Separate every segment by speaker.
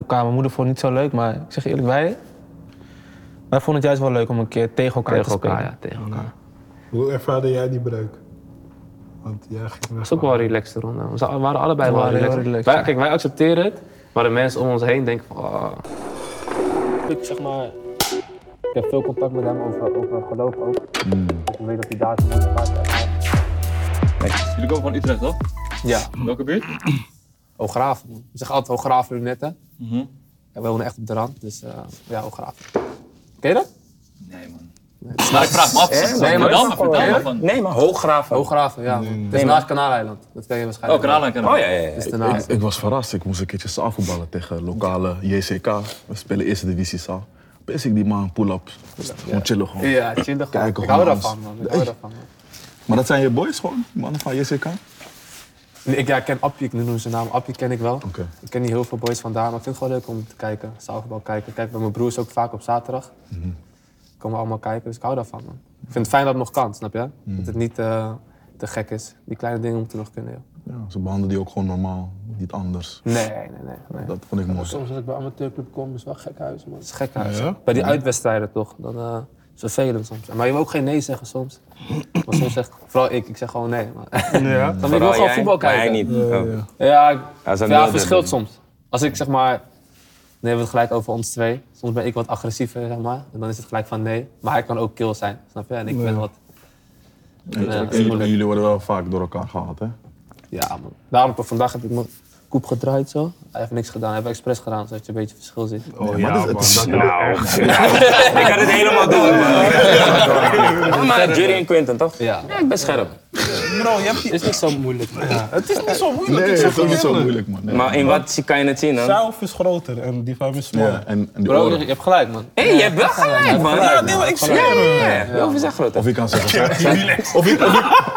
Speaker 1: elkaar. Mijn moeder vond het niet zo leuk, maar ik zeg je eerlijk, wij, wij vonden het juist wel leuk om een keer tegen elkaar
Speaker 2: Tegen
Speaker 1: te spelen.
Speaker 2: elkaar, ja, tegen elkaar.
Speaker 3: Hoe ervaarde jij die breuk? Want jij ging weg.
Speaker 2: Het was ook wel relaxed ronde. We za- we waren allebei
Speaker 1: We
Speaker 2: wel
Speaker 1: waren heel
Speaker 2: relaxed.
Speaker 1: relaxed,
Speaker 2: Wij-
Speaker 1: ja.
Speaker 2: kijk, wij accepteren het, maar de mensen om ons heen denken van... ah.
Speaker 1: Ik, zeg maar, ik heb veel contact met hem over, over geloof ook. Ik weet dat hij daar zijn motivatie heeft.
Speaker 4: Jullie komen van Utrecht, toch?
Speaker 5: Ja,
Speaker 4: Welke buurt?
Speaker 5: Oograaf. We zeggen altijd Oograaf lunetten. Ja, we wonen echt op de rand, dus eh, ja, Oograaf. Ken je dat?
Speaker 4: Nee, man. Nou, ik vraag me af.
Speaker 5: Nee, maar
Speaker 4: vertel me,
Speaker 5: dat-
Speaker 4: vertel me
Speaker 5: Nee,
Speaker 4: van.
Speaker 6: Nee, maar hooggraven.
Speaker 5: Oograven, ja. Het is naast Kanaaleiland. Dat ken je
Speaker 4: Oh,
Speaker 5: waarschijnlijk.
Speaker 4: kanaal en kanaal.
Speaker 6: Oh ja, ja, ja.
Speaker 5: Het is daarnaast.
Speaker 7: Ik was verrast. Ik moest een keertje zaal voetballen tegen lokale JCK. We spelen eerste divisie zaal. Pis ik die man, pull-ups. Gewoon chillen gewoon.
Speaker 5: Ja, chill gewoon.
Speaker 7: Kijken
Speaker 5: Ik hou
Speaker 7: gewoon
Speaker 5: daarvan,
Speaker 7: alles.
Speaker 5: man. Ik hou daarvan, man.
Speaker 7: Maar dat zijn je boys gewoon, die mannen van JCK?
Speaker 5: Nee, ik, ja, ik ken Appie, ik noem zijn naam. Appie ken ik wel.
Speaker 7: Oké.
Speaker 5: Ik ken niet heel veel boys vandaar, maar ik vind het gewoon leuk om te kijken. Zaalvoetbal kijken. Kijk, bij mijn broers ook vaak op zaterdag.
Speaker 6: Mhm.
Speaker 5: Komen allemaal kijken, dus ik hou daarvan, man. Ik vind het fijn dat het nog kan, snap je?
Speaker 6: Mhm.
Speaker 5: Dat het niet eh, te gek is. Die kleine dingen moeten nog kunnen, joh.
Speaker 7: Ja, ze behandelen die ook gewoon normaal, niet anders.
Speaker 5: Nee, nee, nee. nee.
Speaker 7: Dat vond ik mooi.
Speaker 8: Soms als ik bij amateurclub kom, is wel gek huis, man.
Speaker 5: Dat is gek huis.
Speaker 7: Ja?
Speaker 5: Bij die uitwedstrijden toch? Dan eh, is het vervelend soms. Maar je wil ook geen nee zeggen soms. Maar soms zeg ik, vooral ik, ik zeg gewoon nee. Maar,
Speaker 7: Ja.
Speaker 5: dan wil ik wel gewoon voetbal kijken.
Speaker 6: Maar hij niet. Oh.
Speaker 5: Ja, ik-
Speaker 6: Ja, zo'n
Speaker 5: ja
Speaker 6: nul
Speaker 5: het verschilt
Speaker 6: dribbling.
Speaker 5: soms. Als ik zeg maar, dan hebben we het gelijk over ons twee. Soms ben ik wat agressiever zeg maar. En dan is het gelijk van nee. Maar hij kan ook kill zijn, snap je? En ik ben wat.
Speaker 7: En,
Speaker 5: Ja, dat is
Speaker 7: jullie- en
Speaker 5: moeilijk.
Speaker 7: jullie worden wel vaak door elkaar gehaald, hè?
Speaker 5: Ja man. Daarom toch vandaag heb ik mijn koep gedraaid zo. Hij heeft niks gedaan, hij heeft expres gedaan zodat je een beetje verschil ziet.
Speaker 7: Oh, ja, maar dat is- het is-
Speaker 6: Ik had het helemaal door, man. Maar Jury en Quinten, toch?
Speaker 5: Ja.
Speaker 6: ik ben scherp.
Speaker 8: Het is niet zo moeilijk. man.
Speaker 7: Nee, het is niet zo moeilijk, man. Nee.
Speaker 6: Maar in wat kan je het zien, dan?
Speaker 3: Zelf is groter en die van hem is smaller.
Speaker 7: Ja, en, en die
Speaker 5: Bro,
Speaker 7: oren.
Speaker 5: je hebt gelijk man.
Speaker 6: Hé, je hebt wel gelijk, man. Ja, nee, maar ik zweer. Ja, ja, ja. Heel veel zijn groter.
Speaker 7: Of ik kan zeggen, zijn- of ik, of ik,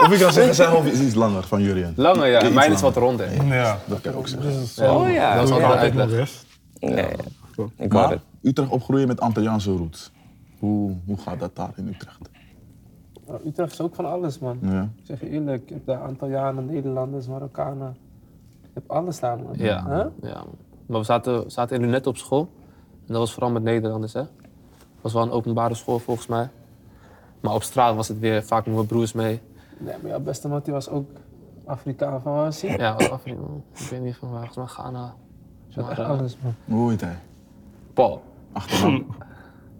Speaker 7: of ik kan zeggen, zijn hoofd is iets langer van jullie. en-
Speaker 5: Lange ja,
Speaker 7: Iets
Speaker 5: mijn is wat
Speaker 7: langer.
Speaker 5: ronder.
Speaker 3: Ja. Dus
Speaker 7: Dat kan ik ook zeggen.
Speaker 6: Oh
Speaker 3: eh,
Speaker 6: ja.
Speaker 5: Dat is altijd uitleg.
Speaker 6: Nee, ik hoor
Speaker 7: Maar
Speaker 6: het.
Speaker 7: Utrecht opgroeien met Antilliaanse roots. Hoe, hoe gaat dat daar in Utrecht?
Speaker 8: Nou, Utrecht is ook van alles, man.
Speaker 7: Ja.
Speaker 8: Ik zeg je eerlijk, je hebt daar aantal jaren Nederlanders, Marokkanen. Je hebt alles daar, man.
Speaker 5: Ja,
Speaker 8: Huh?
Speaker 5: ja. man. Maar we zaten, we zaten in net op school. En dat was vooral met Nederlanders, hè. was wel een openbare school, volgens mij. Maar op straat was het weer vaak met mijn broers mee.
Speaker 8: Nee, maar jouw beste man die was ook Afrikaan van waar was hij?
Speaker 5: Ja, wat Afrika. Ik weet niet van waar, volgens mij Ghana.
Speaker 8: Je had
Speaker 5: Maar,
Speaker 8: echt oh,
Speaker 5: eh,
Speaker 8: alles, man.
Speaker 7: Hoe heet hij?
Speaker 5: Paul.
Speaker 7: Achternaam?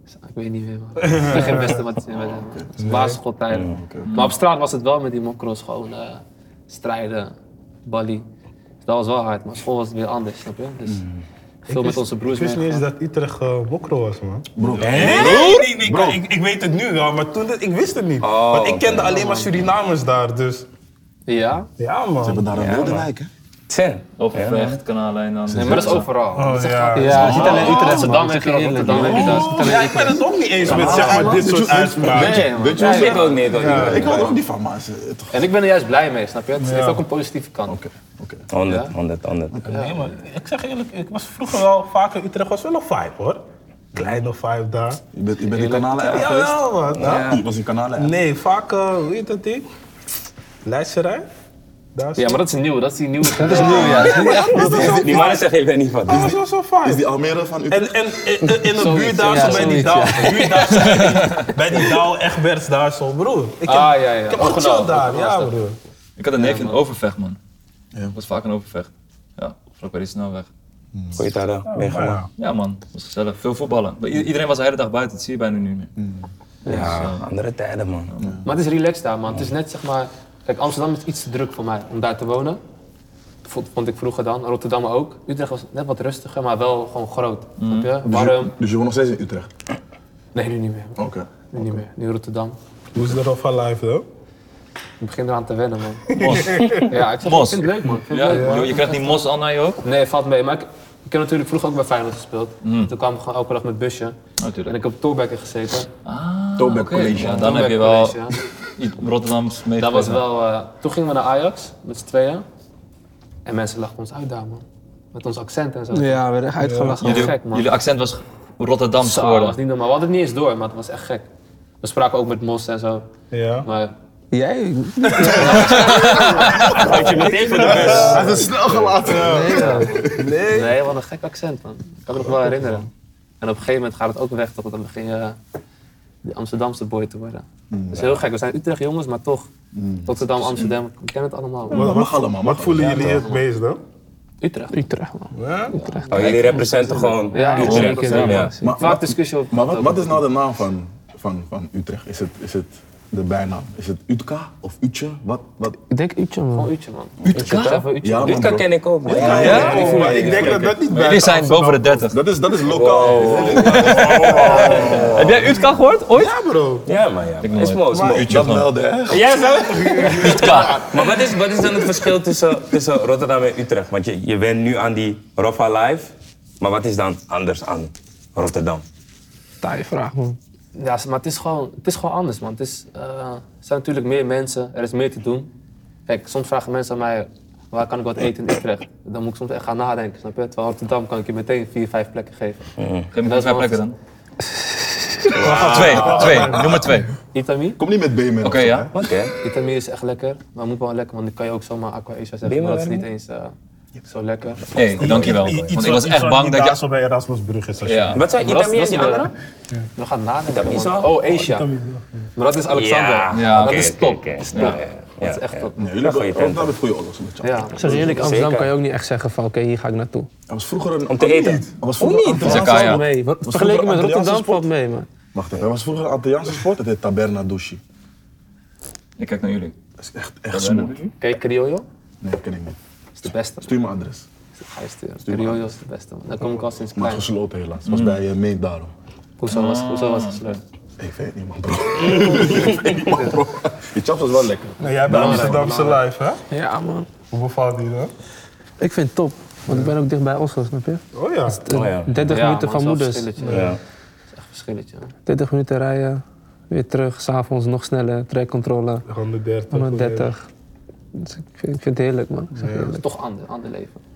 Speaker 5: Ik weet niet meer, man. Ik ben geen beste wat is in met hem. Het is basisschooltijden. Maar op straat was het wel met die mokros gewoon eh, strijden, balie. Dus dat was wel hard, maar school was weer anders, snap je? Dus veel met onze broers
Speaker 3: Ik wist niet
Speaker 5: mee.
Speaker 3: eens dat Utrecht eh mokro was, man.
Speaker 7: Bro,
Speaker 3: Nee, nee, nee, ik, ik, ik weet het nu wel, maar toen dat, ik wist het niet.
Speaker 5: Oh,
Speaker 3: Want ik kende alleen maar Surinamers daar, dus...
Speaker 5: Ja?
Speaker 3: Ja, man.
Speaker 7: we hebben daar een wilde wijk, hè?
Speaker 6: Tsen.
Speaker 4: Of echt kanaal en dan.
Speaker 5: Nee, maar dat is overal.
Speaker 3: Oh, ja.
Speaker 5: Ja, niet alleen Utrecht,
Speaker 3: Oh,
Speaker 5: Amsterdam heb je Eerlijk, dan heb je dat. Niet alleen
Speaker 3: Ja, ik ben het ook niet eens met zeg maar, dit soort uitspraken.
Speaker 5: Nee, man.
Speaker 7: Weet je
Speaker 6: Ja,
Speaker 7: hoe ze-
Speaker 6: ik ook niet, hoor.
Speaker 7: Ik hou er ook niet van, maar ze- toch.
Speaker 5: En ik ben er juist blij mee, snap je? Het heeft ook een positieve kant.
Speaker 7: Oké, oké.
Speaker 6: 100, 100, 100.
Speaker 3: Nee, man. Ik zeg eerlijk, ik was vroeger wel vaker in Utrecht, was wel een vibe, hoor. Kleine vibe daar.
Speaker 7: Je bent, je bent in kanalen erg geweest?
Speaker 3: Jawel, man.
Speaker 7: Ja. Was in kanalen erg?
Speaker 3: Nee, vaak, eh, hoe heet dat ding? Leidserij? Daar is
Speaker 5: Ja, maar dat is nieuw, dat is die nieuwe. Dat is
Speaker 6: Die mannen zeggen, ik ben niet van.
Speaker 3: dat was wel zo
Speaker 7: Is
Speaker 3: fijn.
Speaker 7: die Almere van Utrecht?
Speaker 3: En, en in, in de buurt daar,
Speaker 5: ja,
Speaker 3: zo bij die
Speaker 5: zoiets,
Speaker 3: Douw, buurt daar, zo bij die- bij die Douw, Egberts daar zo, broer. Ik heb,
Speaker 5: Ah, ja, ja.
Speaker 3: ik heb
Speaker 5: Oh,
Speaker 3: gechilled
Speaker 5: genoeg.
Speaker 3: daar, ja, broer.
Speaker 4: Ik had een neef in overvecht, man. Dat was vaak een overvecht. Ja, vlak bij die snelweg.
Speaker 6: Goeie daar dan. Weer gewoon.
Speaker 4: Ja, man. Dat was gezellig. Veel voetballen. Maar i- Iedereen was de hele dag buiten. Dat zie je bijna nu meer.
Speaker 6: Ja, andere tijden, man.
Speaker 5: Maar het is relaxed daar, man. Het is net zeg maar. Kijk, Amsterdam is iets te druk voor mij om daar te wonen. Dat vond, vond ik vroeger dan. Rotterdam ook. Utrecht was net wat rustiger, maar wel gewoon groot.
Speaker 4: Mm.
Speaker 5: Snap je?
Speaker 7: Dus je-
Speaker 3: ehm,
Speaker 5: Warm.
Speaker 7: Dus je woont nog steeds in Utrecht?
Speaker 5: Nee, nu niet meer.
Speaker 7: Oké.
Speaker 5: Nu niet meer. Nu Rotterdam.
Speaker 3: Hoe is dat al van live, hoor?
Speaker 5: Ik begin eraan te wennen, man.
Speaker 4: Mos.
Speaker 5: Ja, ik zeg, ik
Speaker 4: Mos.
Speaker 5: vind het leuk, man. Ik vind het
Speaker 4: Ja,
Speaker 5: leuk, man.
Speaker 4: je, je krijgt die mos al naar je hoofd.
Speaker 5: Nee, valt mee. Maar ik, ik heb natuurlijk vroeger ook bij Feyenoord gespeeld.
Speaker 4: Mm.
Speaker 5: Toen kwam ik gewoon elke dag met busje. En
Speaker 4: Natuurlijk.
Speaker 5: ik heb op Tolbekken gezeten.
Speaker 7: Tobacco College.
Speaker 4: Ja, dan heb je wel
Speaker 5: Tolbekkcollege, ja.
Speaker 4: iets Rotterdams mee.
Speaker 5: Dat was wel... eh, toen gingen we naar Ajax, met z'n tweeën. En mensen lachten ons uit daar, man. Met ons accent en zo.
Speaker 1: Ja, we werden echt uitgelachen.
Speaker 5: Dat was
Speaker 4: Jullie,
Speaker 5: gek, man.
Speaker 4: jullie accent was Rotterdams
Speaker 5: Zo, dat was
Speaker 4: geworden.
Speaker 5: niet normaal. We hadden het niet eens door, maar het was echt gek. We spraken ook met Mos en zo.
Speaker 3: Ja.
Speaker 5: Maar Jij?
Speaker 6: Had je meteen voor de bus.
Speaker 7: Hij is snel gelaten.
Speaker 5: Nee, man. nee, wat een gek accent, man. Ik kan me nog wel herinneren. En op een gegeven moment gaat het ook weg, tot dan begin je die Amsterdamse boy te worden.
Speaker 7: Mm.
Speaker 5: dat is heel gek. We zijn Utrecht jongens, maar toch. Rotterdam, Amsterdam, ik ken het allemaal.
Speaker 7: Mag allemaal, mag
Speaker 3: Wat voelen jullie het meest dan?
Speaker 5: Utrecht.
Speaker 2: Utrecht, man.
Speaker 6: Oh, jullie representen gewoon
Speaker 5: Ja,
Speaker 6: Utrecht.
Speaker 5: zeker,
Speaker 6: Ja.
Speaker 7: Maar,
Speaker 5: Vaak
Speaker 7: wat,
Speaker 5: discussie over.
Speaker 7: maar wat, wat is nou de naam van, van, van Utrecht? Is het, is het de bijnaam? Is het Utka of Utje? Wat, wat?
Speaker 2: Ik denk Utje, man.
Speaker 5: Gewoon Utje, man.
Speaker 2: Utrecht?
Speaker 7: Ja, man,
Speaker 6: Utka
Speaker 7: bro.
Speaker 6: ken ik ook. man.
Speaker 3: Ik, voel- ik denk dat dat niet bij
Speaker 4: Jullie zijn boven de 30.
Speaker 7: Dat is, dat is lokaal.
Speaker 4: Heb jij Utka gehoord ooit?
Speaker 3: Ja, bro.
Speaker 6: Ja, maar ja. man. Is mooi, is mooi.
Speaker 7: Oh, Dat meldde, hè?
Speaker 6: Ja, zo? Maar wat is, wat is dan het verschil tussen, tussen Rotterdam en Utrecht? Want je, je bent nu aan die Roffa Live. Maar wat is dan anders aan Rotterdam?
Speaker 2: Taaie vraag, man.
Speaker 5: Ja, maar het is gewoon, het is gewoon anders, man. Het is, eh, er zijn natuurlijk meer mensen, er is meer te doen. Kijk, soms vragen mensen aan mij, waar kan ik wat eten in Utrecht? Dan moet ik soms echt gaan nadenken, snap je? Terwijl Rotterdam kan ik je meteen vier, vijf plekken geven.
Speaker 4: Geef me
Speaker 5: Dat is
Speaker 4: twee
Speaker 5: wel-
Speaker 4: plekken dan. Twee, twee, noem maar twee. Oké,
Speaker 5: Itami?
Speaker 7: Kom niet met B-man.
Speaker 4: ja.
Speaker 6: Wat? hè?
Speaker 5: Itami is echt lekker, maar moet wel lekker, want dan kan je ook zomaar aqua isa zeggen. Maar dat is niet eens eh, zo lekker.
Speaker 4: Hé, dankjewel.
Speaker 3: Iets
Speaker 4: Want
Speaker 3: wat-
Speaker 4: ik was
Speaker 3: iets
Speaker 4: echt
Speaker 3: wat
Speaker 4: bang
Speaker 3: niet
Speaker 4: dat
Speaker 3: daar
Speaker 4: je...
Speaker 3: zo bij Erasmusbrug is. als je-
Speaker 4: Ja.
Speaker 6: Wat zijn
Speaker 5: Maar dat
Speaker 6: Itami en
Speaker 5: is-
Speaker 6: die
Speaker 5: dat is de-
Speaker 6: andere?
Speaker 5: We gaan nadenken,
Speaker 6: Itami is
Speaker 5: man.
Speaker 6: al-
Speaker 5: Oh, Asia. Maar dat is Alexander.
Speaker 6: Ja,
Speaker 4: Ja,
Speaker 5: dat
Speaker 4: oké,
Speaker 5: is top.
Speaker 6: oké,
Speaker 5: Dat is
Speaker 6: oké.
Speaker 5: top.
Speaker 6: Ja, ja, ja,
Speaker 5: dat is echt
Speaker 6: ja.
Speaker 5: top.
Speaker 7: Nee, jullie hebben
Speaker 6: goeie
Speaker 7: oh, dat
Speaker 6: tent.
Speaker 7: is goede oorlog met jou.
Speaker 5: Ja.
Speaker 2: Zeg eerlijk, Amsterdam
Speaker 6: Zeker.
Speaker 2: kan je ook niet echt zeggen van oké, hier ga ik naartoe.
Speaker 7: Hij was vroeger een...
Speaker 6: Om te eten.
Speaker 7: Hij was vroeger een Antilliaanse-
Speaker 4: Zakaya.
Speaker 2: Nee, wat,
Speaker 7: vroeger
Speaker 2: vergeleken met
Speaker 7: Antilliaanse
Speaker 2: Rotterdam
Speaker 7: sport?
Speaker 2: valt mee, man.
Speaker 7: Wacht even, hij was vroeger een Antilliaanse sport. Het heet Taberna Dushi.
Speaker 4: Ik kijk naar jullie.
Speaker 7: Dat is echt, echt smoot.
Speaker 5: Ken je Criollo? Dat
Speaker 7: Nee, ken ik niet.
Speaker 5: is de beste.
Speaker 7: Stuur me adres.
Speaker 5: Ga je sturen. Criollo is de beste. man. Daar kom ik al sinds
Speaker 7: Maar
Speaker 5: klein.
Speaker 7: gesloten helaas. Het was
Speaker 6: Mm.
Speaker 7: bij uh, Meet daarom.
Speaker 5: Hoezo was, hoezo was het gesloten?
Speaker 7: Ik weet het niet man, bro. ik weet het niet man, bro. Die chaps was wel lekker.
Speaker 3: Nou, jij bent Amsterdamse live, hè?
Speaker 2: Ja, man.
Speaker 3: Hoe bevalt die dan?
Speaker 2: Ik vind het top. Want ik ben ook dichtbij Oslo, snap je?
Speaker 3: Oh ja.
Speaker 6: Oh ja.
Speaker 2: 30
Speaker 5: Ja,
Speaker 2: minuten
Speaker 5: man,
Speaker 2: van
Speaker 5: dat is
Speaker 2: moeders.
Speaker 5: wel verschilletje.
Speaker 6: Ja.
Speaker 5: Dat is echt verschilletje.
Speaker 2: 30 minuten rijden, weer terug, s'avonds nog sneller, trekcontrole,
Speaker 3: 130.
Speaker 2: 130. Dus ik, vind, ik vind het heerlijk, man. Ik zeg
Speaker 5: Het is
Speaker 2: heerlijk.
Speaker 5: toch ander, ander leven.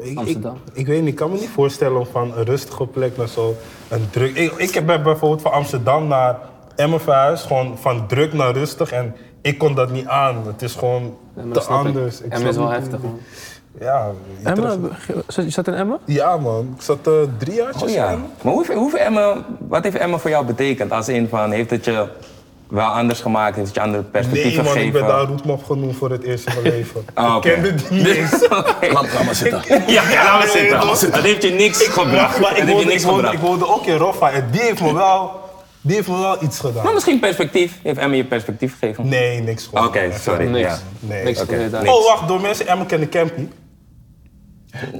Speaker 3: Ik, ik,
Speaker 5: Amsterdam.
Speaker 3: ik weet niet, ik kan me niet voorstellen om van een rustige plek naar zo een druk. Ik, ik heb bijvoorbeeld van Amsterdam naar Emmen verhuisd, gewoon van druk naar rustig en ik kon dat niet aan. Het is gewoon
Speaker 5: Ja, maar
Speaker 3: te
Speaker 5: dat snap ik.
Speaker 3: anders. Ik
Speaker 5: Emmen
Speaker 3: snap
Speaker 5: is wel
Speaker 3: niet-
Speaker 5: heftig, man.
Speaker 3: Ja, je treft-
Speaker 2: Emma, je zat in Emma?
Speaker 3: ja man, ik zat eh, drie jaartjes
Speaker 6: Oh ja.
Speaker 3: in.
Speaker 6: Maar hoeveel, hoeveel Emma, wat heeft Emma voor jou betekend? Als in van, heeft het je wel anders gemaakt? Heeft het je andere
Speaker 3: Nee
Speaker 6: perspectieven
Speaker 3: man, ik
Speaker 6: gegeven?
Speaker 3: ben daar roetmap genoemd voor het eerst in mijn leven.
Speaker 6: Ah, oké.
Speaker 3: Ik kende die niet eens.
Speaker 7: Laat, laat maar zitten.
Speaker 6: Ja, ja, laat maar zitten.
Speaker 3: laat maar
Speaker 6: Dat heeft je niks gebracht.
Speaker 3: Maar
Speaker 6: Dat heeft je
Speaker 3: ik woonde, ik,
Speaker 6: niks
Speaker 3: woonde,
Speaker 6: gebracht.
Speaker 3: ik woonde ook in Roffa en die heeft me wel, die heeft me wel iets gedaan.
Speaker 6: Maar misschien perspectief. Heeft Emma je perspectief gegeven?
Speaker 3: Nee, niks gewoon.
Speaker 6: Oké, sorry.
Speaker 5: Niks.
Speaker 6: Ja.
Speaker 3: Nee.
Speaker 5: Niks
Speaker 6: oké.
Speaker 5: geleerd daar.
Speaker 6: Nee.
Speaker 3: Oh, wacht, door mensen Emmen kennen Campy.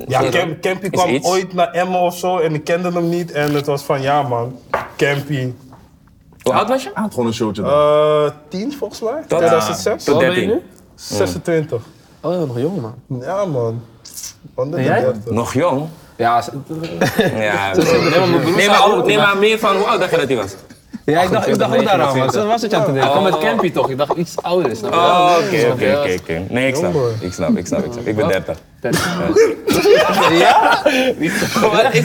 Speaker 3: Ja, Cam- Campy kwam
Speaker 6: Hm. iets?
Speaker 3: ooit naar Emmen of zo en ik kende hem niet. En het was van, ja man, Campy.
Speaker 6: Hoe oud was je?
Speaker 7: Hij had gewoon een showtje
Speaker 6: Oh.
Speaker 7: dan.
Speaker 3: Eh, 10 volgens mij? 2006?
Speaker 6: Tot 13.
Speaker 3: 26.
Speaker 5: Oh, nog jong, man.
Speaker 3: Ja man. Onder de
Speaker 5: jij?
Speaker 3: 30.
Speaker 6: Nog jong?
Speaker 5: Ja, ze-
Speaker 6: Ja.
Speaker 5: nee, maar mijn broer
Speaker 6: Nee,
Speaker 5: zei
Speaker 6: maar,
Speaker 5: ook-
Speaker 6: nee, maar meer van hoe oud dacht je dat hij was?
Speaker 2: Ja, ik dacht, ik dacht ook daaraan, man. Dat was het je aan te denken.
Speaker 5: Ik kwam met Campy toch, ik dacht iets ouder. Snap je?
Speaker 6: Oh, Oké, oké, oké, oké. Nee, ik snap. Ik snap, ik snap, ik snap. Ik ben 30.
Speaker 5: Maar is het- Ja, ja,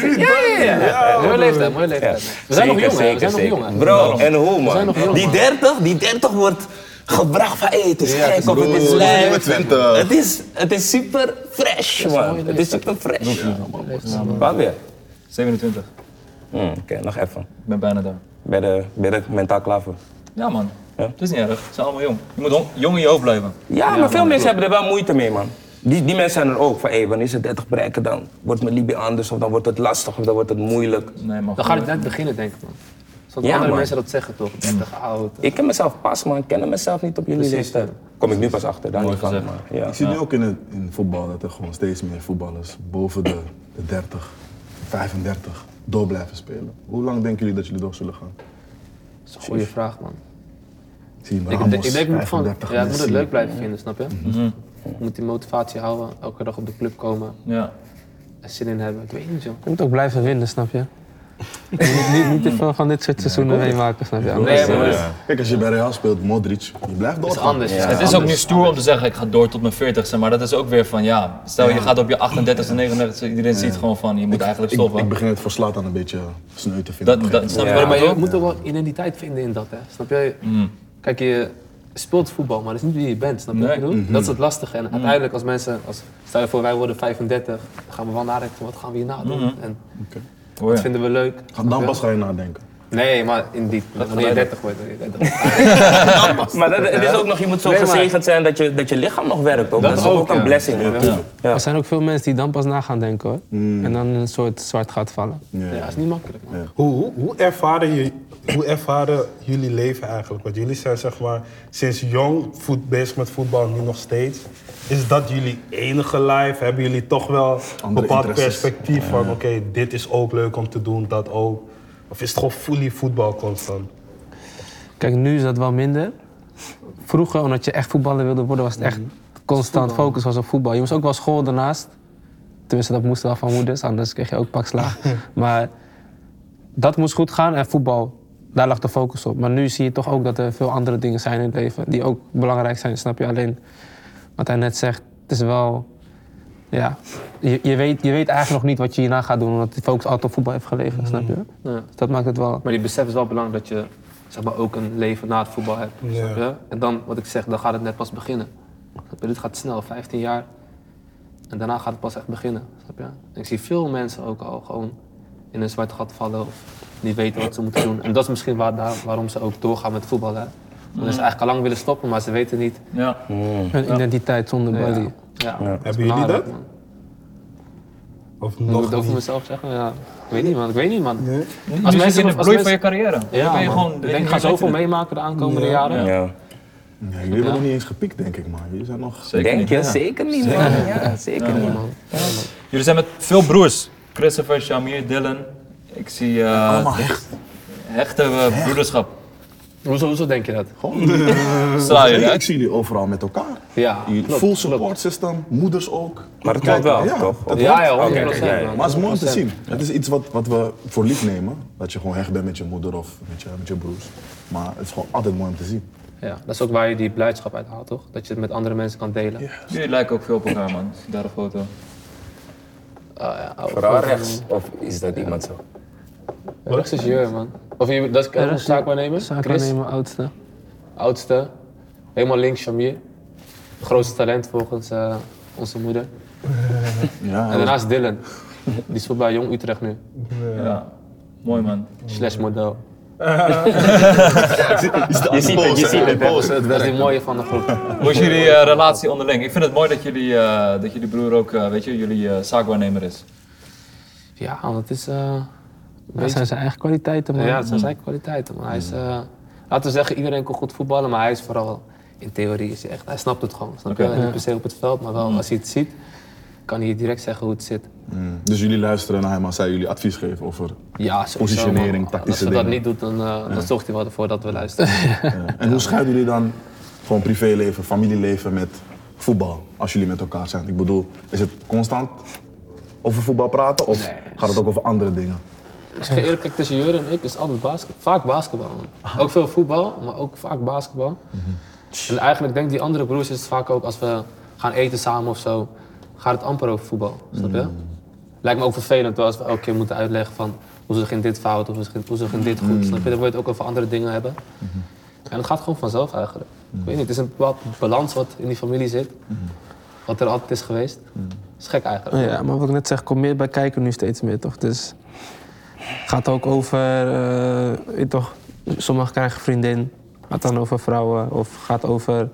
Speaker 5: ja. Mooie leeftijd, mooie
Speaker 6: Ja.
Speaker 5: leeftijd. We zijn nog jong, hè. We zijn nog jong, hè.
Speaker 6: Bro, en hoe
Speaker 5: zijn nog
Speaker 6: man?
Speaker 5: jong,
Speaker 6: Die
Speaker 5: man.
Speaker 6: 30, die 30 wordt gebracht van hey, het is
Speaker 5: Ja, het
Speaker 6: gek
Speaker 5: is
Speaker 6: of het is
Speaker 7: broer,
Speaker 6: lijp.
Speaker 7: het is 20.
Speaker 6: Het is, het is super fresh man. Het is super fresh. Waar weer?
Speaker 4: 27.
Speaker 6: Hmm, Oké, nog even.
Speaker 4: Ik ben bijna daar.
Speaker 6: Bij de, bij de mentaal klaver.
Speaker 4: Ja man, het is niet erg. Ze zijn allemaal jong. Je moet hon- jong in je hoofd blijven.
Speaker 6: Ja, maar veel mensen hebben er wel moeite mee, man. Die, die mensen zijn er ook van, hé, wanneer ze 30 bereiken, dan wordt mijn Libië anders, of dan wordt het lastig, of dan wordt het moeilijk.
Speaker 4: Nee man.
Speaker 5: Dan gaat het net beginnen, denk ik, man. Zodat
Speaker 6: Ja,
Speaker 5: andere
Speaker 6: man.
Speaker 5: mensen dat zeggen, toch? 30 oud.
Speaker 6: Ik ken mezelf pas, man. Ik ken mezelf niet op jullie leeftijd. Kom ik nu pas achter, daar niet van.
Speaker 4: gezegd.
Speaker 6: maar ja.
Speaker 7: Ik zie nu ook in, het, in voetbal dat er gewoon steeds meer voetballers boven de, de 30, 35 door blijven spelen. Hoe lang denken jullie dat jullie door zullen gaan?
Speaker 5: Dat is een goede vraag, man.
Speaker 7: Ik zie
Speaker 5: Ik,
Speaker 7: Ramos,
Speaker 5: denk- ik denk, ik moet, van,
Speaker 7: 35,
Speaker 5: ja, ik moet het
Speaker 7: Messi.
Speaker 5: leuk blijven vinden, snap je?
Speaker 2: Mhm.
Speaker 5: Je moet die motivatie houden, elke dag op de club komen
Speaker 4: Ja.
Speaker 5: en zin in hebben. Ik weet niet, joh.
Speaker 2: Je moet ook blijven winnen, snap je? Je moet niet, niet te veel van dit soort seizoenen meemaken, snap je?
Speaker 5: Nee, maar het is-
Speaker 7: Kijk, als je bij Real speelt, Modric, je blijft
Speaker 5: het is
Speaker 7: doorgaan.
Speaker 5: anders.
Speaker 4: Het is ook nu stoer om te zeggen, ik ga door tot mijn 40ste, maar dat is ook weer van ja. Stel je gaat op je 38ste, 39ste, iedereen ziet gewoon van je moet eigenlijk
Speaker 7: Ik, ik
Speaker 4: stoppen.
Speaker 7: begin het voor Slatan een beetje sneu te vinden.
Speaker 4: Dat, dat, snap je
Speaker 5: Ja,
Speaker 4: wat
Speaker 5: maar
Speaker 4: ik
Speaker 5: je
Speaker 4: bedoel? Mhm.
Speaker 5: moet ook wel identiteit vinden in dat, hè. Snap je? Kijk, je, speelt voetbal, maar dat is niet wie je bent. Snap je
Speaker 4: Nee. Mhm.
Speaker 5: wat ik bedoel? Dat is het lastige. En uiteindelijk als mensen, als, stel je voor wij worden 35, dan gaan we wel nadenken van wat gaan we hierna doen.
Speaker 4: Mhm.
Speaker 5: En
Speaker 4: Hoor
Speaker 5: dat
Speaker 4: je?
Speaker 5: vinden we leuk.
Speaker 7: Ga- Dan pas ga je nadenken.
Speaker 5: Nee, maar in die, wanneer je 30 wordt, wanneer je 30 wordt.
Speaker 6: Maar dat, het is ook nog, je moet zo
Speaker 5: Nee, maar-
Speaker 6: gezegend zijn dat je, dat je lichaam nog werkt. Ook. Dat, is ook,
Speaker 5: ook,
Speaker 6: een
Speaker 5: ja.
Speaker 6: blessing. Ja.
Speaker 2: Er zijn ook veel mensen die dan pas na gaan denken hoor. En dan in een soort zwart gaat vallen.
Speaker 5: Mm. Ja, dat is niet makkelijk. Man.
Speaker 3: Hoe, hoe, hoe, ervaren je, hoe ervaren jullie leven eigenlijk? Want jullie zijn zeg maar sinds jong voet, bezig met voetbal, nu nog steeds. Is dat jullie enige life? Hebben jullie toch wel een
Speaker 7: Andere
Speaker 3: bepaald
Speaker 7: interesses.
Speaker 3: perspectief van oké, dit is ook leuk om te doen, dat ook? Of is het gewoon fully voetbal constant?
Speaker 2: Kijk, nu is dat wel minder. Vroeger, omdat je echt voetballer wilde worden, was het echt constant focus was op voetbal. Je moest ook wel school daarnaast. Tenminste, dat moest wel van moeders, anders kreeg je ook pak slaag. maar dat moest goed gaan en voetbal, daar lag de focus op. Maar nu zie je toch ook dat er veel andere dingen zijn in het leven die ook belangrijk zijn, snap je? Alleen wat hij net zegt, het is wel. Ja, je, je, weet, je weet eigenlijk nog niet wat je hierna gaat doen, omdat de focus altijd op voetbal heeft gelegen, snap je?
Speaker 5: Ja.
Speaker 2: Dus dat maakt het wel.
Speaker 5: Maar die besef is wel belangrijk dat je zeg maar, ook een leven na het voetbal hebt. snap je? En dan, wat ik zeg, dan gaat het net pas beginnen. Snap je? Dit gaat snel, 15 jaar. En daarna gaat het pas echt beginnen. Snap je? En ik zie veel mensen ook al gewoon in een zwart gat vallen of niet weten wat ze moeten doen. En dat is misschien waar, daar- waarom ze ook doorgaan met voetbal. Hè? Omdat ze eigenlijk al lang willen stoppen, maar ze weten niet.
Speaker 4: Ja.
Speaker 2: Een identiteit zonder
Speaker 5: Ja.
Speaker 2: body.
Speaker 5: Ja.
Speaker 3: Hebben jullie dat?
Speaker 5: man. Moet
Speaker 3: Of
Speaker 5: ik het
Speaker 3: nog
Speaker 5: over
Speaker 3: niet?
Speaker 5: mezelf zeggen? Ja. Ik weet niet, man. Ik weet niet, man.
Speaker 4: Als mensen in
Speaker 5: als
Speaker 4: de bloei van
Speaker 5: mensen-
Speaker 4: je carrière.
Speaker 5: Ja,
Speaker 4: Dan ben je
Speaker 5: man.
Speaker 4: gewoon.
Speaker 5: ik denk, ik ga zoveel meemaken de aankomende jaren.
Speaker 6: Ja.
Speaker 7: Nee, jullie hebben nog niet eens gepiekt, denk ik, man. Jullie zijn nog...
Speaker 4: Zeker
Speaker 6: Denk
Speaker 4: niet.
Speaker 6: je? Zeker niet, man. Ja, zeker niet, man.
Speaker 4: Jullie zijn met veel broers. Christopher, Shamir, Dylan. Ik zie eh,
Speaker 7: Allemaal hecht.
Speaker 4: hechte eh, broederschap.
Speaker 5: Hoezo, hoezo denk je dat?
Speaker 4: Saai,
Speaker 7: Ik-
Speaker 4: hè?
Speaker 7: Ik zie jullie overal met elkaar.
Speaker 5: Ja,
Speaker 7: Jullie-
Speaker 5: klopt,
Speaker 7: Full
Speaker 5: klopt.
Speaker 7: support system, moeders ook.
Speaker 6: Maar het klopt wel,
Speaker 7: Ja,
Speaker 6: toch?
Speaker 7: dat
Speaker 5: Ja, ja, 100%.
Speaker 6: Oké, oké, ja, ja.
Speaker 5: man.
Speaker 7: Maar het is mooi om te
Speaker 5: 100%.
Speaker 7: zien. Het is iets wat, wat we voor lief nemen. Dat je gewoon hecht bent met je moeder of met je, met je broers. Maar het is gewoon altijd mooi om te zien.
Speaker 5: Ja, dat is ook waar je die blijdschap uit haalt, toch? Dat je het met andere mensen kan delen. Ja,
Speaker 4: Jullie lijken ook veel op elkaar, man. Ik zie Daar een foto.
Speaker 5: ja, oh,
Speaker 6: Vooral
Speaker 5: oh,
Speaker 6: rechts. Of is dat iemand zo?
Speaker 5: oh, Rechts is je, man. Of je, dat is
Speaker 2: Ja,
Speaker 5: dat is een zaakwaarnemer. Chris,
Speaker 2: Zaakwaarnemer, oudste.
Speaker 5: oudste. Helemaal links, Shamir. Grootste talent volgens eh, onze moeder.
Speaker 7: Ja,
Speaker 5: En daarnaast Dylan. Die speelt bij Jong Utrecht nu.
Speaker 4: Ja. Mooi, man.
Speaker 5: Slash model.
Speaker 6: Je ziet het, je ziet het. hè.
Speaker 5: Dat is die mooie van de groep.
Speaker 4: Hoe is jullie eh, relatie onderling? Ik vind het mooi dat jullie, eh, dat jullie broer ook, eh, weet je, jullie eh zaakwaarnemer is.
Speaker 5: Ja, want het is... eh,
Speaker 2: Dat zijn zijn eigen kwaliteiten, man.
Speaker 5: Ja, dat zijn zijn kwaliteiten. Maar hij is, eh, laten we zeggen, iedereen kan goed voetballen, maar hij is vooral in theorie is hij echt. Hij snapt het gewoon. Snap je? Niet per se op het veld, maar wel
Speaker 7: Mm.
Speaker 5: als hij het ziet, kan hij direct zeggen hoe het zit.
Speaker 7: Dus jullie luisteren naar hem als hij jullie advies geeft over...
Speaker 5: Ja, sowieso,
Speaker 7: Positionering,
Speaker 5: man. Als
Speaker 7: tactische
Speaker 5: we dat
Speaker 7: dingen.
Speaker 5: niet doen, dan, eh, dan zorgt hij wel ervoor dat we luisteren.
Speaker 7: Ja. En hoe scheiden jullie dan gewoon privéleven, familieleven met voetbal? Als jullie met elkaar zijn. Ik bedoel, is het constant over voetbal praten? Of gaat het ook over andere dingen?
Speaker 5: Als Dus ik eerlijk kijk tussen Jure en ik, is altijd basketbal. Vaak basketbal. man. Ook veel voetbal, maar ook vaak basketbal. En eigenlijk denk ik, die andere broers is het vaak ook als we gaan eten samen of zo, gaat het amper over voetbal. Snap je? Lijkt me ook vervelend wel als we elke keer moeten uitleggen van hoezo ging dit fout of hoezo ging- hoezo ging dit goed. Snap je? Dan wil je het ook over andere dingen hebben. En het gaat gewoon vanzelf eigenlijk. Ik weet niet, het is een bepaald balans wat in die familie zit. Wat er altijd is geweest. is gek eigenlijk.
Speaker 2: Ja, maar wat ik net zeg, komt meer bij kijken nu steeds meer, toch? Dus het gaat ook over, eh, weet je toch, sommigen krijgen een vriendin. Gaat dan over vrouwen of gaat over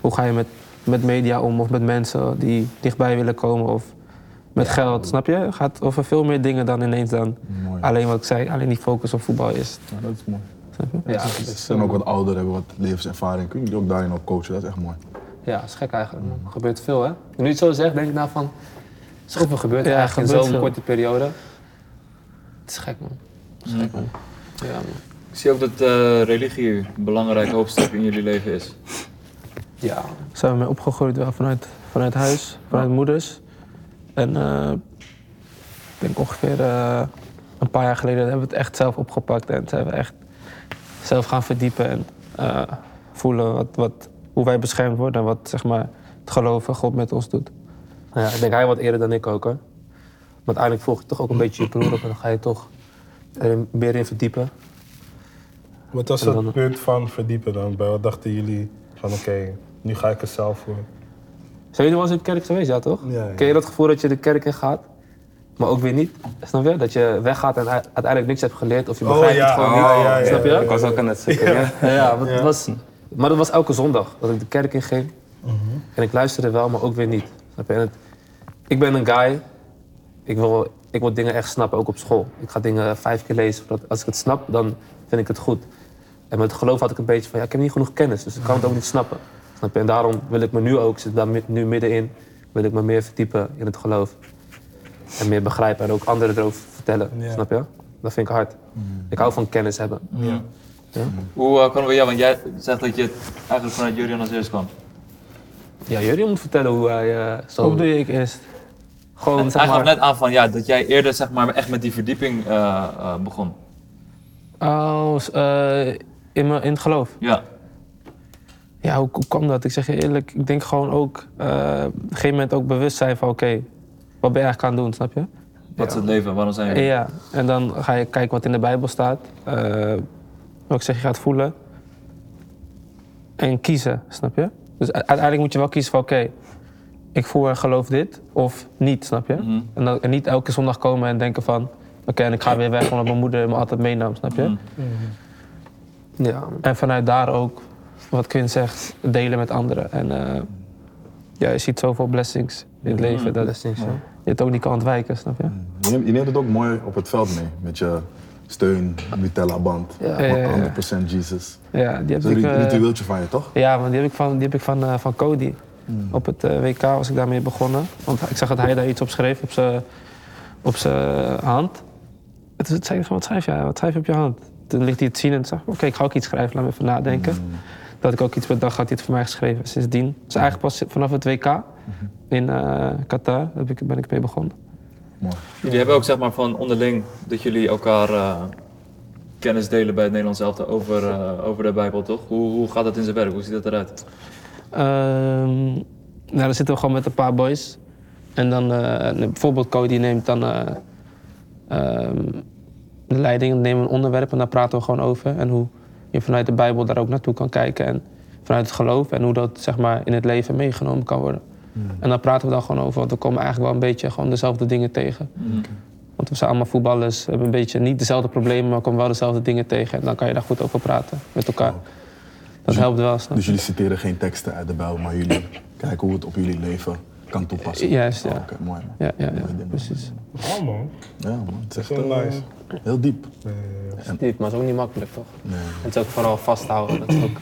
Speaker 2: hoe ga je met, met media om of met mensen die dichtbij willen komen of met geld, snap je? Het gaat over veel meer dingen dan ineens dan
Speaker 7: Mooi.
Speaker 2: alleen wat ik zei, alleen die focus op voetbal is.
Speaker 7: Ja, dat is mooi.
Speaker 5: Ja,
Speaker 7: Ze zijn ook wat ouder, hebben wat levenservaring. Kun je die ook daarin op coachen? Dat is echt mooi.
Speaker 5: Ja, dat is gek eigenlijk. Man. Er gebeurt veel, hè? En nu je het zo zegt, denk ik nou van... Zoveel gebeurt er
Speaker 2: Ja,
Speaker 5: eigenlijk
Speaker 2: gebeurt
Speaker 5: in zo'n
Speaker 2: veel.
Speaker 5: korte periode. Het is gek, man. Het is gek, man. Ja, man.
Speaker 4: Ik zie ook dat eh, religie een belangrijk hoofdstuk in jullie leven is.
Speaker 5: Ja.
Speaker 2: zijn we mee opgegroeid wel vanuit, vanuit huis, vanuit moeders. En eh, ik denk ongeveer eh, een paar jaar geleden hebben we het echt zelf opgepakt en zijn we echt zelf gaan verdiepen en eh, voelen wat, wat, hoe wij beschermd worden en wat zeg maar, het geloven God met ons doet.
Speaker 5: Nou
Speaker 2: Ja, ik denk hij wat eerder dan ik ook hoor. Want uiteindelijk volg je toch ook een beetje je broer op en dan ga je toch er meer in verdiepen.
Speaker 3: Wat was
Speaker 2: En dan-
Speaker 3: het punt van verdiepen dan? Bij wat dachten jullie? van, Van oké, nu ga ik er zelf voor.
Speaker 2: Zijn jullie wel eens in de kerk geweest, ja toch?
Speaker 3: Ja, ja.
Speaker 2: Ken je dat gevoel dat je de kerk in gaat, maar ook weer niet? Snap je? Dat je weggaat en ui- uiteindelijk niks hebt geleerd of je begrijpt het gewoon niet. Snap je?
Speaker 6: Ik was ook aan het zeggen. ja.
Speaker 2: Ja, ja, want het was, maar dat was elke zondag dat ik de kerk in ging. En ik luisterde wel, maar ook weer niet. Snap je? En het, ik ben een guy, ik wil, ik wil dingen echt snappen, ook op school. Ik ga dingen vijf keer lezen, zodat als ik het snap, dan vind ik het goed. En met geloof had ik een beetje van, ja, ik heb niet genoeg kennis, dus ik kan het ook niet snappen. Snap je? En daarom wil ik me nu ook, ik zit daar mi- nu middenin, wil ik me meer verdiepen in het geloof. En meer begrijpen en ook anderen erover vertellen, snap je? Dat vind ik hard.
Speaker 4: Mm.
Speaker 2: Ik hou van kennis hebben.
Speaker 4: Hoe eh, kwamen we jou? Want jij zegt dat je eigenlijk vanuit Jurian als eerst kwam.
Speaker 2: Ja, jullie moeten vertellen hoe hij eh,
Speaker 5: Oh.
Speaker 2: zo...
Speaker 8: Hoe doe je ik eerst?
Speaker 2: Gewoon, zeg
Speaker 4: Hij gaf
Speaker 2: maar...
Speaker 4: net aan van ja, dat jij eerder zeg maar, echt met die verdieping eh, eh, begon.
Speaker 2: Oh, s- eh, in, mijn- in het geloof.
Speaker 4: Ja.
Speaker 2: Ja, hoe, hoe kwam dat? Ik zeg je eerlijk, ik denk gewoon ook... eh, op een gegeven moment ook bewust zijn van... Oké, wat ben je eigenlijk aan het doen, snap je?
Speaker 4: Wat is het leven? Waarom zijn we? hier?
Speaker 2: Ja, en dan ga je kijken wat in de Bijbel staat. eh, wat ik zeg, je gaat voelen. En kiezen, snap je? Dus u- uiteindelijk moet je wel kiezen van oké, ik voel en geloof dit of niet, snap je? En, dan, en niet elke zondag komen en denken van oké, en ik ga weer weg omdat mijn moeder me altijd meenam, snap je? Ja, en vanuit daar ook, wat Quinn zegt, delen met anderen. En eh, ja, je ziet zoveel blessings in het leven dat je het ook niet kan ontwijken, snap je?
Speaker 7: Je neemt, je neemt het ook mooi op het veld mee. Met je steun, Nutella-band,
Speaker 2: Ja, ja, ja.
Speaker 7: 100% Jesus.
Speaker 2: Ja, die heb
Speaker 7: Dat is
Speaker 2: Eh, ik...
Speaker 7: een
Speaker 2: eh,
Speaker 7: ritueeltje van je, toch?
Speaker 2: Ja, want die heb ik van, die heb ik van, eh, van Cody. Op het eh, WK was ik daarmee begonnen. Want ik zag dat hij daar iets op schreef op zijn op zijn hand. En toen zei ik, wat schrijf jij? Wat schrijf je op je hand? Toen liet hij het zien en toen zag ik, oké, ik ga ook iets schrijven. Laat me even nadenken. Dat ik ook iets bedacht had, hij het voor mij geschreven. Sindsdien, dus eigenlijk pas vanaf het WK in eh, Qatar heb ik, ben ik mee begonnen.
Speaker 4: Jullie hebben ook zeg maar van onderling dat jullie elkaar eh, kennis delen bij het Nederlands elftal over, eh, over de Bijbel, toch? Hoe, hoe gaat dat in zijn werk? Hoe ziet dat eruit?
Speaker 2: Ehm, nou, dan zitten we gewoon met een paar boys. En dan eh, bijvoorbeeld Cody neemt dan eh, ehm, de leiding, dan nemen we een onderwerp en daar praten we gewoon over. En hoe je vanuit de Bijbel daar ook naartoe kan kijken. En vanuit het geloof en hoe dat zeg maar, in het leven meegenomen kan worden.
Speaker 7: Hmm.
Speaker 2: En daar praten we dan gewoon over, want we komen eigenlijk wel een beetje gewoon dezelfde dingen tegen.
Speaker 7: Hmm.
Speaker 2: Want we zijn allemaal voetballers, we hebben een beetje niet dezelfde problemen, maar we komen wel dezelfde dingen tegen. En dan kan je daar goed over praten met elkaar. Dat helpt wel, snap je?
Speaker 7: Dus jullie citeren geen teksten uit de Bijbel, maar jullie kijken hoe het op jullie leven kan toepassen.
Speaker 2: Juist, ja.
Speaker 7: Oh, Oké, mooi man.
Speaker 2: Ja, ja,
Speaker 7: Mooi
Speaker 2: ja
Speaker 7: ding.
Speaker 2: precies.
Speaker 3: Oh man,
Speaker 7: Ja, man. Het is echt
Speaker 3: zo
Speaker 7: eh,
Speaker 3: nice.
Speaker 7: heel diep.
Speaker 5: Diep, maar het is ook niet makkelijk, toch? Het is ook vooral vasthouden, dat is ook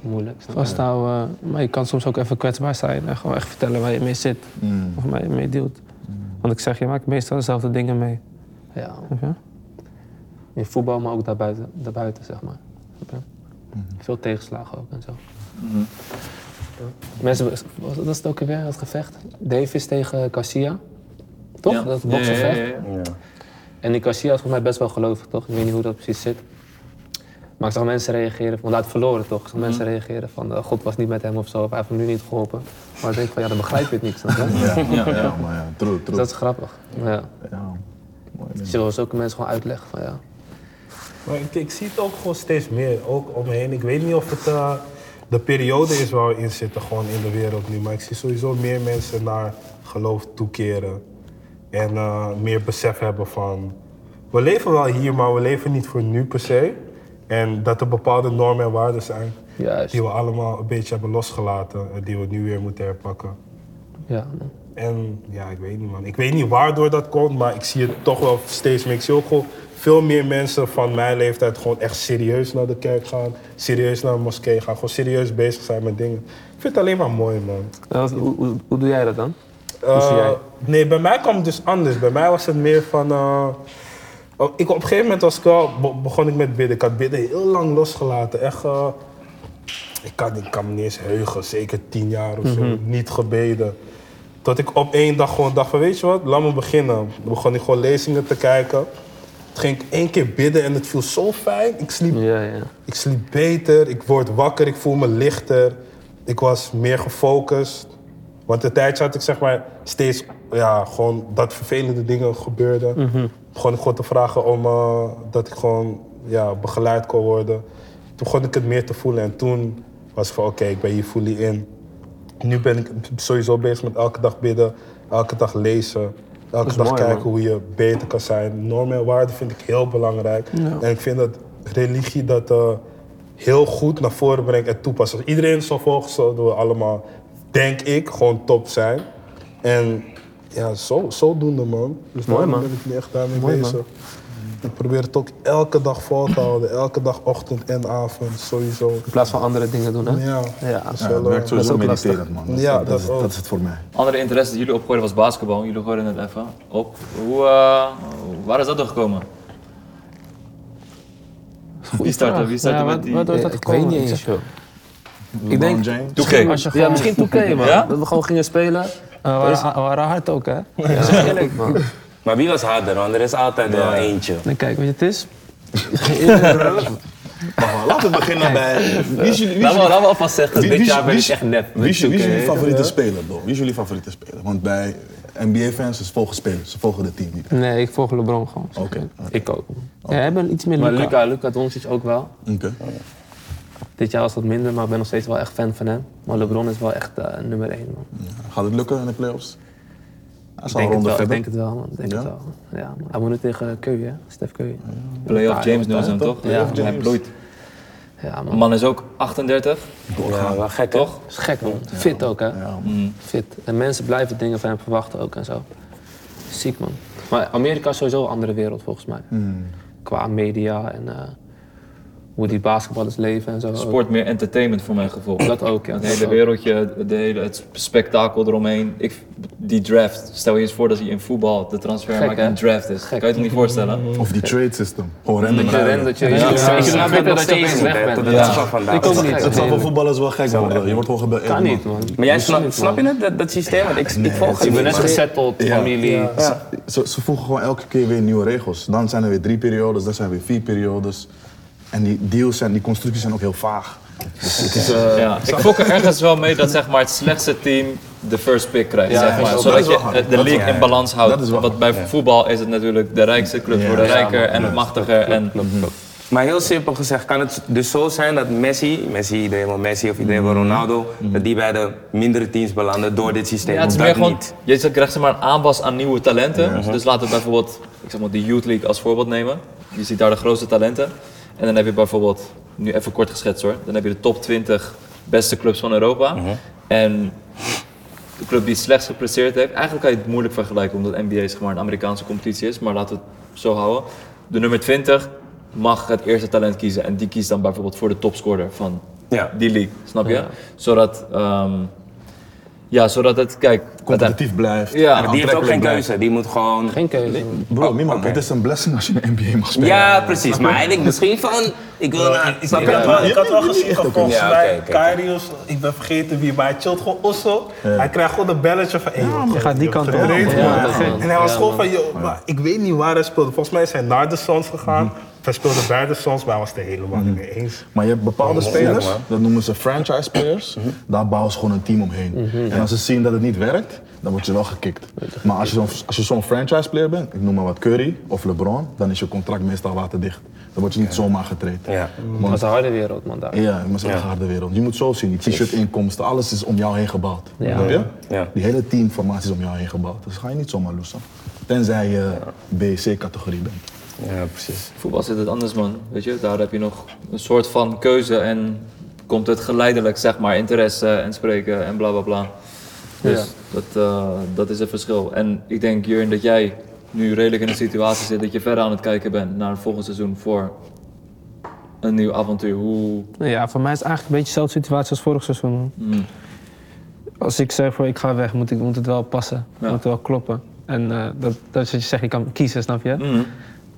Speaker 5: moeilijk. snap je?
Speaker 2: Vasthouden, eh, maar je kan soms ook even kwetsbaar zijn en gewoon echt vertellen waar je mee zit
Speaker 7: Mm.
Speaker 2: of waar je mee deelt. Want ik zeg, je maakt meestal dezelfde dingen mee.
Speaker 5: Ja,
Speaker 2: Snap je?
Speaker 5: in voetbal, maar ook daarbuiten, daarbuiten zeg maar. Snap je?
Speaker 4: Mm-hmm.
Speaker 5: Veel tegenslagen ook en zo. Mensen, was, was dat is het ook weer, dat gevecht? Davis tegen Cassia. Toch?
Speaker 4: Ja.
Speaker 5: Dat
Speaker 4: Ja, ja,
Speaker 5: boksgevecht.
Speaker 4: ja, ja.
Speaker 5: En die Cassia was volgens mij best wel gelovig, toch? Ik weet niet hoe dat precies zit. Maar ik zag mensen reageren, want hij had verloren toch? Ik zag mensen reageren van eh, God was niet met hem of zo, of hij heeft hem nu niet geholpen. Maar ik denk van ja, dan begrijp je het niet. Snap je?
Speaker 7: Ja, ja, maar ja, true,
Speaker 5: Dus
Speaker 7: true.
Speaker 5: dat is grappig. Ja.
Speaker 7: Ja, mooi ding.
Speaker 5: Dus je wil zulke mensen gewoon uitleggen van ja.
Speaker 3: Maar ik, ik zie het ook gewoon steeds meer, ook om me heen. Ik weet niet of het eh, de periode is waar we in zitten, gewoon in de wereld nu. Maar ik zie sowieso meer mensen naar geloof toekeren. En eh, meer besef hebben van... We leven wel hier, maar we leven niet voor nu per se. En dat er bepaalde normen en waarden zijn...
Speaker 5: Juist.
Speaker 3: die we allemaal een beetje hebben losgelaten... en die we nu weer moeten herpakken.
Speaker 5: Ja, man.
Speaker 3: En ja, ik weet niet man. Ik weet niet waardoor dat komt, maar ik zie het toch wel steeds meer. Ik zie ook gewoon veel meer mensen van mijn leeftijd gewoon echt serieus naar de kerk gaan. Serieus naar een moskee gaan. Gewoon serieus bezig zijn met dingen. Ik vind het alleen maar mooi man.
Speaker 2: hoe, hoe, hoe doe jij dat dan?
Speaker 3: Eh, nee, bij mij kwam het dus anders. Bij mij was het meer van. eh, oh, ik, op een gegeven moment was ik wel, be- begon ik met bidden. Ik had bidden heel lang losgelaten. Echt. eh, ik, kan, ik kan me niet eens heugen, zeker tien jaar of zo.
Speaker 2: Mhm.
Speaker 3: Niet gebeden. Tot ik op één dag gewoon dacht: van, weet je wat, laat me beginnen. Dan begon ik gewoon lezingen te kijken. Toen ging ik één keer bidden en het viel zo fijn. Ik sliep
Speaker 2: Ja, ja.
Speaker 3: ik sliep beter, ik word wakker, ik voel me lichter. Ik was meer gefocust. Want een tijdje had ik zeg maar steeds ja, gewoon dat vervelende dingen gebeurden. Begon ik gewoon te vragen om eh, dat ik gewoon ja, begeleid kon worden. Toen begon ik het meer te voelen en toen was ik van oké, ik ben hier fully in. Nu ben ik sowieso bezig met elke dag bidden, elke dag lezen. Elke dag kijken hoe je beter kan zijn. Normen en waarden vind ik heel belangrijk. En ik vind dat religie dat eh, heel goed naar voren brengt en toepast. Als iedereen zo volgt, zouden we allemaal, denk ik, gewoon top zijn. En ja, zo, zodoende man. Dus daarom ben ik nu echt daarmee bezig. Ik probeer het ook elke dag vol te houden. Elke dag ochtend en avond, sowieso.
Speaker 2: In plaats van andere dingen doen, hè?
Speaker 3: Ja,
Speaker 2: Ja.
Speaker 3: dat is
Speaker 7: Ja,
Speaker 3: wel,
Speaker 7: het werkt
Speaker 3: eh,
Speaker 7: sowieso
Speaker 2: ook
Speaker 7: mediterend, man. Dat, is-
Speaker 3: Ja,
Speaker 7: dat,
Speaker 3: dat
Speaker 7: is,
Speaker 3: ook.
Speaker 7: dat is het voor mij.
Speaker 4: Andere interesse die jullie opgooiden was basketbal. Jullie gooiden het even op. Hoe, eh, waar is dat door gekomen? Wie start er? Wie start er
Speaker 2: Ja,
Speaker 4: met
Speaker 2: wat-
Speaker 4: die?
Speaker 2: Waardoor is dat
Speaker 8: Ik weet
Speaker 2: gekomen?
Speaker 8: niet
Speaker 2: Ik
Speaker 8: eens,
Speaker 2: zeg-
Speaker 7: LeBron
Speaker 2: denk-
Speaker 7: James.
Speaker 4: Toekijk.
Speaker 2: Als je
Speaker 5: Ja,
Speaker 2: gewoon-
Speaker 5: misschien 2K, man.
Speaker 4: Ja?
Speaker 5: Dat we gewoon gingen spelen.
Speaker 2: Eh, we waren, we waren hard ook, hè? Dat is eerlijk, man.
Speaker 6: Maar wie was harder? Want er is altijd wel eentje.
Speaker 2: Dan kijk, weet je, het is.
Speaker 7: Maar laten we beginnen bij... Wie is jullie, wie is
Speaker 5: Laten we
Speaker 7: jullie,
Speaker 5: laten we alvast zeggen,
Speaker 7: Wie-
Speaker 5: dit
Speaker 7: wie-
Speaker 5: jaar ben
Speaker 7: wie-
Speaker 5: ik echt nep.
Speaker 7: wie is jullie- wie is jullie
Speaker 5: Oké.
Speaker 7: favoriete speler, bro? Wie is jullie favoriete speler? Want bij NBA-fans, ze volgen spelers, ze volgen de team niet.
Speaker 2: Nee, ik volg LeBron gewoon.
Speaker 7: Oké,
Speaker 5: Ik ook. man.
Speaker 2: Ja, jij bent iets meer
Speaker 5: Maar
Speaker 2: Luca.
Speaker 5: Luca, Luca Doncic ook wel.
Speaker 7: oké.
Speaker 5: Dit jaar was dat minder, maar ik ben nog steeds wel echt fan van hem. Maar LeBron is wel echt eh, nummer één, man.
Speaker 7: Gaat het lukken in de playoffs? Hij
Speaker 5: Ik
Speaker 7: zal een
Speaker 5: denk, het
Speaker 7: ronde
Speaker 5: wel, ik
Speaker 7: verder.
Speaker 5: denk het wel, man. Ik denk
Speaker 7: Ja? Mm.
Speaker 5: het wel. Ja, man. Hij moet nu tegen Curry, hè? Stef Curry.
Speaker 4: Playoff James noemen ze hem toch?
Speaker 5: Ja,
Speaker 4: hij bloeit.
Speaker 5: Ja,
Speaker 4: De
Speaker 5: man.
Speaker 4: man is ook 38.
Speaker 6: Ja, wel gek toch?
Speaker 4: Toch?
Speaker 5: is gek, man. Fit ook, hè? Fit. En mensen blijven dingen van hem verwachten ook en zo. Ziek, man. Maar Amerika is sowieso een andere wereld, volgens mij.
Speaker 7: Mm.
Speaker 5: Qua media en eh, hoe die basketballers leven en zo. ook.
Speaker 4: Sport meer entertainment voor mijn gevoel.
Speaker 5: Oh. Dat ook, ja.
Speaker 4: Het
Speaker 5: dat
Speaker 4: hele
Speaker 5: ook.
Speaker 4: wereldje, de hele, het spektakel eromheen. Ik, die draft. Stel je eens voor dat hij in voetbal de transfermarkt
Speaker 5: Gek, hè?
Speaker 4: een draft is. Kan je het toch niet voorstellen?
Speaker 7: Of die trade system. Gewoon random
Speaker 5: Dat je
Speaker 7: rijden.
Speaker 5: rent, dat je... Ja, ik snap
Speaker 6: Ja,
Speaker 5: het nog
Speaker 6: dat
Speaker 5: steeds
Speaker 6: is
Speaker 5: weg
Speaker 6: hè,
Speaker 5: bent.
Speaker 6: tot de dag van vandaag.
Speaker 2: Ik ook niet.
Speaker 7: Het zal voor voetballers wel gek worden. Je wordt gewoon gebeurd.
Speaker 5: Kan niet, man.
Speaker 6: Maar jij snap, snap je het, dat, dat systeem? Want ik, ik
Speaker 5: Ik
Speaker 6: volg het
Speaker 5: ben net
Speaker 6: niet.
Speaker 5: gezetteld,
Speaker 7: Ja.
Speaker 5: familie.
Speaker 7: Ze, ze, ze voegen gewoon elke keer weer nieuwe regels. Dan zijn er weer drie periodes, dan zijn er weer vier periodes. En die deals en die constructies zijn ook heel vaag. Dus het is, eh,
Speaker 4: Ja. Ik fok er ergens wel mee dat zeg maar, het slechtste team de first pick krijgt.
Speaker 7: Ja,
Speaker 4: zeg
Speaker 7: ja,
Speaker 4: maar.
Speaker 7: dat
Speaker 4: Zodat
Speaker 7: is wel
Speaker 4: je
Speaker 7: hard.
Speaker 4: eh, de
Speaker 7: Dat is
Speaker 4: league
Speaker 7: wel-
Speaker 4: in balans
Speaker 7: Dat is
Speaker 4: houdt.
Speaker 7: wel
Speaker 4: Want bij voetbal is het natuurlijk de rijkste club voor de rijker en het machtiger. En
Speaker 6: Maar heel simpel gezegd, kan het dus zo zijn dat Messi, Messi iedereen wil Messi of iedereen wil Ronaldo, dat die bij de mindere teams belanden door dit systeem?
Speaker 4: Ja, het is
Speaker 6: of
Speaker 4: meer
Speaker 6: dat
Speaker 4: gewoon,
Speaker 6: niet?
Speaker 4: je zegt, krijgt zeg maar een aanwas aan nieuwe talenten. Dus laten we bijvoorbeeld, ik zeg maar de Youth League als voorbeeld nemen. Je ziet daar de grootste talenten. En dan heb je bijvoorbeeld, nu even kort geschetst hoor, dan heb je de top 20 beste clubs van Europa. En de club die het slechtst gepresteerd heeft, eigenlijk kan je het moeilijk vergelijken omdat NBA zeg maar een Amerikaanse competitie is, maar laten we het zo houden. De nummer 20 mag het eerste talent kiezen en die kiest dan bijvoorbeeld voor de topscorer van
Speaker 6: Ja.
Speaker 4: die league, snap je? Zodat, ehm, ja, zodat het, kijk, uiteindelijk-
Speaker 7: competitief blijft.
Speaker 4: Ja,
Speaker 6: Maar die heeft ook geen
Speaker 7: aantrekkelijk blijft.
Speaker 6: keuze, die moet gewoon...
Speaker 5: Geen keuze.
Speaker 7: Bro,
Speaker 5: Ah,
Speaker 7: niemand.
Speaker 6: oké.
Speaker 7: Het is een blessing als je in de NBA mag spelen.
Speaker 6: Ja, precies. Maar hij denkt misschien van, ik wil naar... Snap je?
Speaker 3: Ik had wel- ik had wel gezien, dat volgens
Speaker 6: Ja,
Speaker 3: mij,
Speaker 6: oké, oké.
Speaker 3: Karius, ik ben vergeten wie, maar hij chillt gewoon Osso. Hij krijgt gewoon een belletje van, hey, joh,
Speaker 2: gaat die kant op.
Speaker 3: gereden,
Speaker 2: Ja,
Speaker 3: man.
Speaker 5: dat is gek.
Speaker 3: En hij was
Speaker 5: Ja,
Speaker 3: gewoon
Speaker 5: man.
Speaker 3: van, joh, maar ik weet niet waar hij speelde. Volgens mij is hij naar de Suns gegaan.
Speaker 6: Hm.
Speaker 3: Hij speelde bij de Suns, maar hij was het er helemaal niet mee eens.
Speaker 7: Maar je hebt bepaalde spelers, dat noemen ze franchise players. Daar bouwen ze gewoon een team omheen. En als ze zien dat het niet werkt, dan word je wel gekikt. Maar als je zo'n als je zo'n franchise player bent, ik noem maar wat Curry of LeBron, dan is je contract meestal waterdicht. Dan word je niet zomaar getraind.
Speaker 6: Ja.
Speaker 5: Dat is een harde wereld, man, daar.
Speaker 7: Ja, maar het is echt een harde wereld. Je moet zo zien, die t-shirt inkomsten, alles is om jou heen gebouwd.
Speaker 5: Ja.
Speaker 7: Snap je?
Speaker 6: Ja.
Speaker 7: Die hele teamformatie is om jou heen gebouwd. Dus ga je niet zomaar loesen. Tenzij je B-C-categorie bent.
Speaker 6: Ja, precies.
Speaker 4: voetbal zit het anders man, weet je? Daar heb je nog een soort van keuze en komt het geleidelijk, zeg maar, interesse en spreken en bla bla bla. Dus dat, eh, dat is het verschil. En ik denk, Jurgen, dat jij nu redelijk in een situatie zit dat je verder aan het kijken bent naar het volgend seizoen voor een nieuw avontuur. Hoe...
Speaker 2: Nou Ja, voor mij is het eigenlijk een beetje dezelfde situatie als vorig seizoen. man.
Speaker 4: Mm.
Speaker 2: Als ik zeg voor ik ga weg, moet, ik, moet het wel passen.
Speaker 4: Ja.
Speaker 2: Moet het wel kloppen. En eh, dat, dat is wat je zegt, je kan kiezen, snap je?
Speaker 4: Mm.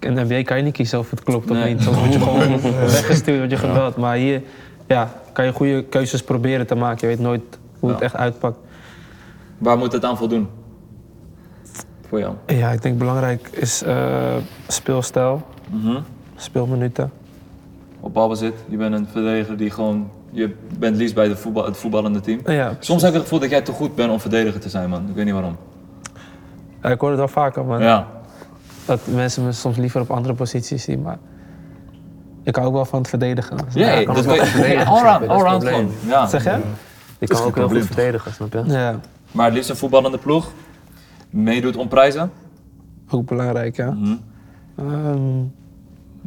Speaker 2: In de NBA kan je niet kiezen of het klopt of
Speaker 4: Nee.
Speaker 2: niet. Soms word je gewoon weggestuurd, word je gebeld. Maar hier ja, kan je goede keuzes proberen te maken. Je weet nooit hoe het
Speaker 4: Ja.
Speaker 2: echt uitpakt.
Speaker 4: Waar moet het aan voldoen? Voor jou.
Speaker 2: Ja, ik denk belangrijk is eh, speelstijl,
Speaker 4: Mhm.
Speaker 2: speelminuten.
Speaker 4: Op balbezit, je bent een verdediger die gewoon... Je bent liefst bij de voetbal, het voetballende team.
Speaker 2: Nou Ja,
Speaker 4: Soms heb ik het gevoel dat jij te goed bent om verdediger te zijn, man. Ik weet niet waarom.
Speaker 2: ik hoor het wel vaker, man.
Speaker 4: Ja.
Speaker 2: Dat mensen me soms liever op andere posities zien, maar... Ik hou ook wel van het verdedigen.
Speaker 4: Ja,
Speaker 2: ik
Speaker 4: hey,
Speaker 2: kan
Speaker 4: dat
Speaker 2: ook wel
Speaker 4: kan je.
Speaker 2: verdedigen.
Speaker 4: Allround, allround gewoon. Ja.
Speaker 2: Zeg je?
Speaker 5: Ik kan ook heel goed verdedigen, snap je?
Speaker 2: Ja,
Speaker 4: Maar het liefst een voetballende ploeg. Meedoet om prijzen.
Speaker 2: ook belangrijk, ja. Ehm,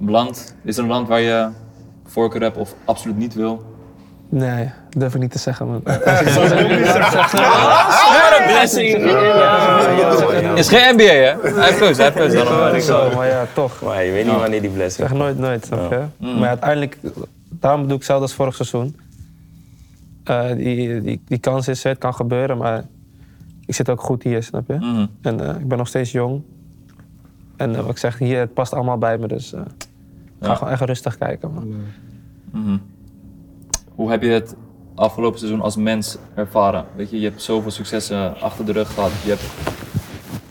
Speaker 4: Land. Is er een land waar je voorkeur hebt of absoluut niet wil?
Speaker 2: nee, durf ik niet te zeggen, man.
Speaker 4: Is geen NBA, hè? Hij heeft keuze, hij heeft keuze. Daarom
Speaker 6: Ja,
Speaker 4: eh,
Speaker 6: dat is zo.
Speaker 2: Oh, maar ja, toch.
Speaker 6: Maar je weet niet wanneer die blessing
Speaker 2: Echt nooit, nooit, snap je? Maar ja, Mhm. uiteindelijk, daarom doe ik hetzelfde als vorig seizoen. Eh, die, die, die kans is er, het kan gebeuren, maar ik zit ook goed hier, snap je?
Speaker 4: Mhm.
Speaker 2: En eh, ik ben nog steeds jong. En eh, wat ik zeg, hier, het past allemaal bij me, dus eh, ik ga
Speaker 4: Ja.
Speaker 2: gewoon echt rustig kijken. Man.
Speaker 4: Hoe heb je het afgelopen seizoen als mens ervaren? Weet je, je hebt zoveel successen achter de rug gehad. Je hebt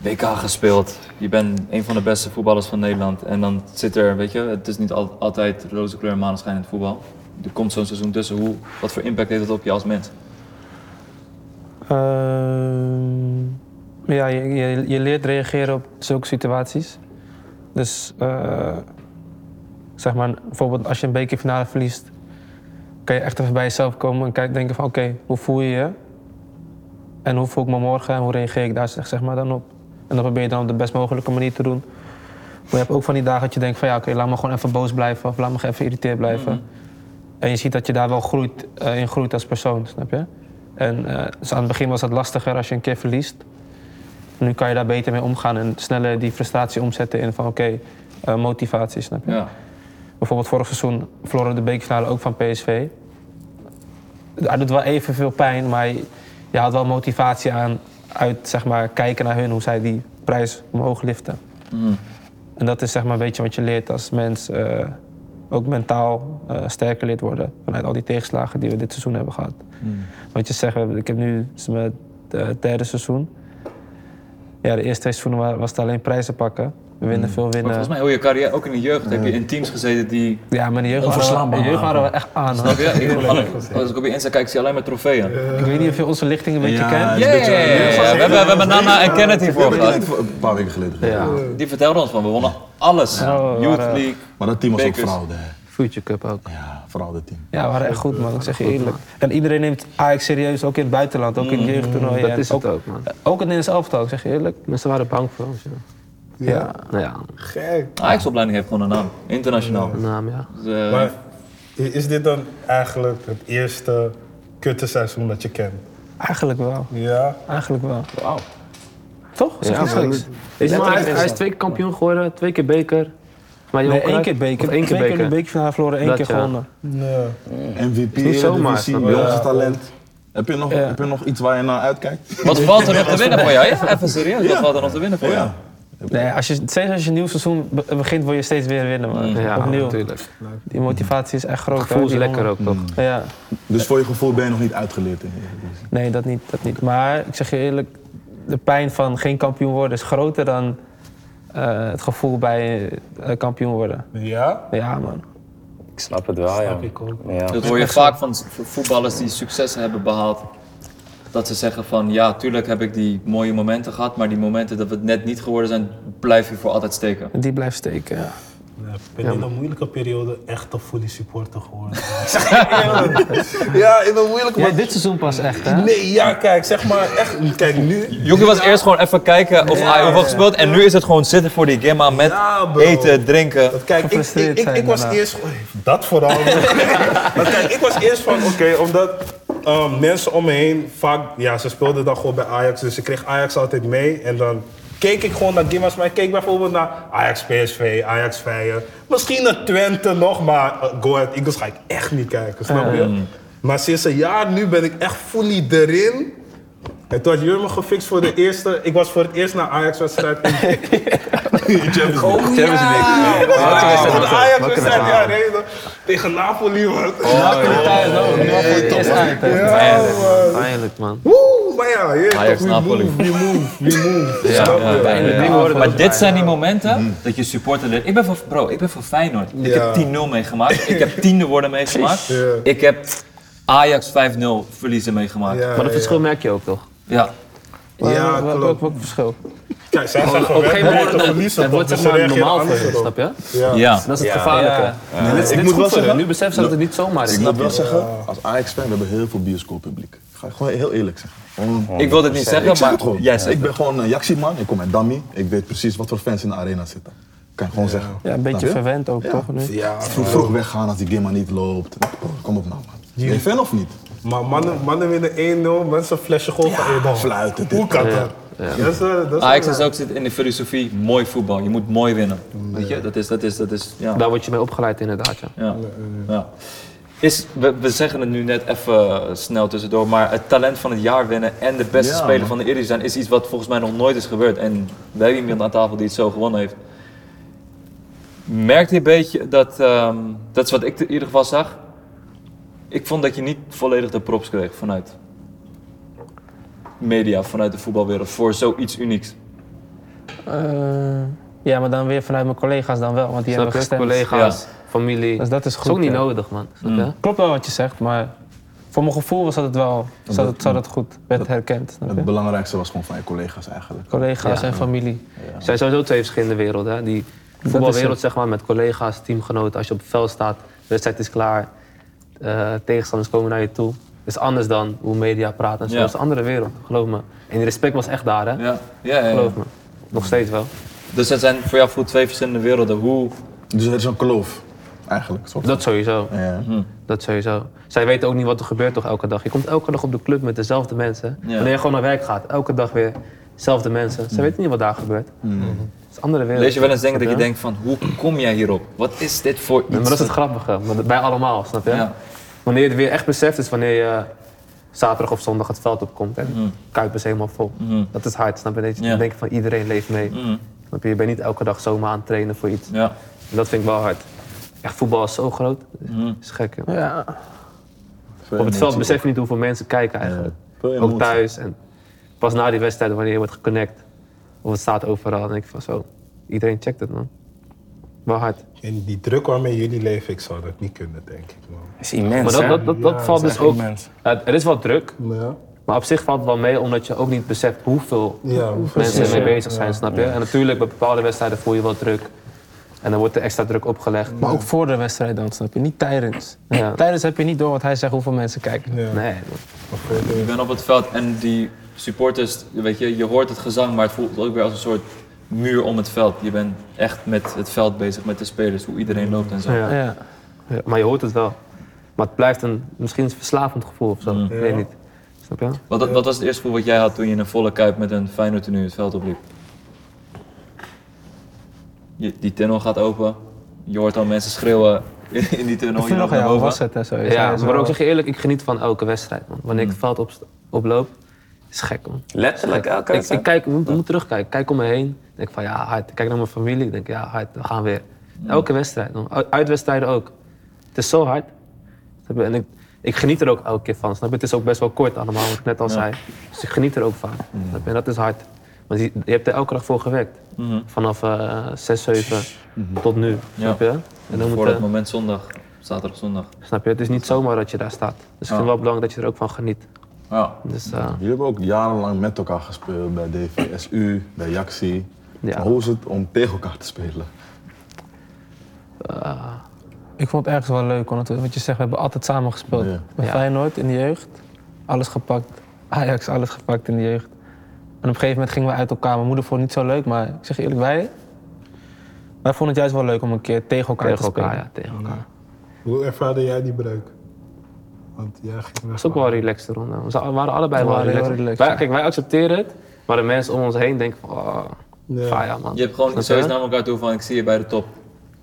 Speaker 4: WK gespeeld. Je bent een van de beste voetballers van Nederland. En dan zit er, weet je, het is niet al- altijd roze kleur en maneschijn in het voetbal. Er komt zo'n seizoen tussen. Hoe, wat voor impact heeft dat op je als mens?
Speaker 2: Ehm, ja, je, je, je leert reageren op zulke situaties. Dus eh, zeg maar, bijvoorbeeld als je een bekerfinale verliest, kan je echt even bij jezelf komen en kijken, denken van oké, hoe voel je je? En hoe voel ik me morgen en hoe reageer ik daar zeg zeg maar, dan op? En dat probeer je dan op de best mogelijke manier te doen. Maar je hebt ook van die dagen dat je denkt van ja oké, laat me gewoon even boos blijven of laat me gewoon even geïrriteerd blijven. En je ziet dat je daar wel groeit, eh, in groeit als persoon, snap je? En eh, dus aan het begin was dat lastiger als je een keer verliest. Nu kan je daar beter mee omgaan en sneller die frustratie omzetten in van oké, eh, motivatie, snap je?
Speaker 4: Ja.
Speaker 2: Bijvoorbeeld vorig seizoen verloren we de bekerfinale ook van PSV. Hij doet wel evenveel pijn, maar je haalt wel motivatie aan uit zeg maar, kijken naar hun, hoe zij die prijs omhoog liften. En dat is zeg maar een beetje wat je leert als mens. eh, ook mentaal eh, sterker leert worden vanuit al die tegenslagen die we dit seizoen hebben gehad. Want je zegt, we hebben- ik heb nu het is mijn eh, derde seizoen. Ja, de eerste twee seizoenen wa- was het alleen prijzen pakken. We winnen veel
Speaker 4: Maar
Speaker 2: winnen.
Speaker 4: volgens mij heel je carrière, ook in de jeugd, heb je in teams gezeten die...
Speaker 2: Ja, maar de jeugd waren,
Speaker 5: Onverslaanbaar.
Speaker 2: de jeugd waren we echt aan. hoor.
Speaker 4: Snap je? Ik heb alle- Als ik op je Insta kijk, zie je alleen maar trofeeën. Ja,
Speaker 2: Ik weet niet of je onze lichting een beetje kent.
Speaker 4: ja, ja, ja, ja. We, hebben, we hebben Nana en Kenneth hiervoor
Speaker 7: Ik
Speaker 4: gehad.
Speaker 7: denk voor Een paar weken geleden.
Speaker 4: Die vertelden ons van, we wonnen alles. Youth
Speaker 2: maar, eh,
Speaker 4: League.
Speaker 7: Maar dat team was ook
Speaker 4: Bekers.
Speaker 7: fraude. hè.
Speaker 5: Future Cup ook.
Speaker 7: Ja, fraudeteam.
Speaker 2: Ja, we waren echt goed, man. Ik zeg je eerlijk. En iedereen neemt Ajax serieus, ook in het buitenland, ook in het jeugdtoernooi.
Speaker 5: Mm, Dat
Speaker 2: en
Speaker 5: is het ook, man.
Speaker 2: Ook in het Nederlands elftal, ik zeg je eerlijk.
Speaker 5: Mensen waren bang voor ons, ja.
Speaker 2: Ja.
Speaker 5: Nou ja,
Speaker 3: Gek.
Speaker 4: Ajax-opleiding heeft gewoon een naam. Internationaal.
Speaker 5: naam, ja.
Speaker 4: Dus, eh,
Speaker 3: Maar is dit dan eigenlijk het eerste kutte seizoen dat je kent?
Speaker 2: Eigenlijk wel.
Speaker 3: Ja.
Speaker 2: Eigenlijk wel. Wauw. Toch? Zeg
Speaker 5: Ja,
Speaker 2: niks
Speaker 5: maar-
Speaker 2: geks.
Speaker 5: Weet je, maar hij, hij is twee keer kampioen geworden, twee keer beker. Maar je
Speaker 2: Nee,
Speaker 5: ook
Speaker 2: één
Speaker 5: uit-
Speaker 2: keer beker.
Speaker 5: of één keer
Speaker 2: Twee keer de
Speaker 5: beker.
Speaker 2: bekerfinale verloren, één
Speaker 5: Dat,
Speaker 2: keer
Speaker 5: ja.
Speaker 2: gewonnen.
Speaker 3: Nee.
Speaker 7: MVP,
Speaker 5: niet zomaar,
Speaker 7: Eredivisie,
Speaker 5: snap je?
Speaker 7: jongste talent. Heb je, nog,
Speaker 2: Ja.
Speaker 7: heb je nog iets waar je naar uitkijkt?
Speaker 4: wat valt er nog te winnen voor jou? Ja, even serieus. Wat valt er nog te winnen voor jou?
Speaker 7: Ja.
Speaker 2: Nee, als je, steeds als je een nieuw seizoen be- begint, wil je steeds weer winnen, man.
Speaker 5: Mm. Ja,
Speaker 2: Opnieuw.
Speaker 5: natuurlijk.
Speaker 2: Die motivatie is echt groot.
Speaker 5: Het gevoel
Speaker 2: hoor,
Speaker 5: is
Speaker 2: die
Speaker 5: lekker
Speaker 2: honger.
Speaker 5: ook, toch?
Speaker 2: Ja.
Speaker 7: Dus voor je gevoel ben je nog niet uitgeleerd in de Eredivisie.
Speaker 2: Nee, dat niet, dat niet. Maar ik zeg je eerlijk, de pijn van geen kampioen worden is groter dan eh, het gevoel bij eh, kampioen worden.
Speaker 3: Ja?
Speaker 2: Ja, man.
Speaker 6: Ik snap het wel, ja. Ja.
Speaker 4: Dat hoor je vaak van s- voetballers die successen hebben behaald. Dat ze zeggen van, ja, tuurlijk heb ik die mooie momenten gehad. Maar die momenten dat we het net niet geworden zijn, blijf je voor altijd steken.
Speaker 2: Die blijft steken. Ja.
Speaker 3: Nee, ik ben in een moeilijke periode echt een fully supporter geworden. ja, in een moeilijke
Speaker 2: Jij dit seizoen pas echt, hè?
Speaker 3: Nee, ja, kijk, zeg maar echt. Kijk, nu.
Speaker 4: Jochie was eerst gewoon even kijken of hij heeft gespeeld. En nu is het gewoon zitten voor die gamma met
Speaker 3: Ja, bro.
Speaker 4: eten, drinken.
Speaker 3: Dat kijk, ik,
Speaker 2: Gefrustreerd
Speaker 3: ik, ik,
Speaker 2: zijn
Speaker 3: ik was
Speaker 2: daarna.
Speaker 3: eerst. Dat vooral. maar kijk, ik was eerst van. Oké, omdat ehm, mensen om me heen vaak. Ja, ze speelden dan gewoon bij Ajax. Dus ik kreeg Ajax altijd mee. En dan keek ik gewoon naar Gimmers. Maar ik keek bijvoorbeeld naar Ajax PSV, Ajax Feyenoord. Misschien naar Twente nog. Maar eh, Go Ahead Eagles ga ik echt niet kijken, snap je? Maar sinds een jaar nu ben ik echt fully erin. En toen had Jur me gefixt voor de eerste. Ik was voor het eerst naar Ajax-wedstrijd. in- Oh, ja. Ik was voor de Ajax-wedstrijd. Ja, nee, dat- tegen Napoli, man. Ja, man.
Speaker 5: Eindelijk, man.
Speaker 3: Woe, maar ja, je weet toch,
Speaker 4: Ajax,
Speaker 3: we
Speaker 4: Napoli.
Speaker 3: move, we move, we move.
Speaker 4: Ja,
Speaker 3: Snap
Speaker 4: ja,
Speaker 3: je?
Speaker 4: ja, ja. Maar dit zijn die momenten
Speaker 7: Mhm.
Speaker 4: dat je supporter leert. Ik ben van, bro, ik ben van Feyenoord. Ik
Speaker 3: Ja.
Speaker 4: heb 10-0 meegemaakt. Ik heb tiende worden meegemaakt.
Speaker 3: Ja.
Speaker 4: Ik heb Ajax 5-0 verliezen meegemaakt.
Speaker 3: Ja,
Speaker 5: Maar dat
Speaker 3: ja.
Speaker 5: verschil merk je ook, toch?
Speaker 4: Ja.
Speaker 2: wat,
Speaker 3: Ja, klopt. Oh,
Speaker 2: wat, wat verschil?
Speaker 3: Kijk, zij
Speaker 5: Op
Speaker 3: zijn
Speaker 5: een gegeven
Speaker 3: gewend
Speaker 5: moment
Speaker 3: om
Speaker 5: wordt
Speaker 3: te
Speaker 5: het-
Speaker 3: verliezen.
Speaker 5: het
Speaker 3: toch?
Speaker 5: wordt
Speaker 3: Dus
Speaker 5: zeg maar
Speaker 3: ze reageren
Speaker 5: normaal voor
Speaker 3: anders
Speaker 5: je,
Speaker 3: erop.
Speaker 5: snap je?
Speaker 3: Ja.
Speaker 4: Ja.
Speaker 5: Dat is het
Speaker 6: Ja.
Speaker 5: gevaarlijke.
Speaker 6: Ja.
Speaker 5: Dit, is- dit
Speaker 3: moet
Speaker 5: is goed
Speaker 3: wel
Speaker 5: voor hun.
Speaker 3: zeggen-
Speaker 5: Nu beseffen ze dat het niet zomaar is.
Speaker 7: Ik moet wel zeggen, als Ajax-fan, we hebben heel veel bioscooppubliek. Ik ga gewoon heel eerlijk zeggen. Gewoon-
Speaker 4: Ik wil dit niet zeggen,
Speaker 7: ik zeg het
Speaker 4: maar
Speaker 7: gewoon.
Speaker 4: jij zegt
Speaker 7: ik ben gewoon een Jaxi-man, ik kom uit Dammy. Ik weet precies wat voor fans in de arena zitten. Ik kan gewoon zeggen.
Speaker 2: Ja, een beetje
Speaker 7: Snap je?
Speaker 2: verwend ook, toch? Nu?
Speaker 3: Ja,
Speaker 7: Vroeg, vroeg weggaan als die game maar niet loopt. Kom op nou, man. Ben je fan of niet?
Speaker 3: maar mannen, mannen winnen 1-0, mensen een flesje golf aan je dan.
Speaker 7: fluiten, dit.
Speaker 3: Hoe kan dat? Dat is, eh, dat is
Speaker 4: Ajax
Speaker 3: een-
Speaker 4: is ook zit in de filosofie mooi voetbal. Je moet mooi winnen. Weet je, dat is, dat is, dat is, ja.
Speaker 5: Daar word je mee opgeleid inderdaad, ja.
Speaker 4: ja. ja. Is, we, we zeggen het nu net even snel tussendoor, maar het talent van het jaar winnen en de beste
Speaker 7: Ja,
Speaker 4: speler
Speaker 7: man.
Speaker 4: van de Eredivisie zijn is iets wat volgens mij nog nooit is gebeurd. En we hebben iemand aan tafel die het zo gewonnen heeft. Merkt je een beetje dat, ehm, dat is wat ik in ieder geval zag. Ik vond dat je niet volledig de props kreeg vanuit media, vanuit de voetbalwereld voor zoiets unieks.
Speaker 2: Eh, ja, maar dan weer vanuit mijn collega's dan wel, want die
Speaker 5: Snap
Speaker 2: hebben
Speaker 5: je?
Speaker 2: gestemd.
Speaker 5: Collega's, familie.
Speaker 2: Dus dat is
Speaker 5: is
Speaker 2: goed.
Speaker 5: ook niet
Speaker 2: ja.
Speaker 5: nodig, man.
Speaker 3: Mm.
Speaker 5: Snap je?
Speaker 2: Klopt wel wat je zegt, maar voor mijn gevoel was dat het wel, zat het, zat het goed, werd herkend. snap
Speaker 7: Het
Speaker 2: je?
Speaker 7: belangrijkste was gewoon van je collega's eigenlijk.
Speaker 2: Collega's
Speaker 5: Ja.
Speaker 2: en familie.
Speaker 5: Er zijn sowieso twee verschillende werelden. Hè? Die voetbalwereld zeg maar, met collega's, teamgenoten. Als je op het veld staat, de wedstrijd is klaar. eh, tegenstanders komen naar je toe. Het is anders dan hoe media praat en zo.
Speaker 4: Ja.
Speaker 5: Het is een andere wereld, geloof me. En die respect was echt daar, hè?
Speaker 4: Ja, ja, ja, ja.
Speaker 5: geloof me. Nog steeds wel.
Speaker 4: Dus dat zijn voor jou voor twee verschillende werelden. Hoe
Speaker 7: Dus er is een kloof, eigenlijk. soort van.
Speaker 5: Dat Hmm. sowieso.
Speaker 7: Ja.
Speaker 5: Dat sowieso. Zij weten ook niet wat er gebeurt toch elke dag. Je komt elke dag op de club met dezelfde mensen.
Speaker 4: Ja. Mm.
Speaker 5: Wanneer je gewoon naar werk gaat, elke dag weer dezelfde mensen. Zij weten niet wat daar gebeurt. Het is een andere wereld.
Speaker 4: lees je wel eens denken dat je
Speaker 5: Snap
Speaker 4: denkt van hoe kom jij hierop? Wat is dit voor iets?
Speaker 5: Ja, maar dat is het grappige. Maar dat- bij allemaal, snap je?
Speaker 4: Ja.
Speaker 5: Wanneer je het weer echt beseft, is wanneer je zaterdag of zondag het veld opkomt. En Kuip is helemaal vol. Dat is hard, snap je? Dat je
Speaker 4: Mm. Ja.
Speaker 5: dan
Speaker 4: Mm.
Speaker 5: denk je van iedereen leeft mee. Snap je? Je bent niet elke dag zomaar aan het trainen voor iets.
Speaker 4: Ja.
Speaker 5: En dat vind ik wel hard. Echt, voetbal is zo groot.
Speaker 4: Mm.
Speaker 5: Dat is gek. hè.
Speaker 2: Ja,
Speaker 5: Op het veld besef je niet hoeveel mensen kijken eigenlijk.
Speaker 7: Veel emotie.
Speaker 5: Ook thuis. En pas na die wedstrijd, wanneer je wordt geconnect. Of het staat overal. Dan denk ik van zo, iedereen checkt het man. Wel hard.
Speaker 3: En die druk waarmee jullie leven, ik zou dat niet kunnen, denk ik. Man.
Speaker 6: is immens,
Speaker 5: Maar dat, dat, dat, dat valt
Speaker 6: is
Speaker 5: dus
Speaker 6: echt
Speaker 5: ook.
Speaker 6: immens.
Speaker 5: Ja, er is wel druk,
Speaker 3: Nou Ja.
Speaker 5: maar op zich valt het wel mee omdat je ook niet beseft hoeveel
Speaker 3: Ja,
Speaker 5: mensen
Speaker 3: precies,
Speaker 5: ermee bezig zijn, snap je? En natuurlijk, bij bepaalde wedstrijden voel je wel druk. En dan wordt er extra druk opgelegd.
Speaker 2: maar ook voor de wedstrijd dan, snap je? Niet tijdens.
Speaker 5: Ja.
Speaker 2: Tijdens heb je niet door wat hij zegt, hoeveel mensen kijken.
Speaker 3: Ja.
Speaker 5: Nee,
Speaker 4: Je bent op het veld en die supporters, weet je, je hoort het gezang, maar het voelt ook weer als een soort muur om het veld. Je bent echt met het veld bezig, met de spelers, hoe iedereen loopt en zo.
Speaker 5: ja.
Speaker 2: Ja.
Speaker 5: Ja, maar je hoort het wel. Maar het blijft een misschien een verslavend gevoel of zo. Ik weet niet. Snap je?
Speaker 4: Wat, wat was het eerste gevoel wat jij had toen je in een volle kuip met een Feyenoord tenue het veld opliep? Je- die tunnel gaat open, je hoort al mensen schreeuwen in, in die tunnel.
Speaker 2: Ik vind nog
Speaker 4: loopt naar
Speaker 2: ja, hoe
Speaker 4: boven.
Speaker 2: was het en zo. Je zei
Speaker 5: Ja,
Speaker 2: het
Speaker 5: maar
Speaker 2: wel.
Speaker 5: ook zeg je eerlijk, ik geniet van elke wedstrijd. Man. Wanneer ik het veld op, oploop, is gek man.
Speaker 6: Letterlijk elke
Speaker 5: Ik, ik
Speaker 6: wedstrijd.
Speaker 5: kijk, moet, moet terugkijken. Ik Kijk om me heen. Ik Denk van ja, hard. Ik Kijk naar mijn familie. Ik Denk ja, hard. We gaan weer. Elke wedstrijd. man. U- Uitwedstrijden ook. Het is zo hard. Snap je? En ik, ik geniet er ook elke keer van. Snap je? Het is ook best wel kort allemaal, wat ik net al zei. Dus ik geniet er ook van. Snap je? En dat is hard. Want je, je hebt er elke dag voor gewerkt. Vanaf eh 6, 7 tot nu. Snap je? En dan
Speaker 4: Voor
Speaker 5: moet,
Speaker 4: dat
Speaker 5: eh,
Speaker 4: moment zondag, zaterdag zondag.
Speaker 5: snap je? Het is niet zomaar dat je daar staat. Dus ik vind het wel belangrijk dat je er ook van geniet.
Speaker 4: Ja.
Speaker 5: Dus, eh,
Speaker 7: Jullie hebben ook jarenlang met elkaar gespeeld bij DVSU, bij Jaxi.
Speaker 5: Ja.
Speaker 7: Maar Hoe is het om tegen elkaar te spelen?
Speaker 2: Ik vond het ergens wel leuk, want het- wat je zegt, we hebben altijd samen gespeeld.
Speaker 7: Ja.
Speaker 2: Bij
Speaker 5: Ja.
Speaker 2: Feyenoord in de jeugd, alles gepakt. Ajax, alles gepakt in de jeugd. En op een gegeven moment gingen we uit elkaar. Mijn moeder vond het niet zo leuk, maar ik zeg je eerlijk, wij... Wij vonden het juist wel leuk om een keer tegen elkaar
Speaker 5: tegen
Speaker 2: te spelen.
Speaker 5: elkaar, ja, tegen elkaar.
Speaker 3: Hoe ervaarde jij die breuk? Want jij ging weg.
Speaker 5: Het was ook wel relaxed ronde. We za- we waren allebei
Speaker 2: We
Speaker 5: wel
Speaker 2: waren heel
Speaker 5: relaxed.
Speaker 2: relaxed,
Speaker 5: Wij-
Speaker 2: ja.
Speaker 5: kijk, wij accepteren het, maar de mensen om ons heen denken van, oh,
Speaker 3: Ja.
Speaker 5: faya, man.
Speaker 4: Je hebt gewoon
Speaker 5: Snap
Speaker 4: zoiets
Speaker 5: je?
Speaker 4: naar elkaar toe van ik zie je bij de top.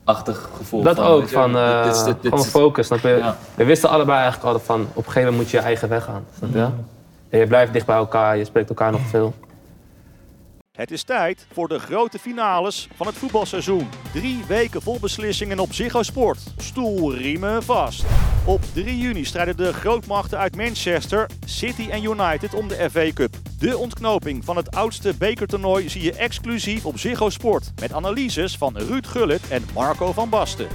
Speaker 4: Achtig gevoel.
Speaker 5: Dat ook,
Speaker 4: weet je,
Speaker 5: van eh,
Speaker 4: dit is- dit- dit
Speaker 5: gewoon
Speaker 4: is-
Speaker 5: focus, snap je?
Speaker 4: Ja.
Speaker 5: We wisten allebei eigenlijk altijd van, op een gegeven moment moet je je eigen weg gaan, snap je?
Speaker 2: Mm.
Speaker 5: En je blijft dicht bij elkaar, je spreekt elkaar nog veel.
Speaker 9: Het is tijd voor de grote finales van het voetbalseizoen. Drie weken vol beslissingen op Ziggo Sport. Stoelriemen vast. Op 3 juni strijden de grootmachten uit Manchester, City en United om de FA Cup. De ontknoping van het oudste bekertoernooi zie je exclusief op Ziggo Sport. Met analyses van Ruud Gullit en Marco van Basten.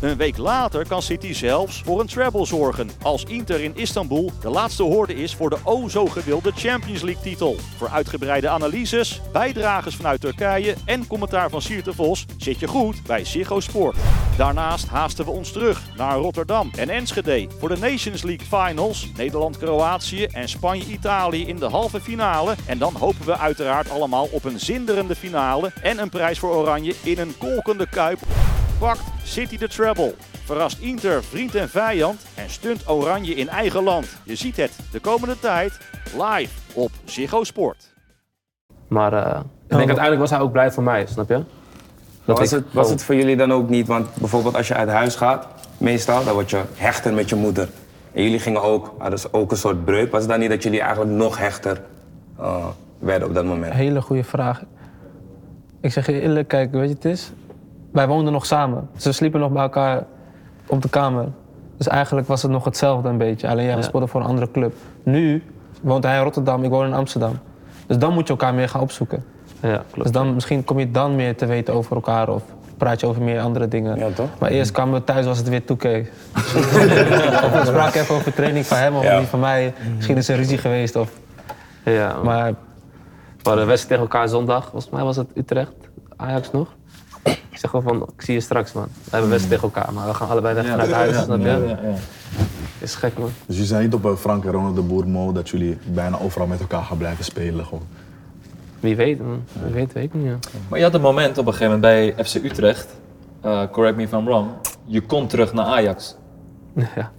Speaker 9: Een week later kan City zelfs voor een treble zorgen als Inter in Istanbul de laatste hoorde is voor de o zo gewilde Champions League titel. Voor uitgebreide analyses, bijdrages vanuit Turkije en commentaar van Sierte Vos zit je goed bij Ziggo Sport. Daarnaast haasten we ons terug naar Rotterdam en Enschede voor de Nations League Finals, Nederland-Kroatië en Spanje-Italië in de halve finale. En dan hopen we uiteraard allemaal op een zinderende finale en een prijs voor Oranje in een kolkende kuip pakt City de treble. Verrast Inter vriend en vijand en stunt Oranje in eigen land. Je ziet het de komende tijd live op Ziggo Sport.
Speaker 5: Maar eh, ik
Speaker 2: Oh.
Speaker 5: denk uiteindelijk was hij ook blij voor mij, snap je? Dat
Speaker 6: Was
Speaker 5: ik-
Speaker 6: het, was
Speaker 5: oh.
Speaker 6: het voor jullie dan ook niet? Want bijvoorbeeld als je uit huis gaat, meestal, dan word je hechter met je moeder. En jullie gingen ook, hadden ze ook een soort breuk. Was het dan niet dat jullie eigenlijk nog hechter eh, werden op dat moment?
Speaker 2: Hele goede vraag. Ik zeg je eerlijk, kijk, weet je het is? Wij woonden nog samen. Ze sliepen nog bij elkaar op de kamer. Dus eigenlijk was het nog hetzelfde een beetje. Alleen jij we speelden voor een andere club. Nu woont hij in Rotterdam, ik woon in Amsterdam. Dus dan moet je elkaar meer gaan opzoeken.
Speaker 5: Ja, klopt.
Speaker 2: Dus dan, misschien kom je dan meer te weten over elkaar of praat je over meer andere dingen.
Speaker 6: Ja, toch?
Speaker 2: Maar eerst kwamen we thuis was het weer 2K. we spraken even over training van hem of
Speaker 6: Ja.
Speaker 2: die van mij. Misschien is er ruzie geweest. Of,
Speaker 5: Ja, maar
Speaker 2: maar
Speaker 5: we hadden een wedstrijd tegen elkaar zondag. Volgens mij was het Utrecht, Ajax nog. Ik zeg gewoon van, ik zie je straks man. We hebben een wedstrijd tegen elkaar, maar we gaan allebei weg vanuit huis, snap je? Is gek man.
Speaker 7: Dus jullie zijn niet op eh, Frank en Ronald de Boer Mo dat jullie bijna overal met elkaar gaan blijven spelen. Gewoon.
Speaker 5: Wie weet man, wie weet weet ik niet. Ja.
Speaker 4: Maar je had een moment op een gegeven moment bij FC Utrecht, eh, correct me if I'm wrong, je komt terug naar Ajax.
Speaker 5: Ja.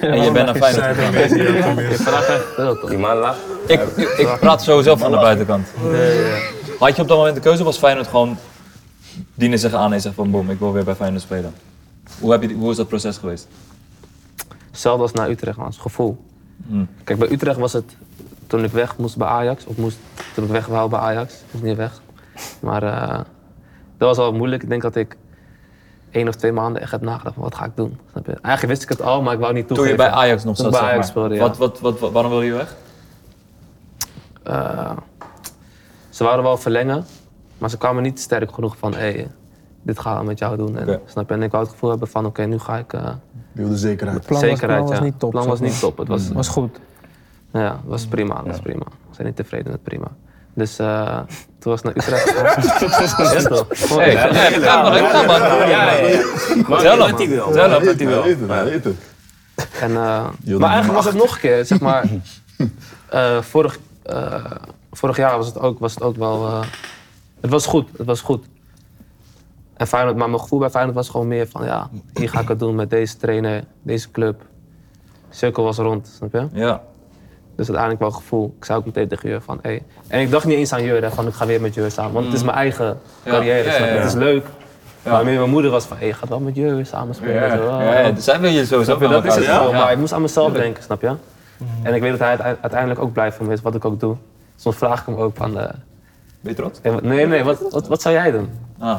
Speaker 4: En je bent naar Feyenoord gegaan.
Speaker 5: Dat toch.
Speaker 6: Die man lacht.
Speaker 4: Ik, ik, ik praat sowieso van de buitenkant. Had je op dat moment de keuze, was Feyenoord gewoon dienen zich aan en zegt van boom, ik wil weer bij Feyenoord spelen. Hoe, heb je, die- hoe is dat proces geweest?
Speaker 5: Hetzelfde als naar Utrecht man, het gevoel.
Speaker 4: Hmm.
Speaker 5: Kijk, bij Utrecht was het toen ik weg moest bij Ajax, of moest, toen ik weg wou bij Ajax, ik moest niet weg. Maar eh, dat was al moeilijk. Ik denk dat ik één of twee maanden echt heb nagedacht van wat ga ik doen. Snap je? Eigenlijk wist ik het al, maar ik wou niet
Speaker 4: Toen je
Speaker 5: toegeven.
Speaker 4: bij Ajax nog
Speaker 5: Toen
Speaker 4: zat,
Speaker 5: ik bij
Speaker 4: zeg maar.
Speaker 5: Ajax speelde, ja.
Speaker 4: wat, wat, wat, wat- waarom wil je weg?
Speaker 5: Eh, ze wouden wel verlengen, maar ze kwamen niet sterk genoeg van hey, dit gaan we met jou doen. En,
Speaker 4: Oké.
Speaker 5: snap je? en ik wou het gevoel hebben van oké, nu ga ik eh
Speaker 7: Je wilde zekerheid.
Speaker 2: plan, was,
Speaker 5: zekerheid.
Speaker 2: plan was
Speaker 5: ja.
Speaker 2: niet top.
Speaker 5: plan
Speaker 2: zeg
Speaker 5: was
Speaker 2: maar.
Speaker 5: niet top. Het was,
Speaker 4: Mm.
Speaker 2: was goed.
Speaker 5: Ja, dat was prima. Dat was prima. We zijn niet tevreden met prima. Dus eh, toen was het naar Utrecht. gegaan. ja, toch? Gewoon
Speaker 4: Hey,
Speaker 5: echt.
Speaker 4: ga- hey, ga maar, ga maar.
Speaker 6: Ja, ja, ja. Maar
Speaker 4: Zelf.
Speaker 6: dat hij wil. Zelf dat hij
Speaker 7: Hij
Speaker 6: wil.
Speaker 7: weet het, hij weet het.
Speaker 5: En, eh,
Speaker 7: dat
Speaker 5: maar eigenlijk was het nog een keer, zeg maar. eh, vorig, eh, vorig jaar was het ook, was het ook wel. eh, het was goed, het was goed. En Feyenoord, maar mijn gevoel bij Feyenoord was gewoon meer van ja, hier ga ik het doen met deze trainer, deze club. Cirkel was rond, snap je?
Speaker 4: Ja.
Speaker 5: Dus uiteindelijk wel een gevoel. Ik zei ook meteen tegen Jur van, Hey. En ik dacht niet eens aan Jur, hè, van ik ga weer met Jur samen. Want het is mijn eigen
Speaker 4: Mm. Ja.
Speaker 5: carrière,
Speaker 4: Ja,
Speaker 5: snap je?
Speaker 4: ja, ja.
Speaker 5: Het is leuk. Maar meer mijn moeder was van, hé, hey, ga wel met Jur weer samen spelen. Zo, ah.
Speaker 4: Ja, ja, dus zij wil je sowieso bij
Speaker 5: Dat is
Speaker 4: elkaar.
Speaker 5: het gewoon,
Speaker 4: Ja.
Speaker 5: maar ik moest aan mezelf denken, snap je? En ik weet dat hij uite- uiteindelijk ook blij van me is, wat ik ook doe. Soms vraag ik hem ook van, eh,
Speaker 4: Ben je trots?
Speaker 5: hey, wat- nee, nee, wat, wat, wat zou jij doen?
Speaker 4: Ah.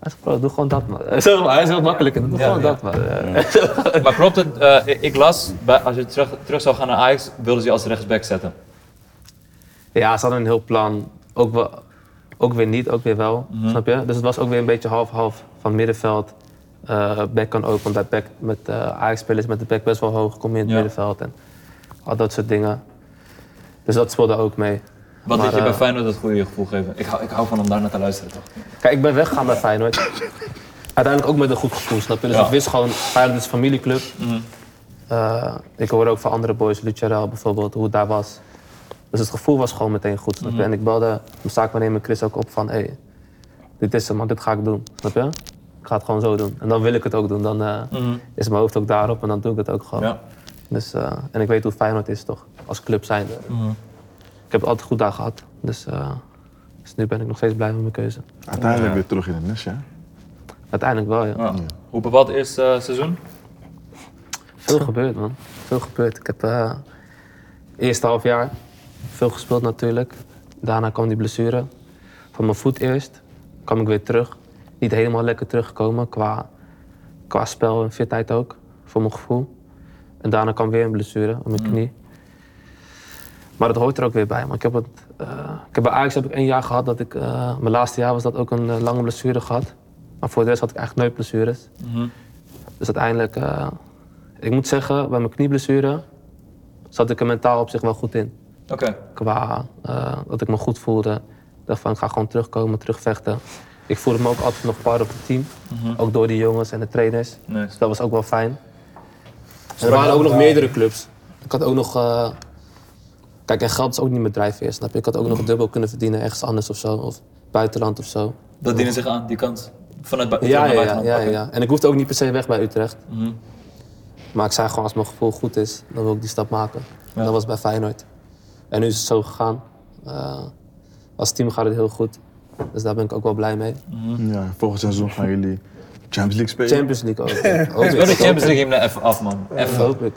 Speaker 5: Hij zegt, bro, doe gewoon dat, man. Zo, hij is heel makkelijk, doe gewoon dat, man. Eh,
Speaker 4: Maar klopt het, eh, ik- ik las, bij, als je terug, terug zou gaan naar Ajax, wilden ze je als rechtsback zetten.
Speaker 5: Ja, ze hadden een heel plan. Ook, wel, ook weer niet, ook weer wel, snap je? Dus het was ook weer een beetje half-half van middenveld. eh back kan ook, want bij back, met eh Ajax-spelers met de back best wel hoog, kom je in het
Speaker 4: Ja.
Speaker 5: middenveld en al dat soort dingen. Dus dat speelde ook mee.
Speaker 4: Wat
Speaker 5: Maar,
Speaker 4: deed je bij
Speaker 5: eh,
Speaker 4: Feyenoord dat goede gevoel geven? Ik hou, ik hou van om daar naar te luisteren, toch?
Speaker 5: Kijk, ik ben weggegaan bij Feyenoord. Uiteindelijk ook met een goed gevoel, snap je? Dus
Speaker 4: Ja. Mm.
Speaker 5: ik wist gewoon, Feyenoord is een familieclub. Eh, ik hoorde ook van andere boys, Lucharel bijvoorbeeld, hoe het daar was. Dus het gevoel was gewoon meteen goed, snap je?
Speaker 4: Mm.
Speaker 5: En ik belde mijn zaakwaarnemer Chris ook op van... Hey, dit is hem, man, dit ga ik doen, snap je? Ik ga het gewoon zo doen. En dan wil ik het ook doen. Dan eh, is mijn hoofd ook daarop en dan doe ik het ook gewoon.
Speaker 4: Mm. Ja.
Speaker 5: Dus, eh, en ik weet hoe Feyenoord is, toch? Als club zijnde.
Speaker 4: Mm.
Speaker 5: Ik heb het altijd goed daar gehad. Dus, eh, dus nu ben ik nog steeds blij met mijn keuze.
Speaker 7: Uiteindelijk weer terug in het nest, ja.
Speaker 5: Uiteindelijk wel, ja.
Speaker 4: Ja. Hoe bepaalt het eerste eh, seizoen?
Speaker 5: Veel gebeurd, man. Veel gebeurd. Ik heb eh eerste half jaar veel gespeeld natuurlijk. Daarna kwam die blessure. Van mijn voet eerst kwam ik weer terug. Niet helemaal lekker teruggekomen qua, qua spel en fitheid ook, voor mijn gevoel. En daarna kwam weer een blessure aan mijn knie. Maar dat hoort er ook weer bij. Maar ik heb het, eh, ik heb bij Ajax heb ik één jaar gehad dat ik... eh, mijn laatste jaar was dat ook een eh, lange blessure gehad. Maar voor de rest had ik eigenlijk nooit blessures. Dus uiteindelijk, eh, ik moet zeggen, bij mijn knieblessure zat ik er mentaal op zich wel goed in.
Speaker 4: Oké.
Speaker 5: Qua eh, dat ik me goed voelde. Ik dacht van, ik ga gewoon terugkomen, terugvechten. Ik voelde me ook altijd nog part op het team. Ook door die jongens en de trainers.
Speaker 4: Nice.
Speaker 5: Dus dat was ook wel fijn. En er waren ook nog meerdere clubs. Ik had ook nog... eh, Kijk, en geld is ook niet mijn drijfveer, snap je? Ik had ook nog dubbel kunnen verdienen ergens anders of zo. Of buitenland of zo.
Speaker 4: Dat dienen zich aan, die kant. Vanuit bui-
Speaker 5: Ja,
Speaker 4: naar
Speaker 5: ja, ja,
Speaker 4: buitenland.
Speaker 5: ja,
Speaker 4: Oké.
Speaker 5: ja. En ik hoefde ook niet per se weg bij Utrecht.
Speaker 4: Mhm.
Speaker 5: Maar ik zei gewoon, als mijn gevoel goed is, dan wil ik die stap maken. En dat was bij Feyenoord. En nu is het zo gegaan. Eh, als team gaat het heel goed. Dus daar ben ik ook wel blij mee.
Speaker 7: Ja, volgend seizoen gaan jullie Champions League spelen.
Speaker 5: Champions League ook. Hoop
Speaker 4: Ik ben de
Speaker 5: ik.
Speaker 4: Champions League game nou even af, man. Even.
Speaker 5: Hoop ik.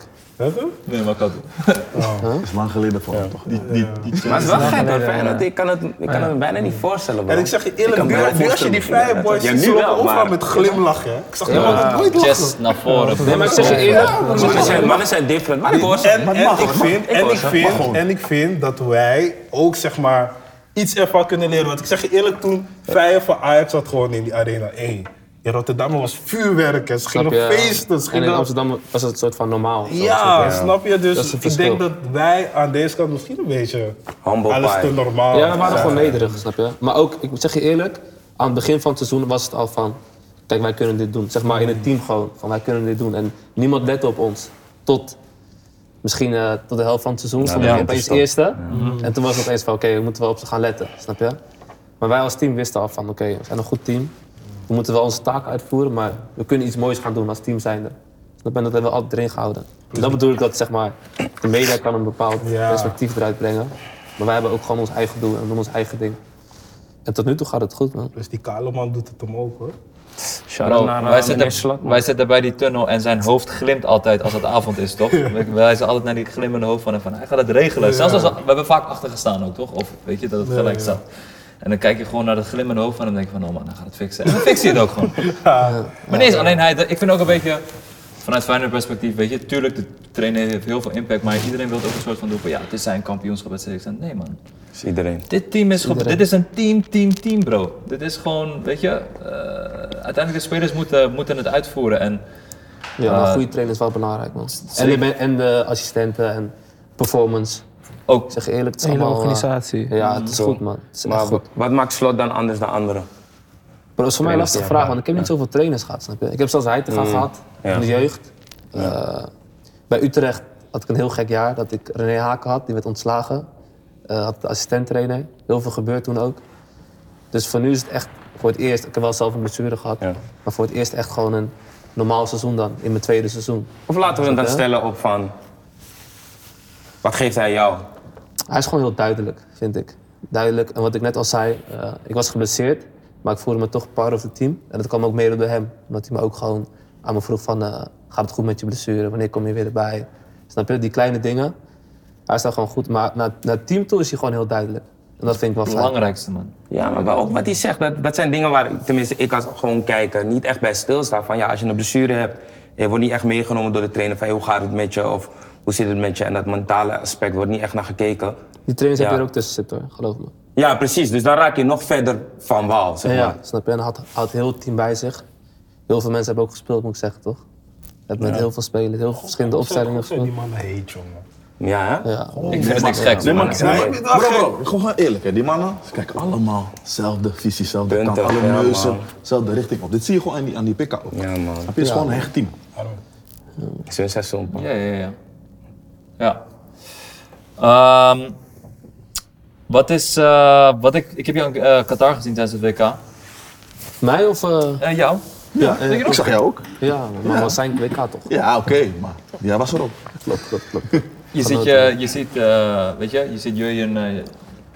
Speaker 4: Nee, maar ik had
Speaker 7: Dat is lang geleden voor hem, toch? Die, die, die,
Speaker 6: Maar het is wel gek hoor, Feyenoord. Ik kan het, ik kan het me bijna niet voorstellen, bro.
Speaker 3: En ik zeg je
Speaker 6: Ik
Speaker 3: eerlijk,
Speaker 6: kan me
Speaker 3: nu,
Speaker 6: wel
Speaker 3: nu als je die
Speaker 6: voorstellen,
Speaker 3: vrije boys
Speaker 6: ja,
Speaker 3: ziet,
Speaker 6: nu
Speaker 3: ze lopen
Speaker 6: wel,
Speaker 3: overal
Speaker 6: maar-
Speaker 3: met glimlachen. hè. Ik zag die altijd nooit
Speaker 4: ja,
Speaker 3: lachen.
Speaker 4: chest naar voren.
Speaker 5: Nee, maar ik zeg je eerlijk.
Speaker 6: Mannen zijn, mannen zijn different, maar ik hoor ze.
Speaker 3: En, en ik vind, en,
Speaker 6: hoor
Speaker 3: ik
Speaker 6: ze.
Speaker 3: vind, en ik vind dat wij ook zeg maar iets ervan kunnen leren. Want ik zeg je eerlijk, toen Feyenoord van Ajax had gewoon in die arena 1. In Rotterdam was vuurwerk, hè. ze
Speaker 5: Snap
Speaker 3: gingen
Speaker 5: je?
Speaker 3: feesten. Ze
Speaker 5: En in
Speaker 3: gingen-
Speaker 5: Amsterdam was het een soort van normaal. Zo,
Speaker 3: Ja, snap je?
Speaker 5: Dat
Speaker 3: Dus
Speaker 5: is het
Speaker 3: ik
Speaker 5: verschil.
Speaker 3: denk dat wij aan deze kant misschien een beetje
Speaker 6: Humble
Speaker 3: alles
Speaker 6: pie.
Speaker 3: te normaal
Speaker 5: Ja, we waren
Speaker 3: zijn.
Speaker 5: gewoon nederig, snap je? Maar ook, ik zeg je eerlijk, aan het begin van het seizoen was het al van... Kijk, wij kunnen dit doen. Zeg maar in het team gewoon, van wij kunnen dit doen. En niemand lette op ons. Tot misschien eh, tot de helft van het seizoen stond
Speaker 6: ja,
Speaker 5: ja,
Speaker 6: dat is
Speaker 5: opeens
Speaker 6: toch-
Speaker 5: eerste. En toen was het opeens van, oké, we moeten wel op ze gaan letten, snap je? Maar wij als team wisten al van, oké, we zijn een goed team. We moeten wel onze taak uitvoeren, maar we kunnen iets moois gaan doen als team zijnde. Snap je? En dat hebben we altijd erin gehouden. En dat bedoel ik dat zeg maar, de media kan een bepaald
Speaker 3: Ja.
Speaker 5: perspectief eruit brengen. Maar wij hebben ook gewoon ons eigen doel en we doen ons eigen ding. En tot nu toe gaat het goed, man.
Speaker 3: Dus die kale man doet het hem ook hoor.
Speaker 4: Bro,
Speaker 6: Shout-out naar
Speaker 4: wij,
Speaker 6: eh, meneer Slak,
Speaker 4: zitten, wij zitten bij die tunnel en zijn hoofd glimt altijd als het avond is, toch? We- Wij zijn altijd naar die glimmende hoofd van hem van, hij gaat het regelen. Zelfs als, we hebben vaak achter gestaan ook, toch? Of weet je, dat het gelijk staat. En dan kijk je gewoon naar dat glimmende hoofd van hem en denk je van, oh man, hij gaat het fixen. En dan fixt hij het ook gewoon. Maar nee, is alleen hij, ik vind ook een beetje, vanuit Feyenoord perspectief, weet je, tuurlijk, de trainer heeft heel veel impact, maar iedereen wil ook een soort van doen van, ja, het is zijn kampioenschap, et cetera. Ik zeg, Nee man,
Speaker 6: Is iedereen.
Speaker 4: dit team is gewoon, dit is een team, team, team, bro. Dit is gewoon, weet je, eh, uiteindelijk de spelers moeten, moeten het uitvoeren. En
Speaker 5: Ja, maar goede trainer is wel belangrijk, man. En de,
Speaker 4: zeker.
Speaker 5: men- en de assistenten en performance.
Speaker 4: ook,
Speaker 5: Ik zeg je eerlijk, het is
Speaker 2: Hele
Speaker 5: allemaal... eh,
Speaker 2: organisatie.
Speaker 5: Ja, het is
Speaker 6: Zo.
Speaker 5: goed, man. Het is echt
Speaker 6: Maar
Speaker 5: goed.
Speaker 6: wat maakt Slot dan anders dan anderen?
Speaker 5: Maar dat is voor mij een lastige
Speaker 6: ja,
Speaker 5: vraag,
Speaker 6: ja. Mm.
Speaker 5: want ik heb niet zoveel trainers gehad, snap je? Ik heb zelfs Heitinga gehad, in de jeugd. Eh, bij Utrecht had ik een heel gek jaar, dat ik René Haken had, die werd ontslagen. Eh had de assistent-trainer, heel veel gebeurd toen ook. Dus voor nu is het echt voor het eerst, ik heb wel zelf een blessure gehad,
Speaker 6: Ja.
Speaker 5: maar voor het eerst echt gewoon een normaal seizoen dan, in mijn tweede seizoen.
Speaker 6: Of laten we hem dan
Speaker 5: Oké.
Speaker 6: stellen op van... Wat geeft hij jou?
Speaker 5: Hij is gewoon heel duidelijk, vind ik. Duidelijk. En wat ik net al zei, eh, ik was geblesseerd, maar ik voelde me toch part of het team. En dat kwam ook mede door hem. Omdat hij me ook gewoon aan me vroeg van, eh, gaat het goed met je blessure? Wanneer kom je weer erbij? Snap je? Die kleine dingen. Hij is daar gewoon goed. Maar naar, naar het team toe is hij gewoon heel duidelijk. En dat vind ik wel
Speaker 4: het
Speaker 5: fijn.
Speaker 4: belangrijkste, man.
Speaker 6: Ja, maar wel ook wat hij zegt, dat, dat zijn dingen waar ik- tenminste ik als gewoon kijker niet echt bij stilsta. Van ja, als je een blessure hebt, je wordt niet echt meegenomen door de trainer van hey, hoe gaat het met je of hoe zit het met je. En dat mentale aspect wordt niet echt naar gekeken.
Speaker 5: Die trainers
Speaker 6: Ja.
Speaker 5: hebben er ook tussen zitten hoor, geloof me.
Speaker 6: Ja, precies. Dus dan raak je nog verder van wal, zeg
Speaker 5: Ja,
Speaker 6: maar.
Speaker 5: snap je? En hij had, had heel het team bij zich. Heel veel mensen hebben ook gespeeld, moet ik zeggen, toch? Hebben met heel veel spelers, heel veel verschillende opstellingen
Speaker 3: Zo,
Speaker 5: gespeeld.
Speaker 3: Die man heet jongen.
Speaker 6: Ja, hè?
Speaker 5: Ja,
Speaker 4: Ik vind het niks geks,
Speaker 6: Nee,
Speaker 4: man.
Speaker 6: maar-
Speaker 3: Nee,
Speaker 6: Ja,
Speaker 7: Bro, bro, gewoon eerlijk, hè. die mannen, ze kijken allemaal dezelfde visie, dezelfde kant,
Speaker 6: Punten,
Speaker 7: alle
Speaker 6: ja,
Speaker 7: neuzen,
Speaker 6: man.
Speaker 7: dezelfde richting op. Dit zie je gewoon aan die, aan die pick-up. ook.
Speaker 6: Ja, man.
Speaker 7: Snap je? Het is gewoon een hecht team.
Speaker 6: Zo'n seizoen. man.
Speaker 4: Ja, ja, ja. Ja. Ehm, wat is, eh, wat ik, ik heb jou in eh, Qatar gezien tijdens het WK.
Speaker 5: Mij of... eh,
Speaker 4: Eh, jou?
Speaker 7: Ja, ik zag jou ook.
Speaker 5: ja, maar wel zijn WK toch?
Speaker 7: Ja, oké, maar jij was erop. Klopt, klopt, klopt.
Speaker 4: Je ziet, je, je ziet, eh, weet je, je ziet Jurjen eh,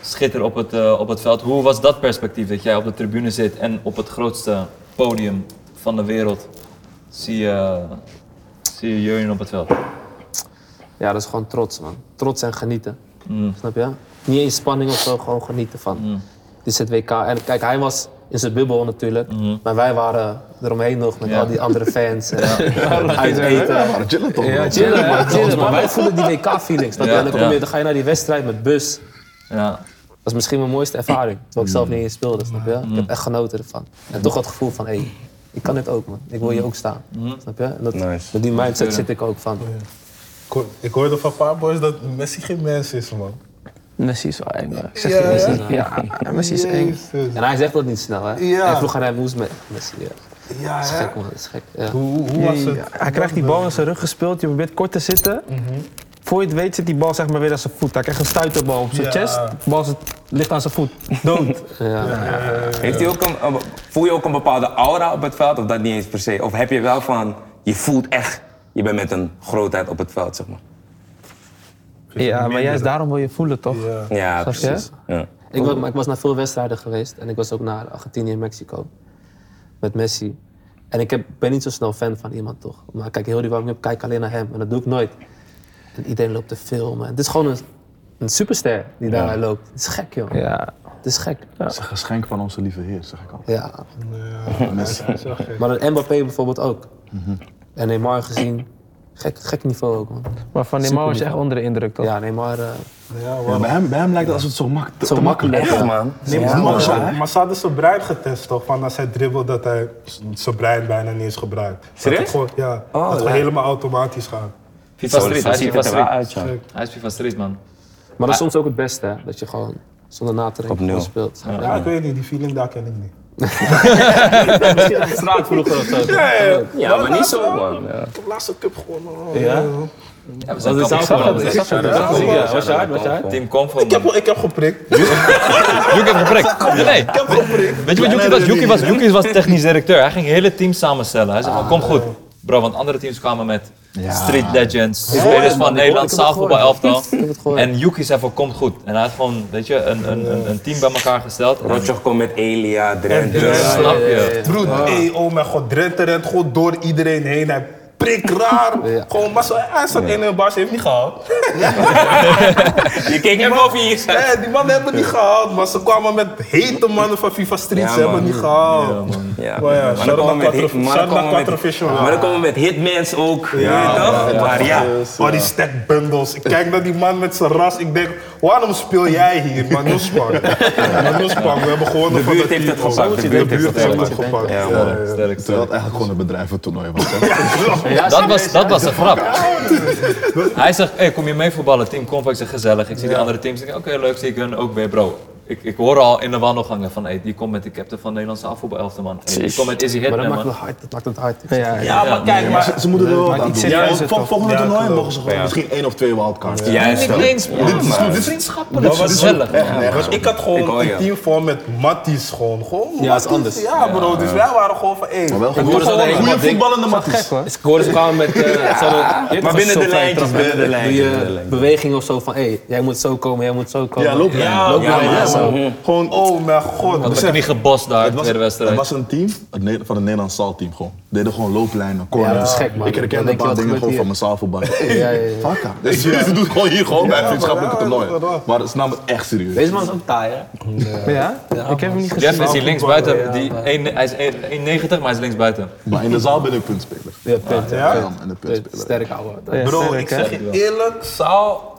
Speaker 4: schitteren op het, eh, op het veld. Hoe was dat perspectief dat jij op de tribune zit en op het grootste podium van de wereld zie je, zie je Jurjen op het veld?
Speaker 5: Ja, dat is gewoon trots, man. Trots en genieten.
Speaker 4: Mm.
Speaker 5: Snap je? Niet eens spanning of zo, gewoon genieten van. Dit is het WK. En kijk, hij was in zijn bubbel natuurlijk. Maar wij waren eromheen nog met
Speaker 4: Ja.
Speaker 5: al die andere fans. En uit
Speaker 7: Ja,
Speaker 5: eten.
Speaker 7: maar chillen toch,
Speaker 5: Ja,
Speaker 7: bro.
Speaker 5: chillen, hè? chillen. Maar wij voelen die WK-feeling. snap je?
Speaker 4: Ja,
Speaker 5: En dan, kom je,
Speaker 4: ja.
Speaker 5: dan ga je naar die wedstrijd met bus.
Speaker 4: Ja,
Speaker 5: Dat is misschien mijn mooiste ervaring. Terwijl ik zelf niet eens speelde, snap je? Ik heb echt genoten ervan. En toch dat gevoel van, hé,
Speaker 8: ik kan dit ook, man. Ik wil je ook staan. Snap je? En Dat,
Speaker 6: Nice.
Speaker 8: met die mindset zit ik ook van.
Speaker 3: Ik hoor- Ik hoorde van een paar boys dat Messi geen mens is, man.
Speaker 2: Messi is wel eng. hoor. Ik zeg
Speaker 3: Ja,
Speaker 2: je, Messi,
Speaker 8: hè?
Speaker 2: ja, Messi is eng.
Speaker 3: Jezus.
Speaker 8: En hij zegt dat niet snel, hè?
Speaker 3: Ja.
Speaker 8: En vroeger hij moest met Messi. Ja.
Speaker 3: Ja,
Speaker 8: Dat is
Speaker 3: hè?
Speaker 8: gek, man. Dat is gek. Ja.
Speaker 3: Hoe, hoe- hoe was
Speaker 2: Jee,
Speaker 3: het?
Speaker 2: Hij krijgt die bal in zijn rug gespeeld, je probeert kort te zitten.
Speaker 3: Mhm.
Speaker 2: Voor je het weet zit die bal zeg maar weer aan zijn voet. Hij krijgt een stuiterbal op zijn
Speaker 3: Ja.
Speaker 2: chest, de bal zit, ligt aan zijn voet. Dood.
Speaker 6: Heeft hij ook een, een- voel je ook een bepaalde aura op het veld of dat niet eens per se? Of heb je wel van, je voelt echt, je bent met een grootheid op het veld, zeg maar.
Speaker 2: ja, maar juist daarom wil je voelen toch?
Speaker 3: Ja.
Speaker 6: Ja,
Speaker 2: Snap je?
Speaker 6: precies. Ja.
Speaker 8: Ik, was, maar ik was naar veel wedstrijden geweest. En ik was ook naar Argentinië en Mexico. Met Messi. En ik heb, ben niet zo snel fan van iemand, toch? Maar kijk, heel die warming-up, kijk alleen naar hem. En dat doe ik nooit. En iedereen loopt te filmen. Het is gewoon een, een superster die daar loopt. Het is gek, joh.
Speaker 2: Ja.
Speaker 8: Het is gek.
Speaker 7: Dat is een geschenk van onze lieve Heer, zeg ik al.
Speaker 8: Ja.
Speaker 7: Messi.
Speaker 8: Maar een Mbappé bijvoorbeeld ook. En Neymar gezien. Gek, gek niveau ook, man.
Speaker 2: Maar van Neymar was je echt
Speaker 8: Superniveau.
Speaker 2: onder de indruk toch?
Speaker 8: Ja, Neymar... eh
Speaker 3: Ja,
Speaker 7: Ja,
Speaker 3: wow.
Speaker 7: bij, hem, bij hem lijkt het alsof het zo, mak te-
Speaker 8: zo
Speaker 7: te
Speaker 8: makkelijk.
Speaker 6: Echt,
Speaker 8: ja.
Speaker 6: man.
Speaker 3: Nee, maar,
Speaker 7: Ja,
Speaker 3: maar,
Speaker 7: man.
Speaker 3: ze- maar ze hadden zijn brein getest toch? Van als hij dribbelt, dat hij z- zijn brein bijna niet eens gebruikt. Dat
Speaker 6: Serieus?
Speaker 3: het gewoon- ja, dat het gewoon helemaal automatisch gaat.
Speaker 4: FIFA
Speaker 6: Zo,
Speaker 4: Street,
Speaker 6: zo
Speaker 4: hij is
Speaker 6: ziet
Speaker 4: FIFA
Speaker 6: het er wel
Speaker 4: Street.
Speaker 6: uit, ja.
Speaker 4: Hij is FIFA Street, man.
Speaker 8: Maar dat is soms ook het beste, hè? Dat je gewoon zonder na te denken
Speaker 6: Op nul.
Speaker 8: gewoon speelt. Ja.
Speaker 3: Ja, ik weet niet, die feeling daar ken ik niet.
Speaker 8: Misschien op de straat vroeger of zo.
Speaker 6: Ja, maar niet zo, man. Ja.
Speaker 3: Ik heb laatst een cup gewonnen. man.
Speaker 8: Ja?
Speaker 4: Ja, we zijn
Speaker 8: Dat is
Speaker 4: kampioen
Speaker 8: ook
Speaker 4: geworden.
Speaker 8: wel- Ja, was je hard, was je hard?
Speaker 4: Team Comfort,
Speaker 3: Ik heb,
Speaker 4: man.
Speaker 3: ik heb geprikt.
Speaker 4: Joekie heeft geprikt. Nee,
Speaker 3: Ik heb geprikt.
Speaker 4: Weet je wat Joekie was? Joekie was, Joekie was technisch directeur. Hij ging hele teams samenstellen. Hij zei van, kom goed. Bro, want andere teams kwamen met street legends, spelers van Nederland, zaalvoetbal, elftal. En Joekie zei van, kom goed. En hij had gewoon, weet je, een, een, een, een team bij elkaar gesteld. En dan-
Speaker 6: Rotjoch komt met Elia, Drenthe.
Speaker 3: Ja.
Speaker 4: Snap je?
Speaker 3: Broed, hey, oh mijn god, Drenthe rent gewoon door iedereen heen. Hij prikt raar. Gewoon, maar zo, hij staat in een bas, heeft niet gehaald.
Speaker 6: Je keek hem over hier. zeg.
Speaker 3: Hé, die mannen hebben niet gehaald, maar ze kwamen met hete mannen van FIFA Street.
Speaker 6: Ja,
Speaker 3: ze hebben
Speaker 6: man.
Speaker 3: niet gehaald.
Speaker 6: Ja,
Speaker 3: Maar ja,
Speaker 6: maar dan
Speaker 3: shout-out
Speaker 6: komen we
Speaker 3: naar
Speaker 6: met, hit-
Speaker 3: Quattro-
Speaker 6: maar dan
Speaker 3: shout-out
Speaker 6: komen
Speaker 3: naar
Speaker 6: we met-
Speaker 3: Quattro Vision,
Speaker 6: maar dan komen we met hitmans ook. weet je toch? Maar ja.
Speaker 3: Maar die stack bundles. Ik kijk naar die man met zijn ras. Ik denk, waarom speel jij hier? Maar Noespang. Maar Noespang, we hebben gewoon
Speaker 6: De buurt heeft het gepakt. De buurt heeft het
Speaker 3: heeft het
Speaker 6: gepakt.
Speaker 3: gepakt.
Speaker 6: Ja,
Speaker 3: Ja,
Speaker 6: man.
Speaker 3: ja.
Speaker 4: Sterk,
Speaker 7: Terwijl
Speaker 4: sterk.
Speaker 7: het eigenlijk gewoon een bedrijventoernooi was. hè?
Speaker 4: Dat was, dat was een grap. Hij zegt, hey, kom je mee voetballen? Team Comfort, ik zeg gezellig. Ik zie die andere teams. Ik denk, Oké, leuk, zie ik hun ook weer, bro. Ik, ik hoor al in de wandelgangen van, hey, die komt met de captain van Nederlandse afvoetbal elftal, man. Hey, die komt met Izzy
Speaker 8: Maar
Speaker 4: Hitman,
Speaker 8: dat maakt,
Speaker 4: man.
Speaker 8: het hard, dat maakt het hard.
Speaker 3: Ja, maar kijk, maar...
Speaker 7: Ze, ze moeten er wel wat aan doen.
Speaker 3: serieuzer
Speaker 7: Ja, vol- volgende
Speaker 3: Ja,
Speaker 7: toernooi
Speaker 3: klopt.
Speaker 7: mogen ze gewoon
Speaker 6: Ja.
Speaker 7: misschien één of twee wildcards.
Speaker 6: Juist.
Speaker 4: Niet eens,
Speaker 7: Dit is dit is-
Speaker 4: vriendschappelijk. Dat was gezellig.
Speaker 7: echt nergens.
Speaker 3: Ik had gewoon
Speaker 6: Ik hoor je.
Speaker 3: een team voor met Matties gewoon. gewoon ja,
Speaker 8: is anders.
Speaker 3: Ja, bro. Dus wij waren gewoon van, hé.
Speaker 7: Maar wel
Speaker 8: hoorde
Speaker 7: gewoon
Speaker 8: dat hij
Speaker 7: goede
Speaker 8: helemaal dik-
Speaker 7: voetballende Matties.
Speaker 8: Dus ik hoorde ze kwamen met... eh, ze hadden-
Speaker 6: Maar binnen de lijntjes, binnen de
Speaker 8: Doe
Speaker 6: lijntjes. binnen de
Speaker 8: je
Speaker 6: lijntjes.
Speaker 8: beweging of zo van, hé, jij moet zo komen, jij moet zo komen.
Speaker 7: Ja, looplijn.
Speaker 3: Ja,
Speaker 8: Looplijn,
Speaker 3: ja,
Speaker 8: ja,
Speaker 3: ja,
Speaker 8: zo.
Speaker 3: man. Gewoon, oh mijn god.
Speaker 4: Dat
Speaker 3: Dus
Speaker 4: was niet gebost daar,
Speaker 7: Het was,
Speaker 4: tweede
Speaker 7: het
Speaker 4: wedstrijd.
Speaker 7: was een team het Ne- van het Nederlands zaalteam gewoon. Deden gewoon looplijnen, corners.
Speaker 8: Ja, dat is gek, man.
Speaker 7: Ik
Speaker 8: Dan
Speaker 7: herken
Speaker 8: denk
Speaker 7: een
Speaker 8: je,
Speaker 7: paar
Speaker 8: wat
Speaker 7: dingen
Speaker 8: gebeurt
Speaker 7: gewoon
Speaker 8: hier?
Speaker 7: van mijn zaalvoetbal. Hey,
Speaker 8: Ja, ja, ja.
Speaker 7: fuck ja. Dus jullie doen het gewoon hier gewoon bij vriendschappelijke toernooien. Maar snap het echt serieus.
Speaker 8: Deze man is ook taai, hè?
Speaker 2: Ja? Ik heb hem niet gezien.
Speaker 4: Jeff is hier links buiten. Die een- Hij is een- 1,90, maar hij is links buiten.
Speaker 7: Maar in de zaal ben ik puntspeler.
Speaker 8: Ja, punt.
Speaker 3: Ja?
Speaker 7: En de
Speaker 8: Punt.
Speaker 7: puntspeler.
Speaker 8: Sterk, ouwe. Dat-
Speaker 2: Ja,
Speaker 3: Bro,
Speaker 2: sterk,
Speaker 3: ik
Speaker 2: hè?
Speaker 3: zeg je eerlijk, Saal...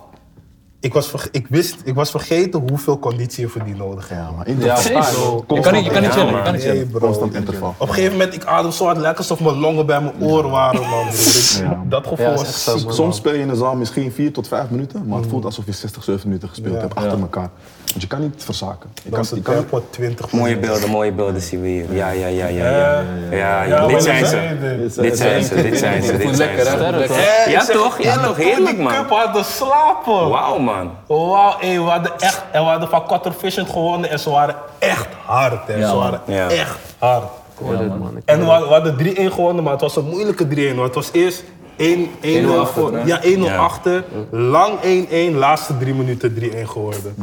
Speaker 3: Ik was, verge- ik, wist, ik was vergeten hoeveel conditie je voor die nodig hebt.
Speaker 7: Ja, maar in de zaal.
Speaker 4: Je kan niet, je kan niet chillen, je kan niet
Speaker 3: Nee,
Speaker 4: chillen.
Speaker 3: bro.
Speaker 7: Constant interval.
Speaker 3: Op een gegeven moment, ik adem zo hard, lekker alsof mijn longen bij mijn oor waren, man. broer.
Speaker 7: Ja.
Speaker 3: Dat gevoel
Speaker 8: Ja, dat is echt
Speaker 3: was...
Speaker 8: zo, man. Mm.
Speaker 7: Soms speel je in de zaal misschien 4 tot 5 minuten, maar het voelt alsof je 60, 70 minuten gespeeld
Speaker 3: Ja.
Speaker 7: hebt achter elkaar. Want je kan niet verzaken. Je
Speaker 3: Dat
Speaker 7: kan,
Speaker 3: was
Speaker 7: je
Speaker 3: een
Speaker 7: kan,
Speaker 3: tempo 20
Speaker 6: Mooie
Speaker 3: minuten.
Speaker 6: beelden, mooie beelden zien we hier. Ja, ja, ja, ja. ja. Ja,
Speaker 3: Ja,
Speaker 6: ja,
Speaker 3: maar
Speaker 6: dit zijn
Speaker 3: dat
Speaker 6: ze.
Speaker 3: zijn de-
Speaker 6: Dit
Speaker 3: eh,
Speaker 6: zijn ze, dit zijn ze, dit zijn ze.
Speaker 3: Hé, ik
Speaker 6: Ja,
Speaker 3: zeg
Speaker 6: toch? Ja,
Speaker 3: eerlijk,
Speaker 6: toch? Heerlijk,
Speaker 3: toen die
Speaker 6: man.
Speaker 3: cup hadden slapen.
Speaker 6: Wauw, man.
Speaker 3: Wauw, ey, we hadden echt, en we hadden van Quattro Vision gewonnen en ze waren echt hard, hè. ze waren
Speaker 6: Ja.
Speaker 3: echt hard.
Speaker 8: hoor dit, man. Ik-
Speaker 3: En we, we hadden 3-1 gewonnen, maar het was een moeilijke 3-1. hoor. Het was eerst 1-0 voor. Ja, 1-0 achter. Lang 1-1, laatste drie minuten 3-1 geworden.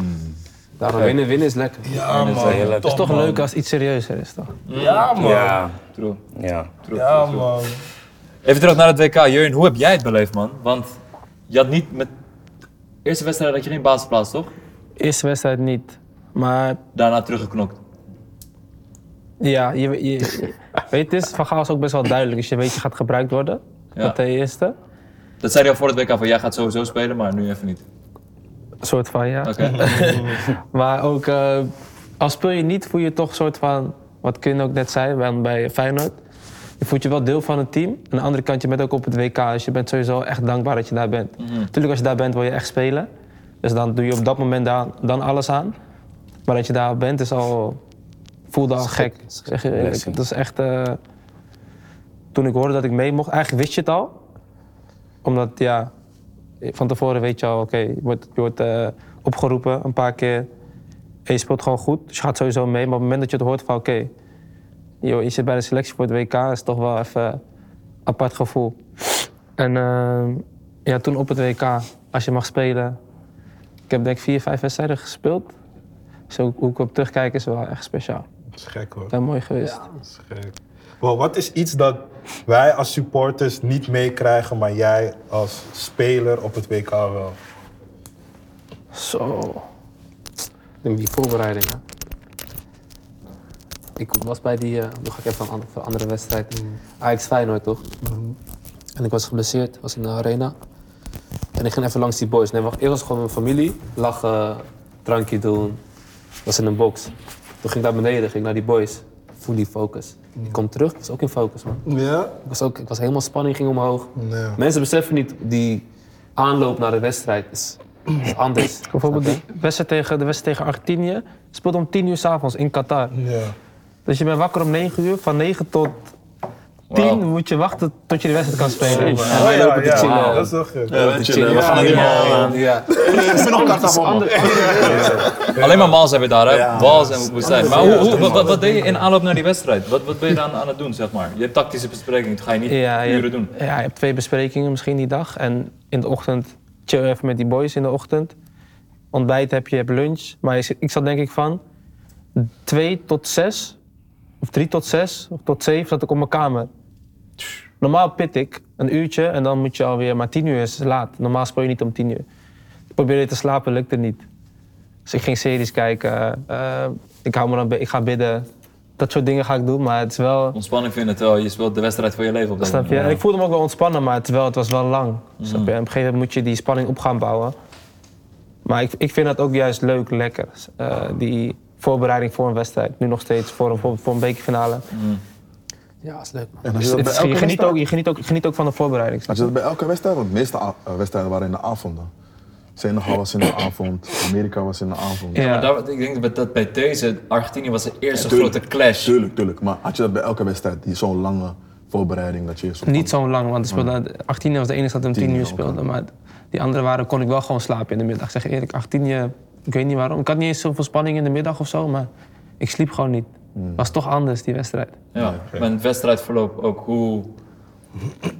Speaker 8: Daarom winnen, winnen is lekker.
Speaker 3: Ja, man.
Speaker 6: heel leuk.
Speaker 3: Het is
Speaker 2: Toch leuk als iets serieuzer is toch?
Speaker 3: Ja, man. Ja,
Speaker 6: Ja,
Speaker 4: True.
Speaker 6: ja.
Speaker 3: man.
Speaker 4: Even terug naar het WK. Jurjen, hoe heb jij het beleefd, man? Want je had niet met... Eerste wedstrijd had je geen basisplaats, toch?
Speaker 2: Eerste wedstrijd niet. Maar
Speaker 4: Daarna teruggeknokt.
Speaker 2: Ja, je, je- weet het is, Van Gaal is ook best wel duidelijk. Dus je weet, je gaat gebruikt worden.
Speaker 4: Ja.
Speaker 2: Dat ten eerste.
Speaker 4: Dat zei hij al voor het WK, van jij gaat sowieso spelen, maar nu even niet.
Speaker 2: Een soort van, ja.
Speaker 4: Oké.
Speaker 2: Maar ook, eh, als speel je niet, voel je toch een soort van... Wat Kun ook net zei, bij, bij Feyenoord. je voelt je wel deel van het team. Aan de andere kant, je bent ook op het WK, dus je bent sowieso echt dankbaar dat je daar bent. Natuurlijk, als je daar bent, wil je echt spelen. Dus dan doe je op dat moment daar, dan alles aan. Maar dat je daar bent, is al, voelde al gek. Zeg je eerlijk.
Speaker 6: Blessing.
Speaker 2: Dat is echt... eh, toen ik hoorde dat ik mee mocht, eigenlijk wist je het al. Omdat, ja, van tevoren weet je al, oké, je wordt, je wordt eh, opgeroepen een paar keer. En je speelt gewoon goed, dus je gaat sowieso mee. Maar op het moment dat je het hoort van, oké, joh, je zit bij de selectie voor het WK, is toch wel even een apart gevoel. En ehm, ja, toen op het WK, als je mag spelen. Ik heb denk ik vier, vijf wedstrijden gespeeld. Zo, hoe ik op terugkijk is wel echt speciaal.
Speaker 3: Dat is gek hoor.
Speaker 2: Wel mooi geweest.
Speaker 3: Dat is gek. Wel, wat is iets dat wij als supporters niet meekrijgen, maar jij als speler op het WK wel?
Speaker 2: Zo.
Speaker 8: Die voorbereiding, hè. Ik was bij die, eh dan ga ik even een andere, andere wedstrijd. Ajax Feyenoord, toch? En ik was geblesseerd, was in de arena. En ik ging even langs die boys. Nee, wacht, eerst was gewoon mijn familie. Lachen, drankje doen. Was in een box. Toen ging ik naar beneden, ging naar die boys. Fully focus. Ik kom terug, ik was ook in focus, man.
Speaker 3: Ja?
Speaker 8: Ik was, ook, ik was helemaal spanning, ging omhoog.
Speaker 3: Nee.
Speaker 8: Mensen beseffen niet, die aanloop naar de wedstrijd is, is anders.
Speaker 2: Bijvoorbeeld
Speaker 8: Snap je?
Speaker 2: die wedstrijd tegen, de wedstrijd tegen Argentinië speelt om 10 uur s'avonds in Qatar.
Speaker 3: Ja.
Speaker 2: Dus je bent wakker om 9 uur. Van 9 tot 10 moet je wachten tot je de wedstrijd kan spelen.
Speaker 3: Oh, ja, ja,
Speaker 8: te chillen.
Speaker 3: dat is wel gek.
Speaker 4: we gaan alleen maar,
Speaker 8: Ja.
Speaker 4: alleen maar maals hebben daar, hè? Maals en moet zijn. Maar hoe, hoe- wat, wat, wat deed je in aanloop naar die wedstrijd? Wat, wat ben je dan aan het doen, zeg maar? Je hebt tactische besprekingen, dat ga je niet
Speaker 2: Ja, je,
Speaker 4: uren doen.
Speaker 2: ja, je hebt twee besprekingen misschien die dag. En in de ochtend chill even met die boys in de ochtend. Ontbijt heb je, je hebt lunch. Maar je zit- ik zat denk ik van 2 tot 6, of 3 tot 6, of tot 7 zat ik op mijn kamer. Normaal pit ik een uurtje en dan moet je alweer, maar 10 uur is laat. Normaal speel je niet om 10 uur. Ik probeerde te slapen, lukte niet. Dus ik ging series kijken, eh, ik, hou me dan, bi- ik ga bidden. Dat soort dingen ga ik doen, maar het is wel...
Speaker 4: Ontspanning vinden, terwijl je speelt de wedstrijd voor je leven op dat
Speaker 2: Snap je? En ik voelde me ook wel ontspannen, maar terwijl het was wel lang. Snap je? En op een gegeven moment moet je die spanning op gaan bouwen. Maar ik, ik vind dat ook juist leuk, lekker. Eh, die voorbereiding voor een wedstrijd. Nu nog steeds voor een, voor, voor een bekerfinale.
Speaker 8: ja, is leuk. man.
Speaker 7: En als je
Speaker 2: Het Dus
Speaker 7: dat bij
Speaker 2: is- je,
Speaker 7: elke
Speaker 2: geniet
Speaker 7: wedstrijd-
Speaker 2: ook, je, geniet ook, je geniet ook van de voorbereiding. snap
Speaker 7: als je dat bij elke wedstrijd, want de meeste a- eh, wedstrijden waren in de avonden. Senegal was in de avond, Amerika was in de avond.
Speaker 2: je?
Speaker 4: Maar
Speaker 2: Ja.
Speaker 4: daar, ik denk dat- dat bij deze, Argentinië was de eerste grote clash.
Speaker 7: Tuurlijk, tuurlijk. Maar had je dat bij elke wedstrijd, die zo'n lange voorbereiding dat je... zo van-
Speaker 2: Niet zo lang, want speelde, 18 was de enige dat om 10
Speaker 7: uur,
Speaker 2: uur
Speaker 7: oké.
Speaker 2: speelde. Maar die andere waren kon ik wel gewoon slapen in de middag. Ik zeg eerlijk, 18 ik weet niet waarom. Ik had niet eens zoveel spanning in de middag of zo, maar ik sliep gewoon niet. Was toch anders, die wedstrijd.
Speaker 4: Ja, mijn wedstrijdverloop ook. Hoe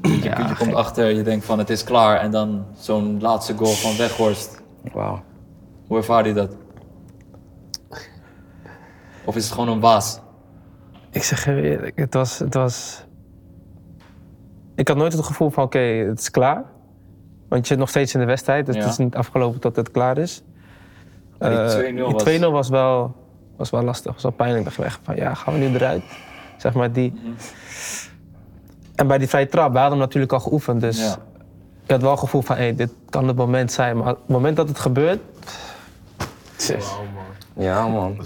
Speaker 2: Ja,
Speaker 4: je komt achter, je denkt van het is klaar en dan zo'n laatste goal van Weghorst.
Speaker 6: Wauw.
Speaker 4: Hoe ervaar je dat? Of is het gewoon een waas?
Speaker 2: Ik zeg je eerlijk, het was, het was... Ik had nooit het gevoel van, oké, het is klaar. Want je zit nog steeds in de wedstrijd, dus
Speaker 4: Ja.
Speaker 2: het is niet afgelopen tot het klaar is.
Speaker 4: Maar die
Speaker 2: Eh,
Speaker 4: 2-0
Speaker 2: die
Speaker 4: was-
Speaker 2: 2-0 was wel, was wel lastig, was wel pijnlijk. Ik dacht echt van, ja, gaan we nu eruit? Zeg maar die... En bij die vrije trap, we hadden hem natuurlijk al geoefend, dus...
Speaker 4: Ja.
Speaker 2: Ik had wel het gevoel van, hé, dit kan het moment zijn. Maar op het moment dat het gebeurt,
Speaker 6: Ja, man.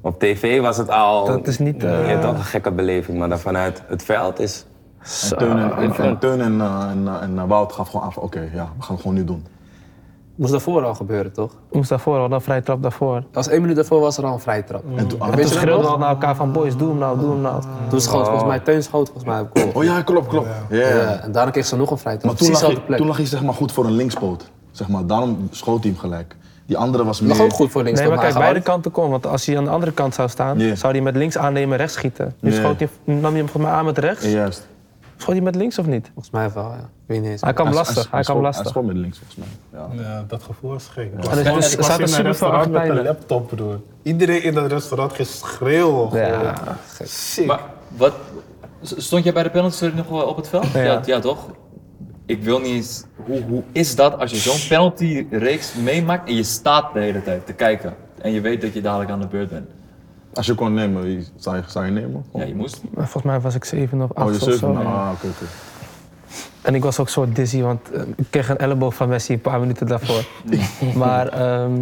Speaker 6: Op tv was het al.
Speaker 2: Dat is niet, eh,
Speaker 6: Ja, toch een gekke beleving, maar dan vanuit het veld is.
Speaker 2: zo.
Speaker 7: Teun en, en, en, Teun en, eh, en, eh, en eh, Wout gaf gewoon aan van, oké, ja, we gaan het gewoon nu doen.
Speaker 8: Moest daarvoor al gebeuren, toch?
Speaker 2: Moest daarvoor, al een vrije trap daarvoor.
Speaker 8: Als één minuut daarvoor was er al een vrije trap.
Speaker 7: En toen, ah,
Speaker 2: Toen
Speaker 8: je dat
Speaker 2: schreeuwden we
Speaker 8: nog?
Speaker 2: al naar elkaar van, boys, doe hem nou, doe hem nou.
Speaker 8: Toen schoot volgens mij, Teun schoot volgens mij op goal.
Speaker 7: oh ja, klopt, klopt. Ja.
Speaker 5: Eh,
Speaker 8: Ja, en daarna kreeg ze nog een vrije trap.
Speaker 7: Maar toen
Speaker 8: Precies
Speaker 7: lag,
Speaker 8: dezelfde
Speaker 7: je,
Speaker 8: plek.
Speaker 7: toen lag je zeg maar goed voor een linkspoot. Zeg maar, daarom schoot hij hem gelijk. Die andere was meer...
Speaker 8: lag ook goed voor links.
Speaker 2: Nee, maar
Speaker 8: toch?
Speaker 2: kijk,
Speaker 8: Hij
Speaker 2: beide
Speaker 8: had-
Speaker 2: kanten kon. Want als hij aan de andere kant zou staan,
Speaker 7: Ja.
Speaker 2: zou hij met links aannemen en rechts schieten. Nu
Speaker 7: Ja.
Speaker 2: schoot hij, nam hij hem voor mij aan met rechts.
Speaker 7: Ja, juist.
Speaker 2: Schoot hij met links of niet?
Speaker 8: Volgens mij wel, ja. Ik weet niet eens.
Speaker 2: Hij kwam
Speaker 7: Hij-
Speaker 2: lastig, hij kwam
Speaker 7: schoot-
Speaker 2: lastig.
Speaker 7: Hij schoot met links, volgens mij. Ja.
Speaker 3: Ja, dat gevoel is gek.
Speaker 2: En er- er
Speaker 3: Ik was in
Speaker 2: zaten super
Speaker 3: een
Speaker 2: veel
Speaker 3: restaurant met een
Speaker 2: Argentijnen.
Speaker 3: laptop, broer. Iedereen in dat restaurant ging schreeuwen. gewoon.
Speaker 2: Ja.
Speaker 3: Sick.
Speaker 4: Maar wat, stond jij bij de penalty nog wel op het veld? Ja, ja, toch? Ik wil niet eens. Hoe, hoe is dat als je zo'n penaltyreeks meemaakt en je staat de hele tijd te kijken? En je weet dat je dadelijk aan de beurt bent.
Speaker 7: Als je kon nemen, wie- zou je, zou je nemen?
Speaker 4: Ja, je moest.
Speaker 2: Maar Volgens mij was ik 7 of 8
Speaker 7: Oh, je
Speaker 2: of
Speaker 7: zeven?
Speaker 2: zo.
Speaker 7: Ah, oké, oké.
Speaker 2: En ik was ook soort dizzy, want eh, ik kreeg een elleboog van Messi een paar minuten daarvoor. maar ehm,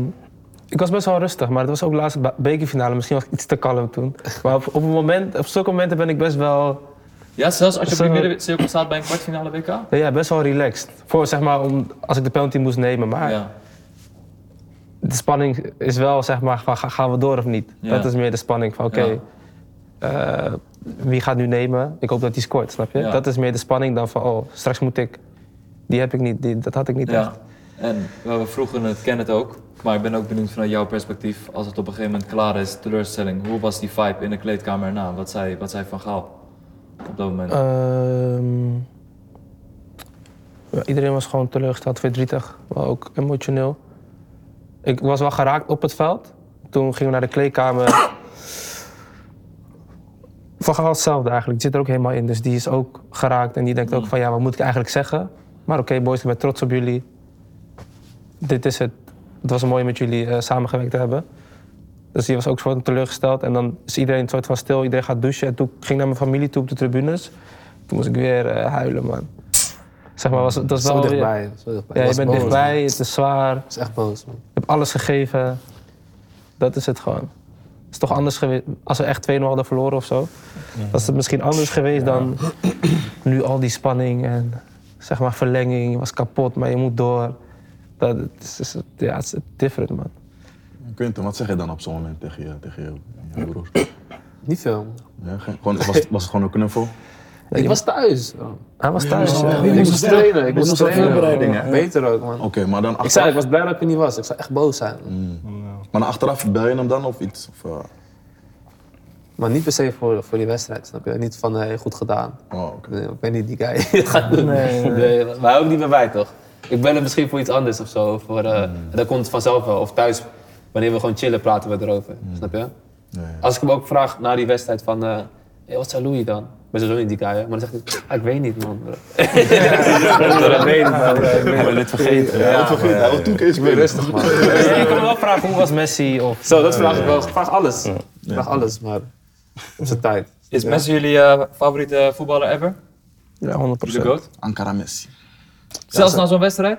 Speaker 2: ik was best wel rustig, maar het was ook de laatste ba- bekerfinale. Misschien was ik iets te kalm toen. Maar op, op, een moment, op zulke momenten ben ik best wel
Speaker 4: Ja, zelfs als je op
Speaker 2: Zo- Ah,
Speaker 4: die middencirkel staat bij een kwartfinale WK? Ja.
Speaker 2: Ja, best wel relaxed. Voor, zeg maar, om, als ik de penalty moest nemen. Maar de spanning is wel, zeg maar, van ga- gaan we door of niet?
Speaker 4: Ja.
Speaker 2: Dat is meer de spanning van, oké,
Speaker 4: Ja.
Speaker 2: eh, wie gaat nu nemen? Ik hoop dat hij scoort, snap je?
Speaker 4: Ja.
Speaker 2: Dat is meer de spanning dan van, oh, straks moet ik... Die heb ik niet, die, dat had ik niet echt.
Speaker 4: ja. En we we vroegen het, ken het ook. Maar ik ben ook benieuwd vanuit jouw perspectief, als het op een gegeven moment klaar is, teleurstelling. Hoe was die vibe in de kleedkamer erna? Wat zei, wat zei Van Gaal op dat moment?
Speaker 2: Ehm, ja, iedereen was gewoon teleurgesteld, verdrietig, maar ook emotioneel. Ik was wel geraakt op het veld. Toen gingen we naar de kleedkamer. Van Gaal hetzelfde eigenlijk, die zit er ook helemaal in. Dus die is ook geraakt en die denkt ook van ja, wat moet ik eigenlijk zeggen? Maar oké boys, ik ben trots op jullie. Dit is het. Het was mooi om met jullie eh, samengewerkt te hebben. Dus die was ook soort van teleurgesteld. En dan is iedereen een soort van stil, iedereen gaat douchen. En toen ging ik naar mijn familie toe op de tribunes. Toen moest ik weer eh, huilen, man. Zeg maar, was, dat was
Speaker 5: Zo
Speaker 2: wel weer-
Speaker 5: dichtbij. Zo dichtbij.
Speaker 2: Ja,
Speaker 5: Ik
Speaker 2: je
Speaker 5: was
Speaker 2: bent
Speaker 5: boos, man.
Speaker 2: dichtbij, het is zwaar.
Speaker 5: Ik was echt boos, man.
Speaker 2: Ik heb alles gegeven. Dat is het gewoon. Het is toch anders geweest. Als we echt 2-0 hadden verloren of zo. Was het misschien anders geweest dan nu al die spanning en zeg maar verlenging. Je was kapot, maar je moet door. Dat het is, is- ja, het is different, man.
Speaker 7: Quinten, wat zeg je dan op zo'n moment tegen je, tegen je, je broers?
Speaker 5: Niet veel. man.
Speaker 7: Ja, geen- gewoon, was, het- was het gewoon een knuffel?
Speaker 5: Ik was thuis.
Speaker 2: Hij was thuis. eh, ja.
Speaker 5: Ik moest trainen. Ik
Speaker 7: moest
Speaker 5: moest
Speaker 7: wel
Speaker 5: trainen.
Speaker 7: voorbereiding,
Speaker 5: man.
Speaker 7: hè? Oh.
Speaker 5: Beter ook, man.
Speaker 7: Oké, maar dan
Speaker 5: Ik zei,
Speaker 7: achteraf,
Speaker 5: ik was blij dat ik er niet was. Ik zou echt boos zijn. man.
Speaker 7: maar dan achteraf bel je hem dan of iets? Of, eh,
Speaker 5: Maar niet per se voor, voor die wedstrijd, snap je? Niet van, hey, goed gedaan.
Speaker 7: oh, oké.
Speaker 5: Nee, Ik ben niet die guy die het gaat doen. Nee, maar ook niet bij mij, toch? Ik ben er misschien voor iets anders of zo. Of voor, eh, Dat komt vanzelf wel. Of thuis, wanneer we gewoon chillen, praten we erover. Snap je?
Speaker 7: Ja, ja.
Speaker 5: Als ik hem ook vraag na die wedstrijd van... eh, hey, wat zou Louis dan? Ik ben sowieso niet die guy, hè? Maar dan zegt hij, ah, ik weet niet, man. bro.
Speaker 6: We willen het vergeten.
Speaker 7: Wat vergeet hij? Wat toen Kees weer rustig.
Speaker 2: Nee, ik kon hem wel vragen hoe was Messi of
Speaker 5: Zo, dat vraag ik wel. Ik vraag alles. Ik vraag alles, maar op zijn tijd.
Speaker 4: Is Messi jullie eh, favoriete voetballer ever?
Speaker 2: ja, 100
Speaker 4: De GOAT?
Speaker 7: Ankara Messi.
Speaker 4: Zelfs na zo'n wedstrijd?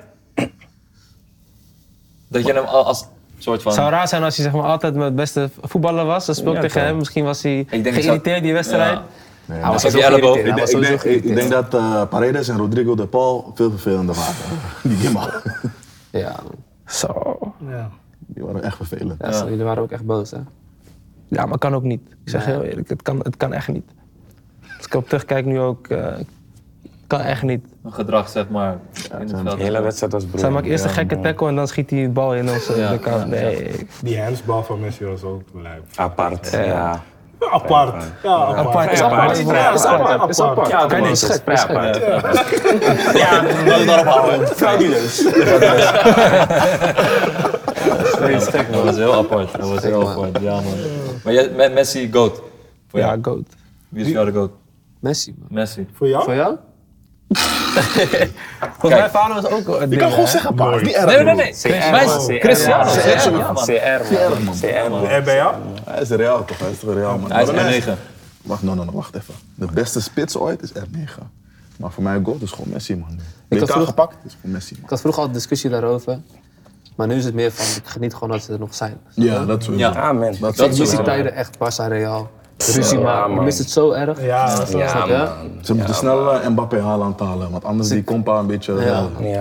Speaker 4: Dat je hem al als soort van...
Speaker 2: Het zou raar zijn als hij zeg maar, altijd mijn beste voetballer was. Dan speel ik tegen hem. Misschien was hij
Speaker 4: denk dat
Speaker 2: geïrriteerd die wedstrijd.
Speaker 4: Ja.
Speaker 7: Nee,
Speaker 4: Hij
Speaker 7: maar-
Speaker 4: was op je elleboog.
Speaker 7: ik, denk- ik, denk, ik denk dat eh, Paredes en Rodrigo de Paul veel vervelender waren. Die gimma.
Speaker 5: Ja,
Speaker 2: Zo.
Speaker 7: Die waren echt vervelend.
Speaker 5: ja, zo, jullie waren ook echt boos, hè?
Speaker 2: Ja, maar kan ook niet. Ik zeg heel eerlijk, het kan, het kan echt niet. Als ik op terugkijk nu ook, eh kan echt niet.
Speaker 4: Een gedrag, zeg maar, in het veld.
Speaker 6: De hele wedstrijd was broer.
Speaker 2: Zij maakt eerst een gekke tackle en dan schiet hij de bal in onze
Speaker 4: Ja,
Speaker 2: de kant.
Speaker 4: ja,
Speaker 2: Nee,
Speaker 3: Die handsbal van Messi was ook lijp.
Speaker 6: Apart, ja.
Speaker 3: Apart. Ja, apart.
Speaker 2: apart is
Speaker 6: apart.
Speaker 2: apart.
Speaker 6: Is
Speaker 2: Ja, is apart.
Speaker 3: apart.
Speaker 5: is apart.
Speaker 6: Ja, kan niet. apart. Ja, laten we daarop houden. Frauduleus.
Speaker 4: Dat was heel apart. Dat was heel apart, ja man. Maar jij- Me- Messi, GOAT. Voor jou.
Speaker 2: Ja, goat.
Speaker 4: Wie is jou de GOAT?
Speaker 5: Messi, man.
Speaker 4: Messi.
Speaker 3: Voor jou?
Speaker 5: Voor jou?
Speaker 2: Volgens mij vader was ook een
Speaker 7: Ik kan gewoon zeggen, pa. Niet erg.
Speaker 4: Nee, nee, nee.
Speaker 6: CR,
Speaker 4: Messi.
Speaker 6: man.
Speaker 4: Cristiano.
Speaker 6: CR,
Speaker 4: CR, ja, man.
Speaker 6: CR, man. CR, man.
Speaker 3: En Eh, bij jou?
Speaker 7: Hij is Real toch? Hij is toch Real, man.
Speaker 4: Hij is
Speaker 7: Maar dan
Speaker 4: R9.
Speaker 7: Wacht, no, no, no, wacht even. De beste spits ooit is R9. Maar voor mij God is gewoon Messi, man. Ik
Speaker 5: had
Speaker 7: heb
Speaker 5: vroeg-
Speaker 7: gepakt, is gewoon Messi, man.
Speaker 5: Ik had vroeger al discussie daarover. Maar nu is het meer van, ik geniet gewoon dat ze er nog zijn.
Speaker 7: Ja, dat is
Speaker 4: Ja.
Speaker 6: Amen.
Speaker 7: Dat
Speaker 4: Dat
Speaker 7: is
Speaker 4: is
Speaker 5: Ik mis die
Speaker 4: wel
Speaker 5: tijden echt Barça Real. Ruzie maken. Ik
Speaker 6: man.
Speaker 5: mis het zo erg.
Speaker 3: Ja, dat is wel-
Speaker 5: Snap je?
Speaker 7: Ze moeten snel eh, Mbappé Haaland halen, want anders die compa een beetje...
Speaker 5: Ja.
Speaker 7: eh,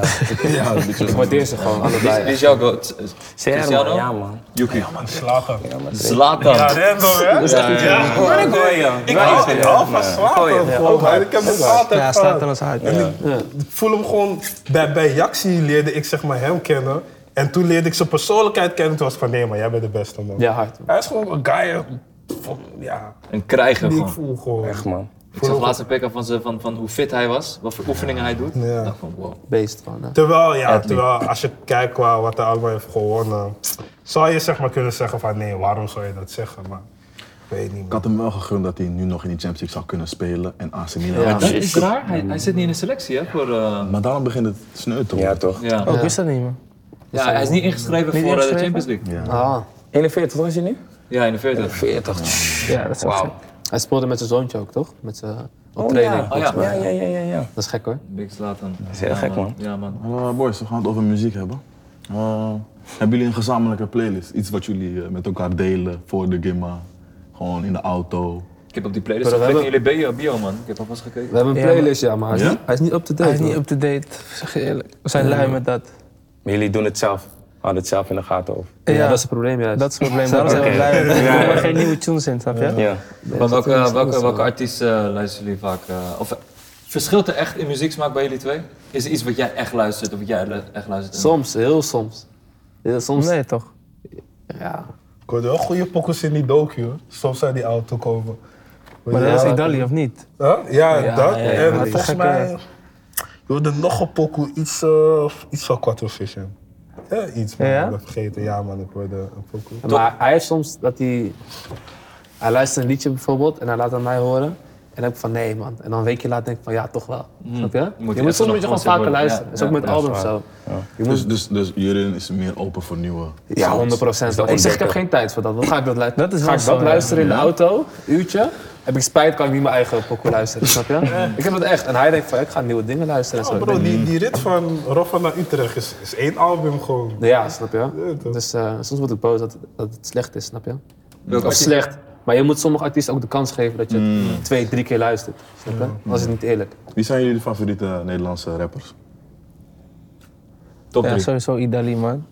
Speaker 7: ja, een beetje...
Speaker 5: Waardeer ze gewoon, allebei.
Speaker 4: Wie is jouw GOAT?
Speaker 6: CR,
Speaker 4: Cristiano?
Speaker 6: man. Ja, man.
Speaker 4: Yuki.
Speaker 3: slagen. Ja,
Speaker 4: Zlatan.
Speaker 3: dat is hè?
Speaker 6: Maar ik hoor je.
Speaker 3: Ik hou ik hou van slagen. gewoon. Ik heb het altijd
Speaker 2: Ja,
Speaker 3: gehad.
Speaker 2: staat aan ons uit. Ja.
Speaker 3: Ik voel hem gewoon... Bij, bij Jaxi leerde ik zeg maar hem kennen. En toen leerde ik zijn persoonlijkheid kennen. Toen was ik van, nee maar jij bent de beste man.
Speaker 5: Ja, hard. man.
Speaker 3: Hij is gewoon een guy... eh, van- Ja,
Speaker 4: Een krijger
Speaker 3: die ik
Speaker 4: gewoon.
Speaker 3: voel gewoon.
Speaker 6: Echt, man.
Speaker 4: Ik zag laatst een pick-up van, ze- van, van hoe fit hij was. Wat voor oefeningen hij doet.
Speaker 3: Ja.
Speaker 4: Ik dacht van wow.
Speaker 5: Beest gewoon. hè.
Speaker 3: Terwijl, ja, terwijl als je kijkt qua wat hij allemaal heeft gewonnen... Zou je zeg maar kunnen zeggen van, nee, waarom zou je dat zeggen? Maar ik weet niet,
Speaker 7: Ik had hem wel gegund dat hij nu nog in die Champions League zou kunnen spelen en AC Milan.
Speaker 4: Dat is raar. Hij, hij zit niet in de selectie, hè? Voor, eh,
Speaker 7: Maar daarom begint het sneu te
Speaker 6: Ja,
Speaker 7: worden.
Speaker 6: toch.
Speaker 4: ja.
Speaker 2: Oh, ik wist dat niet, man.
Speaker 4: ja, hij is niet ingeschreven voor eh, de
Speaker 2: ingeschreven?
Speaker 4: Champions League.
Speaker 5: Ah,
Speaker 6: 41, was je nu?
Speaker 4: Ja, in de 40.
Speaker 6: 40.
Speaker 2: Ja, dat is
Speaker 6: Wauw.
Speaker 5: hij speelde met zijn zoontje ook, toch? Met zijn op training.
Speaker 4: Oh ja,
Speaker 6: Ja, ja, ja, ja, ja.
Speaker 5: Dat is gek hoor.
Speaker 4: Big Zlatan. Dat
Speaker 6: is heel gek, man.
Speaker 4: Ja, man.
Speaker 7: Eh, boys, we gaan het over muziek hebben. Eh, hebben jullie een gezamenlijke playlist? Iets wat jullie eh, met elkaar delen voor de gimma? Gewoon in de auto?
Speaker 4: Ik heb op die playlist
Speaker 5: Maar we
Speaker 4: gekeken in jullie bio, bio, man. Ik heb alvast gekeken.
Speaker 5: We hebben een
Speaker 2: Ja, maar-
Speaker 5: playlist, ja, maar hij is
Speaker 4: Ja?
Speaker 5: niet- hij is niet up-to-date.
Speaker 2: Hij is niet
Speaker 5: man.
Speaker 2: up-to-date, zeg je eerlijk. We zijn lui met dat.
Speaker 6: Maar jullie doen het zelf. Houden het zelf in de gaten over.
Speaker 2: Ja,
Speaker 5: ja, dat is het probleem juist.
Speaker 2: dat is het probleem. Daarom zijn we
Speaker 6: Oké.
Speaker 2: lui met dat.
Speaker 6: Ja, ja.
Speaker 2: We hebben geen nieuwe tunes in, snap je?
Speaker 6: Ja.
Speaker 4: Maar welke,
Speaker 5: dat is
Speaker 4: welke, welke,
Speaker 5: anders, man.
Speaker 4: artiesten eh, luisteren jullie vaak? eh, of eh, verschilt er echt in muzieksmaak bij jullie twee? Is er iets wat jij echt luistert of wat jij lu- echt luistert?
Speaker 5: Soms, heel soms. Heel soms,
Speaker 2: Nee, toch?
Speaker 5: ja.
Speaker 3: Ik hoorde wel goede pokkels in die docu, hoor. Soms uit die auto komen.
Speaker 2: Maar dat is Idali, of niet?
Speaker 3: Huh? Ja, dat.
Speaker 2: ja, ja,
Speaker 3: en
Speaker 2: maar die
Speaker 3: volgens
Speaker 2: gekke-
Speaker 3: mij... Je hoorde nog een pokoe, iets, eh, iets van Quattro Fish in. Ja, iets, man.
Speaker 2: Ja?
Speaker 3: Ik ben vergeten. Ja, man, ik hoorde een pokoe.
Speaker 5: Maar hij heeft soms dat hij... Hij luistert een liedje bijvoorbeeld en hij laat het aan mij horen. En dan heb ik van nee man. En dan een weekje later denk ik van ja, toch wel. Snap je?
Speaker 4: Moet
Speaker 5: je
Speaker 4: je
Speaker 5: moet
Speaker 4: even
Speaker 5: soms
Speaker 4: nog
Speaker 5: moet je gewoon
Speaker 4: constant
Speaker 5: vaker
Speaker 4: worden.
Speaker 5: luisteren.
Speaker 4: Ja,
Speaker 5: Dat is ook
Speaker 4: ja,
Speaker 5: met albums zo.
Speaker 7: Dus, dus, dus Jurin is meer open voor nieuwe.
Speaker 5: Ja, 100 procent. Ik zeg, ik heb
Speaker 6: ontdekken.
Speaker 5: geen tijd voor dat. Wat ga ik dat luisteren?
Speaker 2: Dat is
Speaker 5: ga
Speaker 2: wel
Speaker 5: ik dat
Speaker 2: zo, ja.
Speaker 5: luisteren in de auto, uurtje. Heb ik spijt, kan ik niet mijn eigen pokoe luisteren, snap je? ik heb dat echt. En hij denkt van, ik ga nieuwe dingen luisteren en zo.
Speaker 3: Oh,
Speaker 5: Ik
Speaker 3: bro, die, die rit van Roffa naar Utrecht is, is één album gewoon.
Speaker 5: denk, ja, snap je?
Speaker 3: toch.
Speaker 5: Dus eh, soms word ik boos dat, dat het slecht is, snap je?
Speaker 4: Welke
Speaker 5: Of
Speaker 4: artiest-
Speaker 5: slecht. Maar je moet sommige artiesten ook de kans geven dat je het twee, drie keer luistert. Snap je?
Speaker 2: Mm.
Speaker 5: Anders is het niet eerlijk.
Speaker 7: Wie zijn jullie favoriete Nederlandse rappers?
Speaker 4: Top
Speaker 2: Ja,
Speaker 4: drie.
Speaker 2: sowieso Idali, man.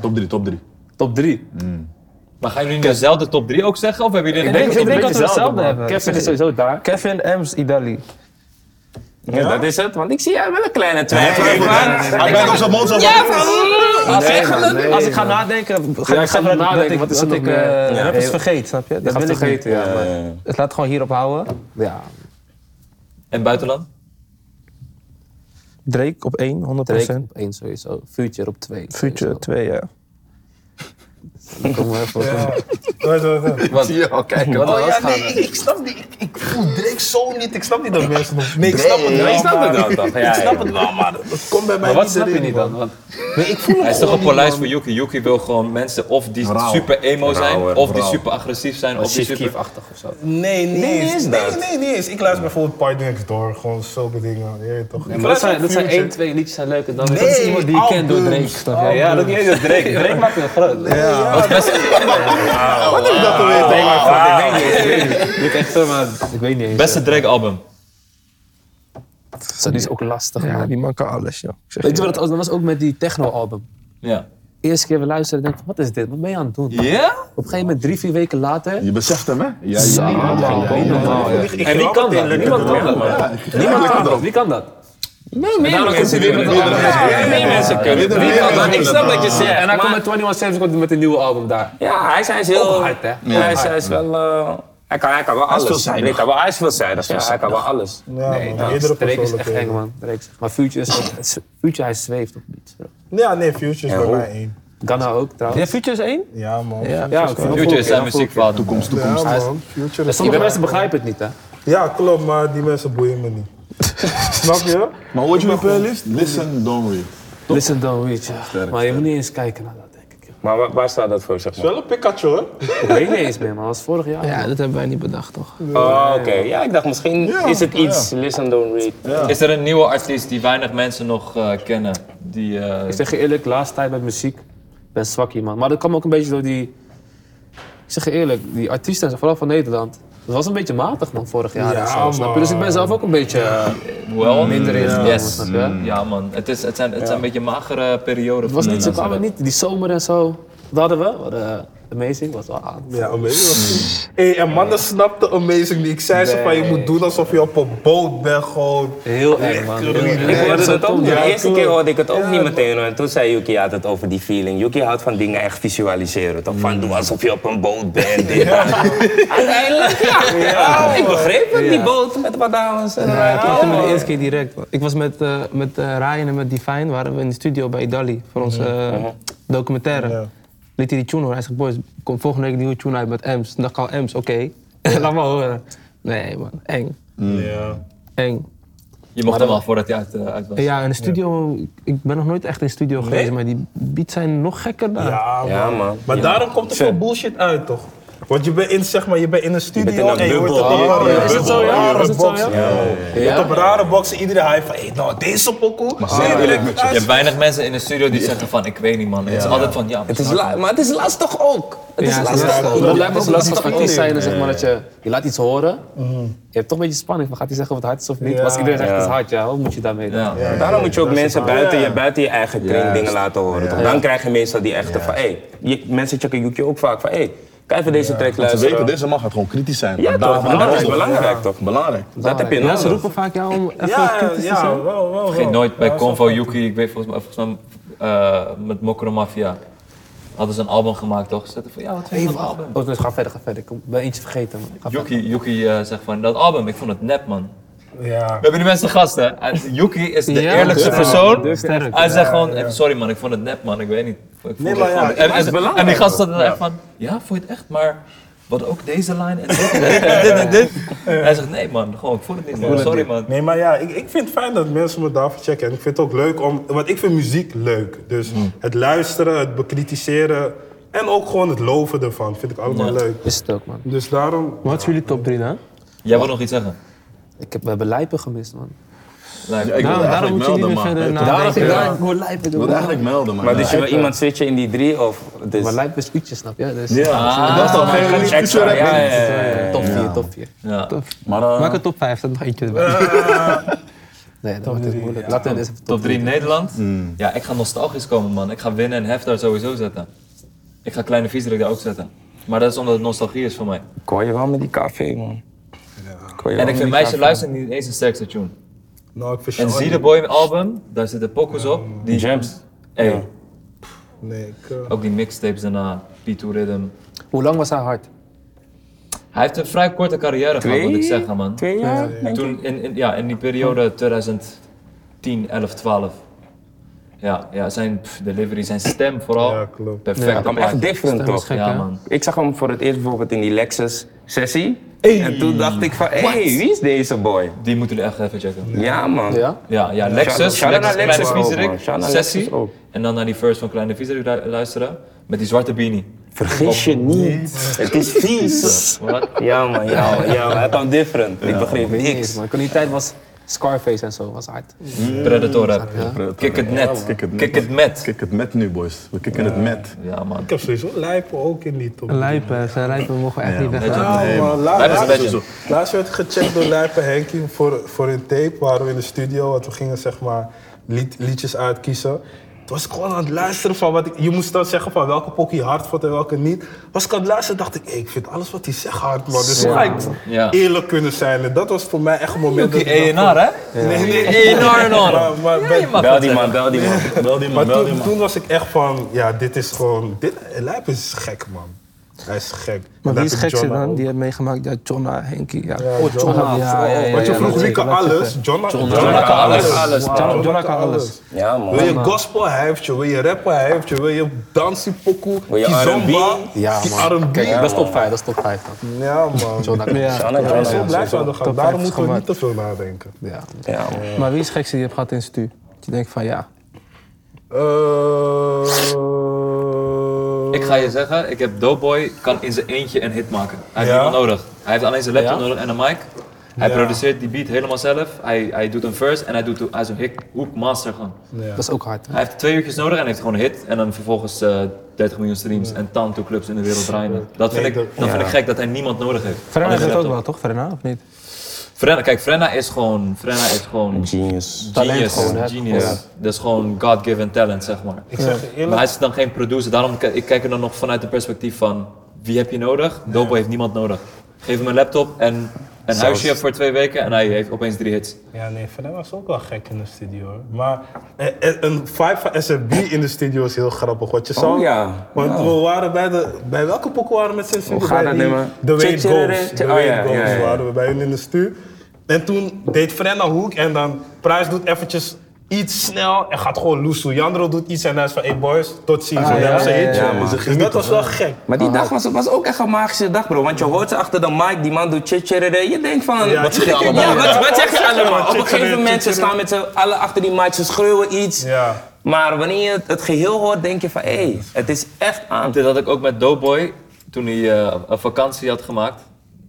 Speaker 7: Top 3, top 3.
Speaker 5: Top drie.
Speaker 4: maar gaan jullie nu dezelfde top 3 ook zeggen? Of hebben jullie
Speaker 2: denk- ik
Speaker 5: een beetje
Speaker 2: dat we hetzelfde
Speaker 5: man.
Speaker 2: hebben.
Speaker 5: Kevin is sowieso daar.
Speaker 2: Kevin Ems, Idali.
Speaker 6: Ja, dat is het. Want ik zie jij wel een kleine twijfel.
Speaker 7: Hij kijkt op zijn mond zo van-
Speaker 2: Als, ik, als ik ga nadenken, ga
Speaker 5: Ja,
Speaker 2: ik
Speaker 5: ik ga
Speaker 2: zeggen dat,
Speaker 5: nadenken,
Speaker 2: dat ik,
Speaker 5: wat is er
Speaker 2: dat
Speaker 5: nog
Speaker 2: ik
Speaker 5: meer?
Speaker 2: eh,
Speaker 5: Ja.
Speaker 2: rappers vergeet, snap je? Dat
Speaker 5: Dat
Speaker 2: wil
Speaker 5: gaat
Speaker 2: ik niet.
Speaker 5: vergeten, ja. maar-
Speaker 2: Het laat gewoon hierop houden.
Speaker 5: Ja,
Speaker 4: En buitenland?
Speaker 2: Drake op 1, 100%.
Speaker 5: Drake op één sowieso. Future op twee.
Speaker 2: Future 2, ja.
Speaker 5: sowieso. Kom maar even op.
Speaker 3: Wacht, wacht, wacht.
Speaker 4: Wat? Zie je al kijken. Wat
Speaker 3: Oh, ja, nee, ik snap niet. Ik, ik voel Drake zo niet. Ik snap niet dat mensen dat... Nee, ik snap het wel.
Speaker 6: Ik snap het
Speaker 3: maar-
Speaker 6: wel, toch? Ja,
Speaker 3: ik snap het wel, maar dat komt bij mij
Speaker 4: wat
Speaker 3: niet
Speaker 4: snap je
Speaker 3: erin,
Speaker 4: niet
Speaker 3: man.
Speaker 4: dan?
Speaker 3: Nee, ik voel het
Speaker 4: Hij is toch
Speaker 3: gewoon
Speaker 4: een
Speaker 3: niet,
Speaker 4: paleis
Speaker 3: man.
Speaker 4: voor Yuki. Yuki wil gewoon mensen of die
Speaker 7: Rauw.
Speaker 4: super emo zijn,
Speaker 6: Rauwer,
Speaker 4: of die
Speaker 7: rauw.
Speaker 4: super agressief zijn, of die
Speaker 5: Chief
Speaker 4: super...
Speaker 5: Keef-achtig of zo.
Speaker 3: Nee, niet
Speaker 6: Nee,
Speaker 3: eens.
Speaker 6: is
Speaker 3: Nee,
Speaker 6: dat?
Speaker 3: nee, niet eens. Ik luister bijvoorbeeld Party Next Door. Gewoon zulke dingen. Je weet toch? Ik
Speaker 10: Maar dat
Speaker 3: luister
Speaker 10: zijn, dat zijn
Speaker 3: Future.
Speaker 10: één, twee liedjes zijn leuk en dan...
Speaker 3: Nee,
Speaker 10: dat is iemand die je kent door
Speaker 3: albums,
Speaker 10: Drake. snap je?
Speaker 3: albums.
Speaker 10: Ja, dat is niet eens Drake. Drake maakt het groot.
Speaker 3: Wat is dat dan weer?
Speaker 10: Ik echt zo, maar ik weet niet eens.
Speaker 5: eh.
Speaker 4: Beste Drake album.
Speaker 5: Zo, die is ook lastig,
Speaker 2: Ja,
Speaker 5: man.
Speaker 2: die man kan alles, joh. Ik zeg
Speaker 5: Weet
Speaker 2: je.
Speaker 5: je wat het was? Dat was ook met die techno-album.
Speaker 4: Ja.
Speaker 5: Eerste keer we luisteren, denk ik van, wat is dit? Wat ben je aan het doen?
Speaker 4: Ja?
Speaker 5: Op een gegeven moment, drie, vier weken later,
Speaker 7: Je beseft hem, hè? Ja, ja, ja, ja, ja, ja.
Speaker 3: En wie kan dat?
Speaker 5: Niemand kan dat, man. Niemand kan dat. Wie kan dat? Nee, mensen kunnen dat. Nee, mensen kunnen dat. Wie kan dat? Ik snap dat je zegt. En dan komt met 21 Savage komt met een nieuwe album daar.
Speaker 6: Ja, hij is, hij is heel...
Speaker 5: Ook hard, hè?
Speaker 6: hij, is, hij is wel... eh, hij, kan, hij kan wel alles.
Speaker 7: veelzijdig.
Speaker 6: Hij kan wel, hij is veelzijdig. Ja, hij kan wel alles.
Speaker 3: Nee,
Speaker 5: Drake
Speaker 3: meerdere
Speaker 5: is echt eng,
Speaker 3: persoonlijkheden.
Speaker 5: man. Drake is- Maar Future is ook- het is... Future, hij zweeft op iets. bro.
Speaker 3: Ja, nee, Future is bij mij één.
Speaker 5: Ghana ook,
Speaker 2: Ja,
Speaker 5: trouwens.
Speaker 2: Future is 1?
Speaker 3: Ja, man.
Speaker 5: Ja, ik vind
Speaker 4: Future is
Speaker 5: het ook-
Speaker 4: zijn muziekvader. Toekomst.
Speaker 3: Ja, man. Future
Speaker 5: En
Speaker 3: is...
Speaker 5: Sommige mensen begrijpen het niet, hè.
Speaker 3: Ja, klopt, maar die mensen boeien me niet. Snap je?
Speaker 7: Maar hoort je mijn playlist? Listen, don't read.
Speaker 5: Listen, don't reach. ja. Maar je moet niet eens kijken naar dat, denk ik. joh.
Speaker 6: Maar waar, waar staat dat voor, zeg maar?
Speaker 3: Wel een Pikachu, hoor.
Speaker 5: Ik weet niet eens meer, man. Dat was vorig jaar.
Speaker 2: Ja, dat hebben wij niet bedacht, toch?
Speaker 6: Oh, oké. Ja, ik dacht misschien is het iets. Listen, don't read.
Speaker 4: Is er een nieuwe artiest die weinig mensen nog eh, kennen? Die, eh,
Speaker 5: Ik zeg je eerlijk, laatste tijd met muziek ben zwak hier, man. Maar dat kwam ook een beetje door die... Ik zeg je eerlijk, die artiesten, vooral van Nederland... Dat was een beetje matig, man, vorig jaar
Speaker 3: Ja,
Speaker 5: en zo, snap je?
Speaker 3: man.
Speaker 5: Dus ik ben zelf ook een beetje... eh,
Speaker 4: Wel
Speaker 5: Minder is het,
Speaker 4: Yes.
Speaker 5: snap je?
Speaker 4: Ja man, het, is, het zijn, het zijn een beetje magere perioden.
Speaker 5: Het was niet, ze kwamen niet. Die zomer en zo, dat hadden we. Wat, eh, amazing, was wel Ah, aan.
Speaker 3: Ja, Amazing was goed. Hey, en mannen snapten Amazing niet. Ik zei ze van, je moet doen alsof je op een boot bent, gewoon.
Speaker 5: Heel erg, man. Heel erg.
Speaker 6: Ik hoorde dat ook niet.
Speaker 3: Ja,
Speaker 6: De eerste
Speaker 3: klopt.
Speaker 6: keer hoorde ik het ook niet meteen. hoor. En toen zei Yuki had het over die feeling. Yuki houdt van dingen echt visualiseren. Toch van doe alsof je op een boot bent. dit, dat. Uiteindelijk, ja. Ah, ik begreep het, die boot met wat dames. eh. en wat.
Speaker 2: Ik
Speaker 3: Oh.
Speaker 2: hem de eerste keer direct. Ik was met, eh, met eh, Ryan en met Divine, waren we in de studio bij Idali voor onze
Speaker 3: Mhm.
Speaker 2: eh, documentaire. Liet hij die tune horen. Hij zegt, boys, komt volgende week een nieuwe tune uit met Ems. Toen dacht ik al, Ems, oké. Laat maar horen. Nee man, eng,
Speaker 3: Ja.
Speaker 2: eng.
Speaker 4: Je mocht hem al voordat hij uit, eh, uit was.
Speaker 2: Ja, in de studio, ik ben nog nooit echt in de studio geweest, maar die beats zijn nog gekker daar.
Speaker 3: Ja, man.
Speaker 6: Ja, man.
Speaker 3: Maar daarom komt er veel bullshit uit, toch? Want je bent in, zeg maar, je bent in een studio
Speaker 6: in een
Speaker 3: en je hoort
Speaker 6: bubbel.
Speaker 3: op
Speaker 6: Ja,
Speaker 3: rare
Speaker 6: ja, is het zo,
Speaker 3: boxen.
Speaker 5: ja? Is het zo,
Speaker 3: boxen.
Speaker 5: ja?
Speaker 3: Je hoort op rare boxen iedereen hij van, hey, nou, deze pokoe, zeer direct.
Speaker 4: Je hebt weinig mensen in de studio die zeggen van, ik weet niet man. Het is altijd van, ja,
Speaker 6: Het is la- maar het is lastig ook. Het is
Speaker 2: het is
Speaker 6: lastig
Speaker 2: lastig. Dat
Speaker 6: ook.
Speaker 8: Dat
Speaker 2: lijkt
Speaker 8: lijkt
Speaker 2: me
Speaker 8: me
Speaker 2: ook
Speaker 8: zo lastig
Speaker 2: lastig
Speaker 8: als
Speaker 2: ook.
Speaker 8: artiest zijn, zeg maar, dat je, je laat iets horen. Je hebt toch een beetje spanning van gaat hij zeggen wat hard is of niet.
Speaker 3: Ja.
Speaker 8: Maar als iedereen zegt
Speaker 6: Ja.
Speaker 8: het is hard, ja, hoe moet je daarmee doen?
Speaker 4: ja.
Speaker 6: Daarom moet je ook mensen buiten, je, buiten je eigen kring
Speaker 7: Juist.
Speaker 6: dingen laten horen. toch? Dan krijg je meestal die echte van, hey, je, mensen checken Yuki ook vaak van, hey, kijk even deze track
Speaker 7: Ze
Speaker 6: luisteren.
Speaker 7: weten, deze man gaat gewoon kritisch zijn.
Speaker 6: Ja,
Speaker 7: En
Speaker 6: toch?
Speaker 7: daarvan-
Speaker 6: Belangrijk,
Speaker 7: Ja.
Speaker 6: belangrijk toch?
Speaker 7: Belangrijk.
Speaker 6: Dat heb je
Speaker 2: Ja, ze
Speaker 6: nodig.
Speaker 2: roepen vaak jou om even
Speaker 3: Ja, Eh, ja,
Speaker 2: kritisch te zijn.
Speaker 3: ja, wel, wel,
Speaker 4: Ik ging
Speaker 3: wel.
Speaker 4: nooit bij
Speaker 3: Ja,
Speaker 4: Convo Yuki, ik weet volgens mij, volgens mij eh, met Mokro Mafia. Hadden ze een album gemaakt toch? Ze zeiden van, ja, wat vind je van het album?
Speaker 8: Oh, dus ga verder, ga verder. Ik ben eentje vergeten. man. Ga verder.
Speaker 4: Yuki, Yuki eh, zegt van, dat album, ik vond het nep man.
Speaker 3: Ja.
Speaker 4: We hebben nu mensen gast hè. En Yuki is de
Speaker 2: Ja,
Speaker 4: eerlijkste persoon.
Speaker 2: Sterk.
Speaker 4: Hij zegt gewoon, eh, sorry man, ik vond het nep man, ik weet niet. Ik vond
Speaker 3: Nee,
Speaker 4: het
Speaker 3: maar ja,
Speaker 4: gewoon-
Speaker 3: het
Speaker 4: en,
Speaker 3: is
Speaker 4: en-
Speaker 3: belangrijk,
Speaker 4: en die gast
Speaker 3: toch?
Speaker 4: zat er echt van, ja, vond je het echt, maar wat ook deze line en dit en dit en dit. En Hij zegt, nee man, gewoon, ik vond het niet man, sorry man.
Speaker 3: Nee, maar ja, ik, ik vind het fijn dat mensen me daarvoor checken. En ik vind het ook leuk om... Want ik vind muziek leuk. Dus
Speaker 4: Hmm.
Speaker 3: het luisteren, het bekritiseren... En ook gewoon het loven ervan vind ik allemaal leuk.
Speaker 8: Is het ook, man.
Speaker 3: Dus daarom...
Speaker 2: Wat is jullie top 3 dan?
Speaker 4: Jij wil nog iets zeggen?
Speaker 8: Ik heb, we hebben Lijpen gemist, man.
Speaker 4: Lijp.
Speaker 7: Ik
Speaker 2: Nou,
Speaker 7: wil
Speaker 2: daarom
Speaker 7: eigenlijk
Speaker 2: moet je niet
Speaker 7: melden,
Speaker 2: meer
Speaker 7: man.
Speaker 2: verder
Speaker 7: Ik
Speaker 2: nadenken.
Speaker 8: gewoon Lijpen
Speaker 7: wil eigenlijk melden, man.
Speaker 6: Maar
Speaker 7: Ja.
Speaker 6: dus je wil iemand switchen in die drie of... Dus,
Speaker 8: Maar Lijpen is Uutje, snap je? Dus
Speaker 7: Ja, dat is al geen
Speaker 6: Extra,
Speaker 7: extra.
Speaker 6: ja, ja, ja.
Speaker 8: top 4, top 4.
Speaker 4: Ja.
Speaker 7: Maar eh,
Speaker 2: Maak een top 5, staat nog eentje erbij.
Speaker 8: Nee, dat wordt het moeilijk. Laten we eens even
Speaker 4: Top
Speaker 8: top
Speaker 4: 3 Nederland? Ja, ik ga nostalgisch komen, man. Ik ga winnen en hef daar sowieso zetten. Ik ga kleine viesdruk daar ook zetten. Maar dat is omdat het nostalgie is voor mij.
Speaker 6: Ik hoor je wel met die café, man. Ik hoor je wel
Speaker 4: En ik
Speaker 6: met
Speaker 4: vind
Speaker 6: die
Speaker 4: Meisje
Speaker 6: KV.
Speaker 4: Luister niet eens een sterkste tune.
Speaker 3: Nou, ik vind
Speaker 4: En Zie de Boy album, daar zitten pokus op. Die
Speaker 6: Jams.
Speaker 4: Ey,
Speaker 6: Ja.
Speaker 3: Nee, ik... eh,
Speaker 4: Ook die mixtapes daarna, P2 Rhythm.
Speaker 8: Hoe lang was hij hard?
Speaker 4: Hij heeft een vrij korte carrière gehad, moet ik zeggen, man.
Speaker 6: Twee jaar? denk ik.
Speaker 4: Toen in, in- ja, in die periode 2010, 11, 12. Ja, ja zijn pff, delivery, zijn stem vooral.
Speaker 3: Ja, klopt.
Speaker 4: Perfecte
Speaker 6: Hij kwam
Speaker 4: plaatje.
Speaker 6: echt different, toch?
Speaker 4: Ja, man.
Speaker 6: Ik zag hem voor het eerst bijvoorbeeld in die Lexus-sessie. En toen dacht ik van, hé, hey, wie is deze boy?
Speaker 4: Die moeten jullie echt even checken.
Speaker 6: Ja, man.
Speaker 8: Ja?
Speaker 4: Ja, ja Lexus,
Speaker 6: shout-out
Speaker 4: Lexus, Kleine
Speaker 6: naar Lexus ook, man. Shout-out
Speaker 4: Viezerik,
Speaker 6: naar
Speaker 4: sessie.
Speaker 6: Lexus ook.
Speaker 4: En dan naar die verse van Kleine Viezerik lu- luisteren. Met die zwarte beanie.
Speaker 6: Vergis je niet. Het is vies.
Speaker 4: Wat?
Speaker 6: Ja, man. Ja, man. Ja, man. Hij kwam different. Ik begreep niks.
Speaker 8: Niks, man. Ik kon die tijd was Scarface en zo, was hard.
Speaker 6: Mm.
Speaker 4: Predator rap. Kick het net.
Speaker 7: Kick het net.
Speaker 4: Kick het met.
Speaker 7: Kijk het met nu, boys. We kicken het met.
Speaker 4: Ja, man.
Speaker 3: Ik heb sowieso lijpen ook in die top.
Speaker 2: Lijpen, zijn lijpen mogen we echt niet weg.
Speaker 4: Legend.
Speaker 3: Ja, Oh, man, la-
Speaker 4: Lijpen is een
Speaker 3: laatst-
Speaker 4: legend.
Speaker 3: Laatst werd ik gecheckt door Lijpen Henkie voor, voor een tape. Waren we in de studio, want we gingen zeg maar lied- liedjes uitkiezen. Toen was ik gewoon aan het luisteren van wat ik... Je moest dan zeggen van welke pokie je hard vond en welke niet. Was ik aan het luisteren, dacht ik, hey, ik vind alles wat hij zegt hard, man. Dus ga ik
Speaker 4: Ja.
Speaker 3: eerlijk kunnen zijn. En dat was voor mij echt een moment...
Speaker 4: Die
Speaker 3: dat ik dacht
Speaker 4: ENR, hè?
Speaker 3: van- Nee, nee,
Speaker 4: Die ENR en
Speaker 3: Maar,
Speaker 4: al.
Speaker 3: maar
Speaker 4: Ja,
Speaker 3: bij-
Speaker 4: je mag
Speaker 6: Bel
Speaker 4: dat
Speaker 6: die
Speaker 4: zeggen.
Speaker 6: man, bel die man.
Speaker 7: Bel die man,
Speaker 3: maar
Speaker 7: bel die
Speaker 3: toen,
Speaker 7: man.
Speaker 3: toen was ik echt van, ja, dit is gewoon... Dit, Lijpen is gek, man. Hij is gek.
Speaker 2: Maar
Speaker 3: Dat
Speaker 2: wie is
Speaker 3: heb ik
Speaker 2: gekste
Speaker 3: Jonna
Speaker 2: dan?
Speaker 3: ook.
Speaker 2: Die heeft meegemaakt, ja, Jonna, Henkie, ja. Oh,
Speaker 3: Ja, Jonna.
Speaker 2: ja, ja, ja,
Speaker 3: Want je
Speaker 2: ja,
Speaker 3: vroeg
Speaker 2: dat
Speaker 3: wie
Speaker 2: zeker,
Speaker 3: kan
Speaker 2: dat
Speaker 3: alles?
Speaker 2: zeker.
Speaker 3: John, John,
Speaker 4: John kan alles.
Speaker 2: Wow. John- John kan alles.
Speaker 6: Ja, man.
Speaker 3: Wil je gospel, hij heeft je. Wil je rappen, hij heeft je. Wil je dansie-pokoe,
Speaker 6: Wil je
Speaker 3: kizomba,
Speaker 6: R&B?
Speaker 8: Ja,
Speaker 3: ki-
Speaker 8: man.
Speaker 3: R&B.
Speaker 8: Kijk, dat is top 5, dat is top 5 dan.
Speaker 3: Ja, man.
Speaker 8: Jonah Cox.
Speaker 2: Ja.
Speaker 6: Anna
Speaker 3: Ja,
Speaker 6: Jones.
Speaker 3: zo blijft het wel gaan.
Speaker 2: Top
Speaker 3: Daarom
Speaker 2: vijf
Speaker 3: moeten we
Speaker 2: gemaakt.
Speaker 3: niet te veel nadenken.
Speaker 8: Ja.
Speaker 6: Ja, man.
Speaker 2: Maar wie is gekste die je hebt gehad in stu? Dat je denkt van ja.
Speaker 3: Eh,
Speaker 4: Ik ga je zeggen, ik heb Doughboy kan in zijn eentje een hit maken. Hij heeft
Speaker 3: Ja?
Speaker 4: niemand nodig. Hij heeft alleen zijn laptop
Speaker 8: Ja?
Speaker 4: nodig en een mic. Hij
Speaker 3: Ja.
Speaker 4: produceert die beat helemaal zelf. Hij, hij doet een verse en hij, doet, hij is een hik- hoek master gewoon.
Speaker 3: Ja.
Speaker 8: Dat is ook hard. hè?
Speaker 4: Hij heeft twee uurtjes nodig en heeft gewoon een hit. En dan vervolgens eh 30 miljoen streams en tanto clubs in de wereld draaien. Dat vind,
Speaker 3: Nee,
Speaker 4: ik,
Speaker 3: dat-
Speaker 4: dat vind ik gek dat hij niemand nodig heeft.
Speaker 2: Frenna
Speaker 4: Alleen
Speaker 2: is dat ook
Speaker 4: laptop.
Speaker 2: wel, toch? Frenna, of niet?
Speaker 4: Frenna, kijk, Frenna is gewoon... Frenna is gewoon
Speaker 6: Genius.
Speaker 4: genius.
Speaker 8: gewoon, hè?
Speaker 4: genius. Dat is gewoon God-given talent, zeg maar.
Speaker 3: Ik zeg je
Speaker 4: Maar
Speaker 3: eerlijk,
Speaker 4: hij is dan geen producer, daarom k- ik kijk er dan nog vanuit het perspectief van wie heb je nodig? Dopo heeft niemand nodig. Geef hem een laptop en een huisje voor twee weken en hij heeft opeens drie hits.
Speaker 3: Ja, nee, Van hem was ook wel gek in de studio. hoor. Maar eh, eh, een vibe van SFB in de studio is heel grappig. Wat je zou.
Speaker 6: Oh, ja.
Speaker 3: Want
Speaker 6: Ja.
Speaker 3: we waren bij de. Bij welke pokoe waren we met zijn studio?
Speaker 6: gaat
Speaker 3: Bij
Speaker 6: dat
Speaker 3: die-
Speaker 6: nummer?
Speaker 3: The Way It
Speaker 6: Tje, tje,
Speaker 3: Goes.
Speaker 6: tje.
Speaker 3: The
Speaker 6: Oh,
Speaker 3: Way It
Speaker 6: ja,
Speaker 3: Goes
Speaker 6: ja, ja.
Speaker 3: waren we bij hun in de stuur. En toen deed Frenna Hoek en dan Prijs doet eventjes iets snel en gaat gewoon loesoe. Jandro doet iets en hij is van hey boys, tot
Speaker 6: Ah,
Speaker 3: ziens. en dan hebben ze een hitje. dus dat was wel gek.
Speaker 6: Maar die dag was, was ook echt een magische dag, bro. Want je hoort ze achter de mic, die man doet chitcherere. Je denkt van...
Speaker 3: Ja,
Speaker 6: wat
Speaker 3: zeg je
Speaker 6: zeg je
Speaker 3: allemaal?
Speaker 6: Ja, wat, wat zeg je allemaal? Op een
Speaker 3: Chitterere,
Speaker 6: gegeven moment, ze staan met z'n allen achter die mic, ze schreeuwen iets.
Speaker 3: Ja.
Speaker 6: Maar wanneer je het, het geheel hoort, denk je van... Hé, hey, het is echt aan.
Speaker 4: Dit had ik ook met Doughboy. toen hij eh, een vakantie had gemaakt.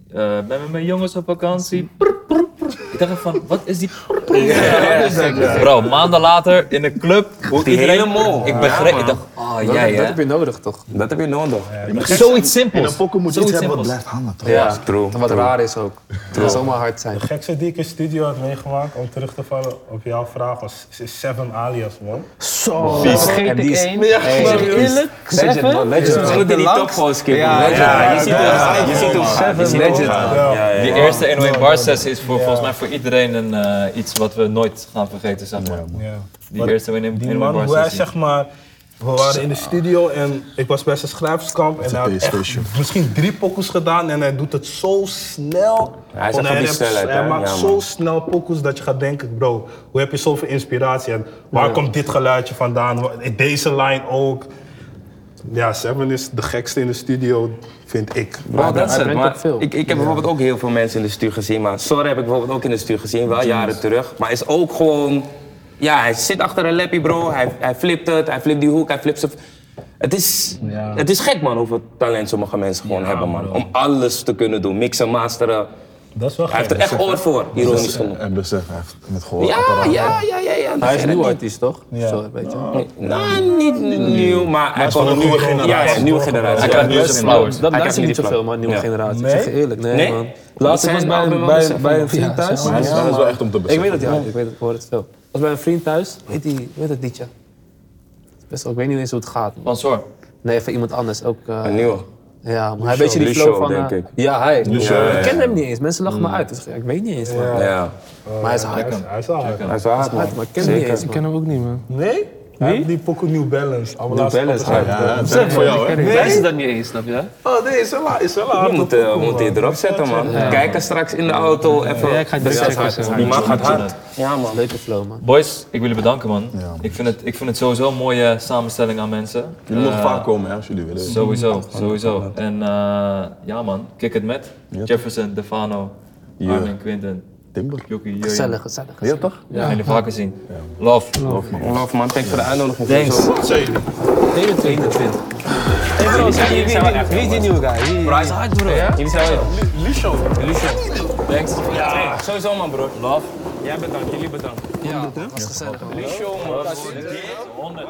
Speaker 4: eh ben met mijn jongens op vakantie. Prr, prr, prr. Ik dacht echt van, wat is die... prr, prr? Dus Bro, maanden later in een club. Hoe
Speaker 6: Die hele mol.
Speaker 4: Ik begreep,
Speaker 6: Ja,
Speaker 4: ik dacht, oh jij
Speaker 8: dat
Speaker 4: hè.
Speaker 8: heb je nodig toch?
Speaker 6: Dat heb je nodig.
Speaker 4: Zoiets
Speaker 7: In een
Speaker 4: simpels.
Speaker 7: pokken moet je iets
Speaker 4: Zoiets
Speaker 7: hebben wat
Speaker 4: simpels.
Speaker 7: blijft hangen, toch?
Speaker 4: Ja.
Speaker 6: True.
Speaker 8: Wat raar is ook. Het kan zomaar hard zijn.
Speaker 3: Het gekste die ik in studio had meegemaakt, om terug te vallen op jouw vraag, was is Seven Alias, man.
Speaker 8: Zo, vergeet ik één. Eerlijk?
Speaker 6: Legend, man. Legend. We moeten die top gewoon skippen. Ja, je ziet hem. Je ziet hem. gaan. Je ziet hem
Speaker 8: Legend.
Speaker 6: gaan.
Speaker 3: Ja.
Speaker 6: Ja, ja,
Speaker 4: Die eerste 101 bar sessie is voor, volgens mij voor iedereen een, eh, iets wat we nooit gaan vergeten, zeg maar.
Speaker 3: Ja.
Speaker 4: Die
Speaker 3: Maar
Speaker 4: eerste 101
Speaker 3: Die
Speaker 4: 101
Speaker 3: man,
Speaker 4: bar
Speaker 3: hoe hij
Speaker 4: sessie.
Speaker 3: zeg maar... We waren in de studio en ik was bij zijn schrijverskamp. En hij had echt
Speaker 7: PlayStation.
Speaker 3: misschien drie pokoes gedaan en hij doet het zo snel.
Speaker 6: Hij is echt
Speaker 3: Want
Speaker 6: van die
Speaker 3: rapt-
Speaker 6: snelheid,
Speaker 3: hij
Speaker 6: hè?
Speaker 3: maakt
Speaker 6: Ja,
Speaker 3: zo
Speaker 6: man.
Speaker 3: snel pokoes dat je gaat denken, bro, hoe heb je zoveel inspiratie? En waar komt dit geluidje vandaan? Wa- Deze line ook. Ja, Seven is de gekste in de studio, vind ik.
Speaker 6: Bro, dat is het.
Speaker 8: brengt
Speaker 6: Maar
Speaker 8: ook veel.
Speaker 6: ik, ik heb bijvoorbeeld ook heel veel mensen in de stuur gezien. Maar Sorre heb ik bijvoorbeeld ook in de stuur gezien, wel jaren terug. Maar is ook gewoon... Ja, hij zit achter een lappie, bro. Hij, hij flipt het, hij flipt die hoek, hij flipt zijn... Het is, het is gek, man, hoeveel talent sommige mensen gewoon hebben, man. Om alles te kunnen doen. Mixen, masteren.
Speaker 3: Dat is wel
Speaker 6: Hij heeft er echt oor voor, ironisch genoeg.
Speaker 7: En besef, hij heeft met
Speaker 6: Ja,
Speaker 7: gehoor.
Speaker 6: ja, ja, ja. ja.
Speaker 8: Hij is een
Speaker 6: niet.
Speaker 8: nieuw artiest toch? Zo, weet je.
Speaker 6: Nou, niet nieuw, maar hij
Speaker 3: is van
Speaker 6: komt
Speaker 3: een nieuwe generatie.
Speaker 6: Ja, ja, nieuwe
Speaker 4: Hij
Speaker 6: generatie.
Speaker 4: krijgt music flowers.
Speaker 8: Dat
Speaker 6: krijgt
Speaker 8: luister ik
Speaker 6: niet
Speaker 8: niet
Speaker 6: die
Speaker 8: zoveel,
Speaker 6: plak.
Speaker 8: man, nieuwe
Speaker 6: Ja.
Speaker 8: generatie.
Speaker 3: Nee?
Speaker 8: Ik zeg je eerlijk, nee,
Speaker 6: Nee?
Speaker 8: man. Laatst ik was
Speaker 6: zijn
Speaker 8: bij,
Speaker 6: allemaal
Speaker 8: bij,
Speaker 6: mensen
Speaker 8: bij een
Speaker 2: Ja,
Speaker 8: vriend thuis.
Speaker 2: zeg
Speaker 7: Maar dat is- dat is wel echt om te
Speaker 8: Ik
Speaker 7: beseffen.
Speaker 8: weet het, ja. Ik weet het, ik hoor het veel. Ik was bij een vriend thuis. Weet die, ik weet het liedje. Het is Best wel, ik weet niet eens hoe het gaat. man.
Speaker 4: Van Soor.
Speaker 8: Nee, van iemand anders ook. eh,
Speaker 6: Een nieuwe.
Speaker 8: ja, maar hij een beetje die
Speaker 6: Lucio,
Speaker 8: flow van...
Speaker 6: denk
Speaker 8: eh,
Speaker 6: ik.
Speaker 8: Ja, hij.
Speaker 6: Ja, ja, ja.
Speaker 8: Ik ken hem niet eens. Mensen lachen me uit. Dus ik weet niet eens, man.
Speaker 6: Ja.
Speaker 8: Maar hij is hard.
Speaker 3: Hij is- Hij is wel hard.
Speaker 6: Hij is wel hard, man.
Speaker 8: Maar ik ken hem niet eens,
Speaker 2: Ik
Speaker 8: man.
Speaker 2: ken hem ook niet, man.
Speaker 3: Nee? Hij heeft die pokoe New Balance. New
Speaker 6: Balance, ja,
Speaker 7: Ja, dat is voor jou, hè?
Speaker 5: Wij zijn dat niet eens, snap je?
Speaker 3: Oh nee, is wel, is wel
Speaker 6: We
Speaker 3: hard.
Speaker 6: moeten, we moeten eh, je erop zetten, man. Kijken straks in de auto. Even.
Speaker 2: Ja, ik ga het direct checken, zo.
Speaker 6: Die man gaat hard. Ja, man.
Speaker 8: Leuke flow, man.
Speaker 4: Boys, ik wil jullie bedanken, man.
Speaker 7: Ja, man.
Speaker 4: Ik, vind het, ik vind het sowieso een mooie samenstelling aan mensen.
Speaker 7: Jullie mogen
Speaker 4: Eh,
Speaker 7: vaak komen, hè, als jullie willen.
Speaker 4: Sowieso, sowieso. En eh, ja, man, kick het met Jefferson, Defano, Armin, Quinten,
Speaker 7: Timber.
Speaker 4: Jokie, Jurjen.
Speaker 8: Gezellig, gezellig.
Speaker 7: Ja, toch?
Speaker 4: We gaan jullie vaker zien. Love.
Speaker 6: Love, man. Thanks voor de uitnodiging.
Speaker 4: Thanks.
Speaker 8: 21.
Speaker 6: Wie is die nieuwe guy? Bro, hij is hard, bro. Jullie zijn wel... Lucio. Lucio. Thanks. Ja. Sowieso, man, bro. Love. Jij bedankt, jullie bedankt.
Speaker 8: Ja, was gezellig, man.
Speaker 6: Lucio, man.